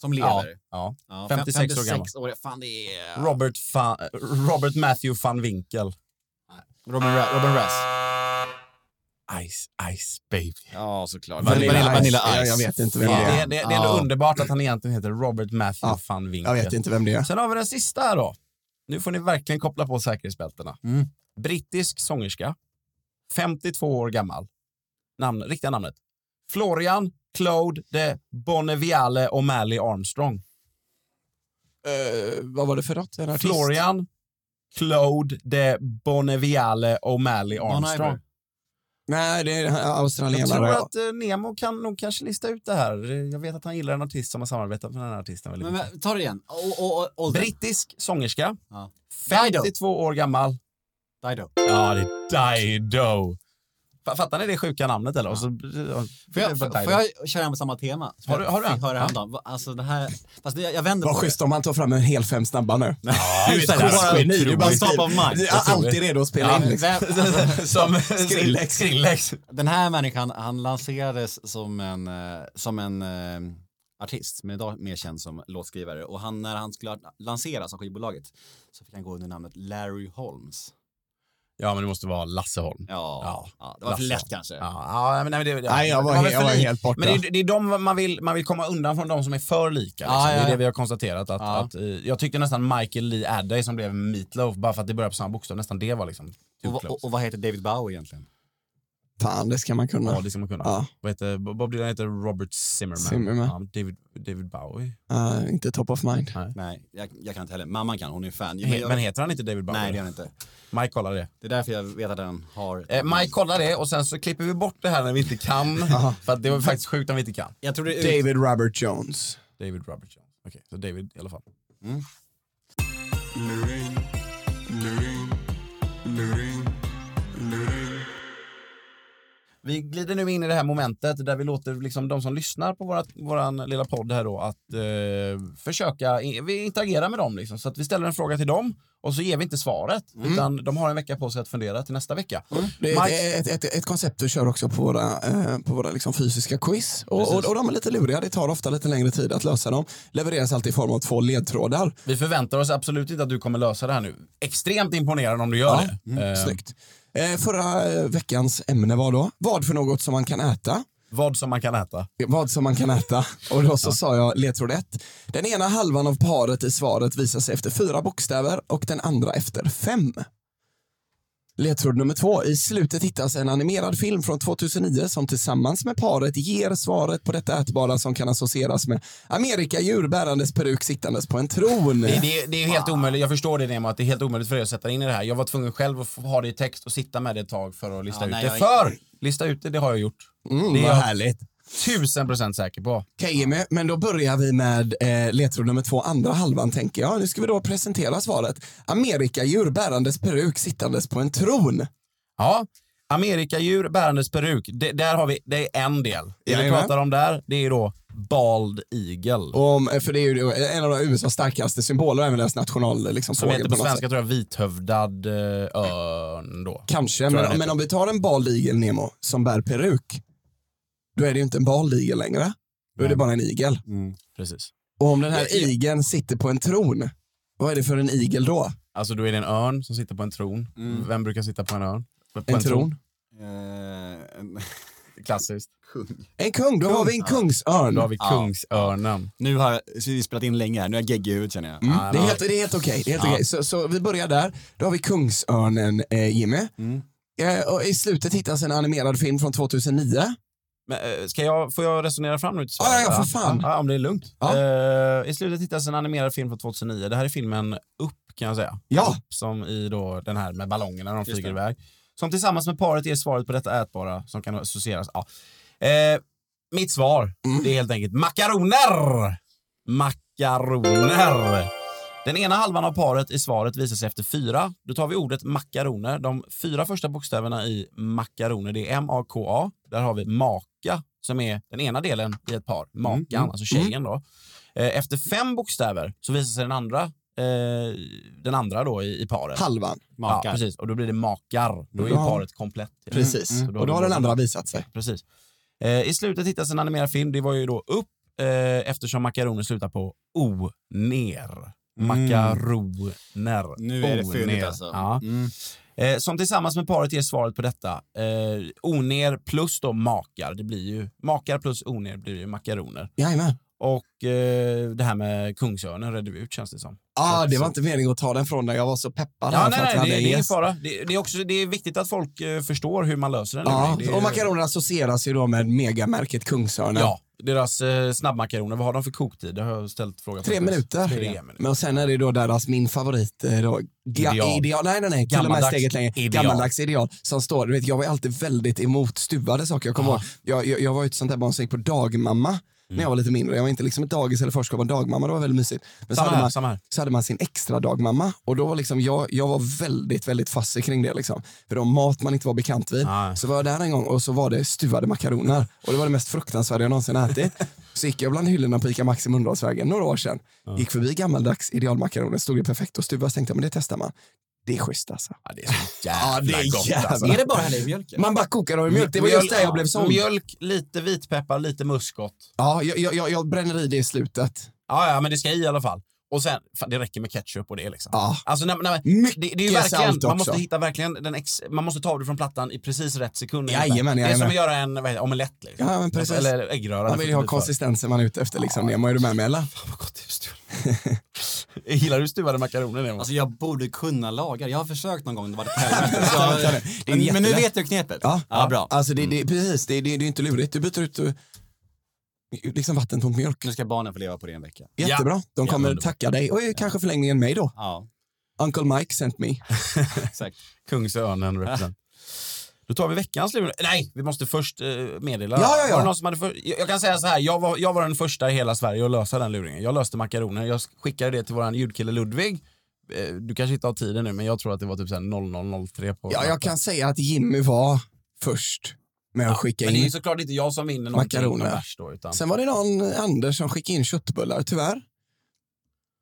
Speaker 3: Som
Speaker 2: Ja,
Speaker 3: lever.
Speaker 2: ja.
Speaker 3: Ja,
Speaker 2: 56 år
Speaker 3: år Fan, det är...
Speaker 2: Robert, fa, Robert Matthew van Winkle. Robin, Ra- Robin Rass. Ice, ice baby.
Speaker 3: Ja, såklart.
Speaker 2: Vanilla Ice.
Speaker 1: Ja, jag vet inte vem
Speaker 2: Det,
Speaker 1: det
Speaker 2: det,
Speaker 1: är.
Speaker 2: det, det är ändå underbart att han egentligen heter Robert Matthew
Speaker 1: Ja,
Speaker 2: van Winkle.
Speaker 1: Jag vet inte vem det är.
Speaker 2: Sen har vi den sista här då. Nu får ni verkligen koppla på säkerhetsbältena. Brittisk sångerska, 52 år gammal. Namn, riktiga namnet. Florian Claude de Bonneviale O'Malley Armstrong.
Speaker 1: Eh, vad var det för något? En artist?
Speaker 2: Florian Claude de Bonneviale O'Malley
Speaker 3: Bon
Speaker 2: Armstrong.
Speaker 3: Iver.
Speaker 1: Nej, det är
Speaker 2: Jag tror
Speaker 1: australienare.
Speaker 2: att eh, Nemo kan nog kanske lista ut det här. Eh, Jag vet att han gillar en artist som har samarbetat med den här artisten väldigt
Speaker 3: Men,
Speaker 2: mycket.
Speaker 3: men, ta det igen. Och, och, och, åldern.
Speaker 2: Brittisk sångerska,
Speaker 3: Ja. Dido.
Speaker 2: 52 år gammal.
Speaker 3: Dido.
Speaker 2: Ja, det är Dido. Fa- Fattar ni det sjuka namnet eller? Och så,
Speaker 3: Får jag,
Speaker 2: Dido.
Speaker 3: får får jag köra med samma tema?
Speaker 2: Har du- har du
Speaker 3: Fick
Speaker 2: en?
Speaker 3: höra
Speaker 2: Ja.
Speaker 3: häromdagen. Va- Alltså det här, fast det- jag vänder
Speaker 1: Vad
Speaker 3: på
Speaker 1: schysst
Speaker 3: det.
Speaker 1: om han tar fram en hel fem snabba nu.
Speaker 2: <laughs> Ja,
Speaker 3: Du är ett skitgeni, du är bara top of mind.
Speaker 1: Du är alltid redo att spela
Speaker 3: Ja,
Speaker 1: in. Liksom.
Speaker 3: vem- alltså,
Speaker 2: Som
Speaker 1: Skrillex.
Speaker 2: Skrillex.
Speaker 3: den här människan, han lanserades som en, eh, som en eh, artist, men idag mer känd som låtskrivare. Och han, när han skulle lanseras av skivbolaget så fick han gå under namnet Larry Holmes.
Speaker 2: Ja, men det måste vara Lasse Holm.
Speaker 3: Ja,
Speaker 2: Ja.
Speaker 3: ja. det var för
Speaker 2: Lasse.
Speaker 3: lätt kanske.
Speaker 2: Ja, ja, men nej, men det, det,
Speaker 1: Nej, jag var
Speaker 2: det
Speaker 1: he-
Speaker 2: väl för
Speaker 1: jag var
Speaker 2: lik.
Speaker 1: helt borta.
Speaker 2: Men det, är- det är de man vill, man vill komma undan från de som är för lika. Liksom.
Speaker 3: Ja, ja,
Speaker 2: Det är det
Speaker 3: ja.
Speaker 2: vi har konstaterat. Att,
Speaker 3: Ja.
Speaker 2: att, eh, jag tyckte nästan Michael Lee Adday som blev Meatloaf, bara för att det började på samma bokstav, nästan det var liksom too
Speaker 3: Och,
Speaker 2: close.
Speaker 3: och, och vad heter David Bowie egentligen?
Speaker 1: Fan, det ska man kunna.
Speaker 2: Ja, det ska man kunna.
Speaker 1: Ja.
Speaker 2: Vad heter, Bob Dylan heter Robert Zimmerman.
Speaker 1: Zimmerman.
Speaker 2: Ja, David, David Bowie.
Speaker 1: Eh, inte top of mind.
Speaker 3: Nej, jag, jag kan inte heller. Mamman kan, hon är fan.
Speaker 2: He,
Speaker 3: jag,
Speaker 2: men heter han inte David Bowie?
Speaker 3: nej, det är han inte.
Speaker 2: Mike kollar det.
Speaker 3: Det är därför jag vet att den har...
Speaker 2: Eh, Mike kollar det och sen så klipper vi bort det här när vi
Speaker 1: <laughs>
Speaker 2: inte kan. för att det var faktiskt sjukt om vi inte kan.
Speaker 3: jag tror det är ut...
Speaker 1: David Robert Jones.
Speaker 2: David Robert Jones. Okej, så David i alla fall. Vi glider nu in i det här momentet där vi låter liksom de som lyssnar på vårat, våran lilla podd här då att eh, försöka i- vi interagerar med dem. Liksom, så att vi ställer en fråga till dem och så ger vi inte svaret.
Speaker 1: Mm.
Speaker 2: Utan de har en vecka på sig att fundera till nästa vecka.
Speaker 1: Det är
Speaker 2: Mike,
Speaker 1: ett, ett, ett, ett koncept vi kör också på våra, eh, på våra liksom fysiska quiz. Och, och, och de är lite luriga, det tar ofta lite längre tid att lösa dem. Levereras alltid i form av två ledtrådar.
Speaker 2: vi förväntar oss absolut inte att du kommer lösa det här nu. Extremt imponerande om du gör det. Eh,
Speaker 1: Mm, snyggt. Eh, förra eh, veckans ämne var då, vad för något som man kan äta?
Speaker 2: Vad som man kan äta.
Speaker 1: vad som man kan äta. Och då så sa jag ledtråd 1. Den ena halvan av paret i svaret visar sig efter fyra bokstäver och den andra efter fem. Ledtråd nummer två. I slutet hittas en animerad film från 2009 som tillsammans med paret ger svaret på detta ätbara som kan associeras med Amerikadjur bärandes peruk sittandes på en tron.
Speaker 2: Det, det, det är ju helt omöjligt, jag förstår det Nemo, att det är helt omöjligt för er att sätta in i det här. Jag var tvungen själv att få ha det i text och sitta med det ett tag för att lista
Speaker 3: Ja,
Speaker 2: ut
Speaker 3: nej,
Speaker 2: det.
Speaker 3: jag-
Speaker 2: För! Lista ut det, det har jag gjort. det är jag
Speaker 1: härligt.
Speaker 2: tusen procent säker på.
Speaker 1: Okej, Jimmy, men då börjar vi med eh, ledtråd nummer två, andra halvan tänker jag. Nu ska vi då presentera svaret. Amerikadjur bärandes peruk sittandes på en tron.
Speaker 2: Ja, Amerikadjur bärandes peruk, det, där har vi, det är en del. Det vi
Speaker 1: Jajamän.
Speaker 2: pratar om där, det är då bald eagle.
Speaker 1: Och Om, eh, för det är ju en av de USAs starkaste symboler, även deras national liksom,
Speaker 2: Som
Speaker 1: fågel
Speaker 2: heter på
Speaker 1: något
Speaker 2: svenska
Speaker 1: sätt.
Speaker 2: tror jag vithövdad eh, örn då.
Speaker 1: Kanske,
Speaker 2: tror jag
Speaker 1: men,
Speaker 2: den
Speaker 1: men om vi tar en bald igel, Nemo, som bär peruk, då är det ju inte en bald igel längre. Då är det bara en igel.
Speaker 2: Precis.
Speaker 1: Och om den här
Speaker 2: Jag- jag-
Speaker 1: igeln sitter på en tron, vad är det för en igel då?
Speaker 2: Alltså då är det en örn som sitter på en tron. Vem brukar sitta på en örn? På
Speaker 1: Mm. En, tron? Mm.
Speaker 3: Eh, <laughs>
Speaker 2: Klassiskt.
Speaker 1: En kung, då har vi en kungsörn.
Speaker 2: Då har vi kungsörnen.
Speaker 3: nu har så vi spelat in länge här, nu är jag geggig i huvudet känner jag.
Speaker 1: Mm, det, är helt, det är helt okej. Det är helt okej. Så, så vi börjar där. Då har vi Kungsörnen, eh, Jimmy.
Speaker 2: Mm.
Speaker 1: Eh, och I slutet hittas en animerad film från 2009.
Speaker 2: Men, eh, ska jag, får jag resonera fram nu till
Speaker 1: Ja, ja, ja,
Speaker 2: va?
Speaker 1: för fan.
Speaker 2: Ja, om det är lugnt.
Speaker 1: Ja.
Speaker 2: Eh, I slutet hittas en animerad film från 2009. Det här är filmen Upp kan jag säga.
Speaker 1: Ja.
Speaker 2: Upp, som i då den här med ballongerna när de flyger iväg. Som tillsammans med paret ger svaret på detta ätbara som kan associeras. Ja. Eh, mitt svar, det är helt enkelt makaroner! Makaroner! Den ena halvan av paret i svaret visar sig efter fyra. Då tar vi ordet makaroner. De fyra första bokstäverna i makaroner, det är M-A-K-A. Där har vi maka, som är den ena delen i ett par. Makan, alltså tjejen då. Eh, Efter fem bokstäver så visar sig den andra, eh, den andra då i, i paret.
Speaker 1: Halvan.
Speaker 2: Ja,
Speaker 3: Makar.
Speaker 2: precis. Och då blir det makar. Då är ju
Speaker 1: Ja.
Speaker 2: paret komplett.
Speaker 1: Precis.
Speaker 2: Mm.
Speaker 1: Och då har
Speaker 2: vi-
Speaker 1: den andra visat sig.
Speaker 2: Precis. Eh, I slutet hittas en animerad film. Det var ju då upp eh, eftersom makaroner slutar på o, ner.
Speaker 1: Mm.
Speaker 2: Makaroner.
Speaker 3: Nu är det
Speaker 2: O,
Speaker 3: fyndigt
Speaker 2: ner.
Speaker 3: alltså.
Speaker 2: Ja.
Speaker 3: Mm.
Speaker 2: Eh, som tillsammans med paret ger svaret på detta. Eh, oner plus då makar. Det blir ju makar plus oner blir ju makaroner.
Speaker 1: Jajamän.
Speaker 2: Och eh, det här med kungsörnen redde vi ut känns det som.
Speaker 1: Ah, det var inte meningen att ta den från dig. Jag var så peppad.
Speaker 2: Ja,
Speaker 1: här för
Speaker 2: nej,
Speaker 1: att vi
Speaker 2: nej,
Speaker 1: hade
Speaker 2: det,
Speaker 1: en
Speaker 2: det är ingen
Speaker 1: gäst.
Speaker 2: fara. Det, det, är också, det är viktigt att folk eh, förstår hur man löser den.
Speaker 1: Ja,
Speaker 2: Det är ju-
Speaker 1: och makaroner associeras ju då med megamärket Kungsörnen.
Speaker 2: Ja, deras eh, snabbmakaroner, vad har de för koktid? Det har jag ställt frågan
Speaker 1: Tre
Speaker 2: förut.
Speaker 1: minuter.
Speaker 2: Tre minuter.
Speaker 1: Men och sen är det då deras, min favorit, eh, då, ga-
Speaker 2: Ideal.
Speaker 1: ideal. Nej, nej, nej. Till och med
Speaker 2: Gammaldags
Speaker 1: steget längre.
Speaker 2: ideal.
Speaker 1: Gammaldags ideal. Som står, du vet, jag var ju alltid väldigt emot stuvade saker. Jag kommer ihåg, jag, jag, jag var ju ett sånt där barn som gick på dagmamma när
Speaker 2: Mm.
Speaker 1: jag var lite mindre. Jag var inte liksom ett dagis eller förskola, jag var dagmamma. Det var väldigt mysigt. Men så
Speaker 2: Samma
Speaker 1: hade,
Speaker 2: här,
Speaker 1: man,
Speaker 2: samma här.
Speaker 1: så hade man sin extra dagmamma och då var liksom jag, jag var väldigt, väldigt fassig kring det. Liksom. För de mat man inte var bekant vid.
Speaker 2: Nej.
Speaker 1: Så var jag där en gång och så var det stuvade makaroner och det var det mest fruktansvärda jag någonsin ätit. Så gick jag bland hyllorna på ICA Maxi Mölndalsvägen några år sedan. Gick förbi gammaldags idealmakaroner, stod det perfekt och stuvas tänkte jag, men det testar man. Det är schysst alltså.
Speaker 2: Ja, det är så
Speaker 1: Ja, det
Speaker 2: jävla
Speaker 1: är
Speaker 2: gott
Speaker 1: jävla-
Speaker 2: alltså.
Speaker 1: Är det
Speaker 3: bara hälla i mjölken?
Speaker 1: Man bara kokar dem i mjölk, det var just där jag blev såld.
Speaker 2: Mjölk, lite vitpeppar, lite muskot.
Speaker 1: Ja, jag, jag, jag, jag bränner i det i slutet.
Speaker 2: Ja, ja, men det ska i i alla fall. Och sen, fan, det räcker med ketchup och det liksom.
Speaker 1: Ja.
Speaker 2: Alltså, nej, nej, det,
Speaker 1: Mycket
Speaker 2: det är ju
Speaker 1: salt
Speaker 2: verkligen,
Speaker 1: också.
Speaker 2: man måste hitta verkligen den ex, man måste ta det från plattan i precis rätt sekund.
Speaker 1: Jajamän,
Speaker 2: ungefär. det är
Speaker 1: jajamän.
Speaker 2: som att göra en vad heter, det, omelett. Liksom.
Speaker 1: Ja, men precis.
Speaker 2: Eller typ, äggröra.
Speaker 1: Man
Speaker 2: det
Speaker 1: vill
Speaker 2: får
Speaker 1: ju ha
Speaker 2: bli för.
Speaker 1: konsistensen man är ute efter. Liksom. Nemo, är du med mig eller?
Speaker 2: Vad gott det är stuvade. typ. <laughs> Gillar du stuvade makaroner? Nemo?
Speaker 3: Alltså jag borde kunna laga det. Jag har försökt någon gång, det var <laughs> ett helvete. Så-
Speaker 1: Ja, det är
Speaker 3: <laughs> men, men nu
Speaker 1: jättelätt.
Speaker 3: vet jag knepet.
Speaker 1: Ja,
Speaker 3: ja bra.
Speaker 1: Alltså, det,
Speaker 2: Mm.
Speaker 1: det, precis, det, det, det är ju inte lurigt. Du byter ut eh, liksom vatten mot mjölk.
Speaker 3: Nu ska barnen få leva på det en vecka.
Speaker 1: Jättebra. De
Speaker 2: Ja,
Speaker 1: kommer
Speaker 2: underbart.
Speaker 1: tacka dig och är kanske förlängningen mig då.
Speaker 3: Ja,
Speaker 1: Uncle Mike sent me.
Speaker 3: exakt.
Speaker 2: Kungsörnen represent. Då tar vi veckans lur. Nej, vi måste först eh, meddela.
Speaker 1: Ja, ja, ja.
Speaker 2: Var det någon som hade för... jag, jag kan säga så här, jag var, jag var den första i hela Sverige att lösa den luringen. Jag löste makaroner, jag skickade det till våran ljudkille Ludvig. Eh, Du kanske inte har tiden nu, men jag tror att det var typ så här 0003 på...
Speaker 1: Ja, jag kan säga att Jimmy var först med att skicka
Speaker 2: Men det är ju
Speaker 1: in.
Speaker 2: såklart inte jag som vinner
Speaker 1: Makaroner.
Speaker 2: makaroner. Då, utan...
Speaker 1: Sen var det någon Anders som skickade in köttbullar, tyvärr.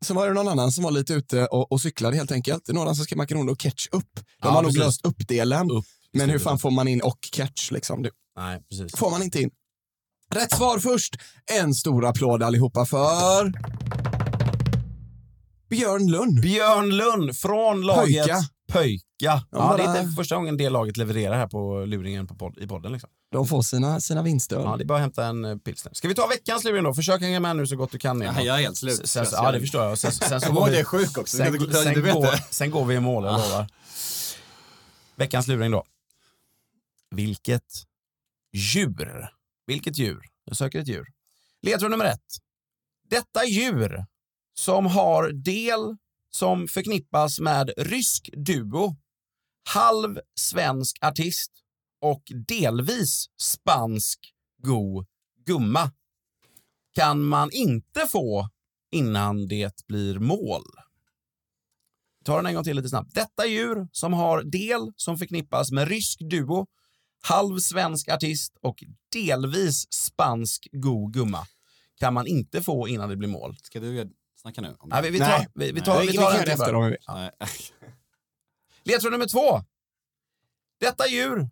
Speaker 1: Sen var det någon annan som var lite ute och, och cyklade helt enkelt. Några som skrev makaroner och ketchup. De
Speaker 2: Ja,
Speaker 1: har nog
Speaker 2: precis.
Speaker 1: löst upp delen.
Speaker 2: Upp.
Speaker 1: Men hur fan får man in och catch liksom? Det
Speaker 2: Nej, precis.
Speaker 1: får man inte in. Rätt svar först. En stor applåd allihopa för Björn Lund.
Speaker 2: Björn Lund från
Speaker 1: Pöjka.
Speaker 2: laget Pöjka, Pöjka. Ja,
Speaker 1: bara-
Speaker 2: Det är inte första gången det laget levererar här på luringen på podd, i podden. Liksom.
Speaker 1: De får sina, sina vinstöl.
Speaker 2: Ja, det är bara att hämta en eh, pilsner. Ska vi ta veckans luring då? Försök hänga med nu så gott du kan. igen.
Speaker 3: Nej, jag är helt slut.
Speaker 2: Sen, ja, det förstår jag. Sen, sen så
Speaker 3: Kom
Speaker 2: går
Speaker 3: ihåg
Speaker 2: vi-
Speaker 3: jag är sjuk också.
Speaker 2: Sen,
Speaker 3: Du- du-
Speaker 2: sen,
Speaker 3: du vet
Speaker 2: går,
Speaker 3: det. Ah.
Speaker 2: sen går vi i mål, jag lovar. Veckans luring då. Vilket djur? Vilket djur? Jag söker ett djur. Ledtråd nummer ett. Detta djur som har del som förknippas med rysk duo, halv svensk artist och delvis spansk go gumma kan man inte få innan det blir mål. Ta den en gång till lite snabbt. Detta djur som har del som förknippas med rysk duo, halv svensk artist och delvis spansk go gumma kan man inte få innan det blir mål.
Speaker 3: Ska du göra- snacka nu? om det?
Speaker 2: Nej, vi, vi tar,
Speaker 1: Nej.
Speaker 2: Vi, vi tar,
Speaker 1: vi
Speaker 2: vi
Speaker 1: kan
Speaker 2: tar
Speaker 1: göra det
Speaker 2: den
Speaker 1: efter
Speaker 2: till
Speaker 1: dem.
Speaker 3: Nej. <laughs>
Speaker 2: Ledtråd nummer två. Detta djur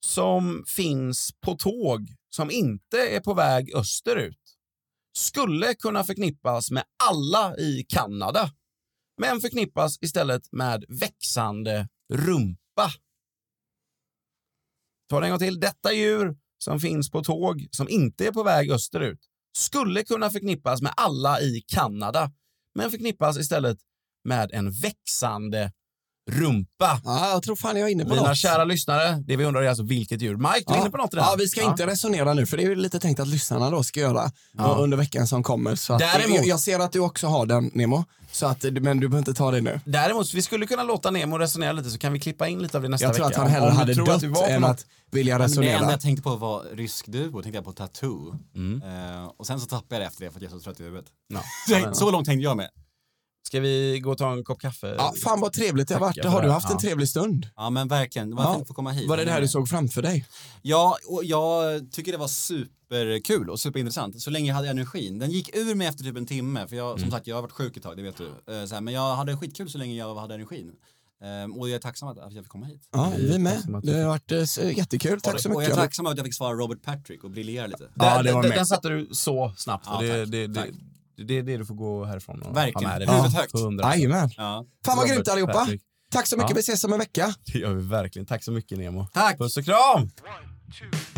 Speaker 2: som finns på tåg som inte är på väg österut skulle kunna förknippas med alla i Kanada men förknippas istället med växande rumpa. Ta det en gång till. Detta djur som finns på tåg som inte är på väg österut skulle kunna förknippas med alla i Kanada men förknippas istället med en växande rumpa.
Speaker 1: Ja, jag tror fan jag är inne på
Speaker 2: Mina
Speaker 1: något.
Speaker 2: kära lyssnare, det vi undrar är alltså vilket djur. Mike, du är inne på något i det här?
Speaker 1: Ja, vi ska inte resonera nu, för det är ju lite tänkt att lyssnarna då ska göra eh, under veckan som kommer. Så att,
Speaker 2: Däremot-
Speaker 1: jag, jag ser att du också har den, Nemo, så att, eh, men du behöver inte ta det nu.
Speaker 2: Däremot, vi skulle kunna låta Nemo resonera lite så kan vi klippa in lite av det nästa
Speaker 1: Jag tror
Speaker 2: vecka.
Speaker 1: att han hellre
Speaker 2: Om du
Speaker 1: hade
Speaker 2: tror
Speaker 1: dött
Speaker 2: att du var på
Speaker 1: än
Speaker 2: något-
Speaker 1: att vilja
Speaker 3: Men det enda
Speaker 1: resonera.
Speaker 3: jag tänkte på var rysk duo, tänkte jag på Tattoo.
Speaker 1: Mm.
Speaker 3: Eh, och sen så tappade jag det efter det för att jag är så trött i huvudet.
Speaker 2: Ja.
Speaker 3: Så- <laughs> Så långt tänkte jag med.
Speaker 2: Ska vi gå och ta en kopp kaffe?
Speaker 1: Ja, fan vad trevligt det har varit.
Speaker 2: Tacka
Speaker 1: Har
Speaker 2: för
Speaker 1: du
Speaker 2: det.
Speaker 1: haft en
Speaker 2: Ja.
Speaker 1: trevlig stund?
Speaker 3: Ja men verkligen, det var fint att få komma hit.
Speaker 1: Var det det här du såg framför dig?
Speaker 3: Ja, och jag tycker det var superkul och superintressant. Så länge jag hade energin. Den gick ur mig efter typ en timme, för jag,
Speaker 1: Mm.
Speaker 3: som sagt jag har varit sjuk ett tag, det vet du. Eh, Så här, men jag hade skitkul så länge jag hade energin. Eh, Och jag är tacksam att att jag fick komma hit.
Speaker 1: Ja, vi med. Det har varit eh, s- jättekul. Tack så
Speaker 3: Och jag är
Speaker 1: mycket.
Speaker 3: tacksam att jag fick svara Robert Patrick och briljera lite.
Speaker 1: Ja,
Speaker 2: Där-
Speaker 1: det var
Speaker 2: den-
Speaker 1: med.
Speaker 2: Den satte du så snabbt.
Speaker 3: Ja,
Speaker 2: och det,
Speaker 3: tack.
Speaker 2: det, det,
Speaker 3: Tack.
Speaker 2: det, det är det du får gå härifrån och
Speaker 3: Verkligen.
Speaker 2: ha med
Speaker 3: Huvudet högt.
Speaker 2: Hundra.
Speaker 1: Jajamän.
Speaker 3: Ja.
Speaker 1: Fan vad
Speaker 2: Robert
Speaker 1: grymt allihopa.
Speaker 2: Patrick.
Speaker 1: Tack så mycket.
Speaker 2: Ja.
Speaker 1: Vi ses om en vecka.
Speaker 2: Det gör vi verkligen. Tack så mycket Nemo.
Speaker 3: Tack.
Speaker 2: Puss och kram!
Speaker 5: One, two,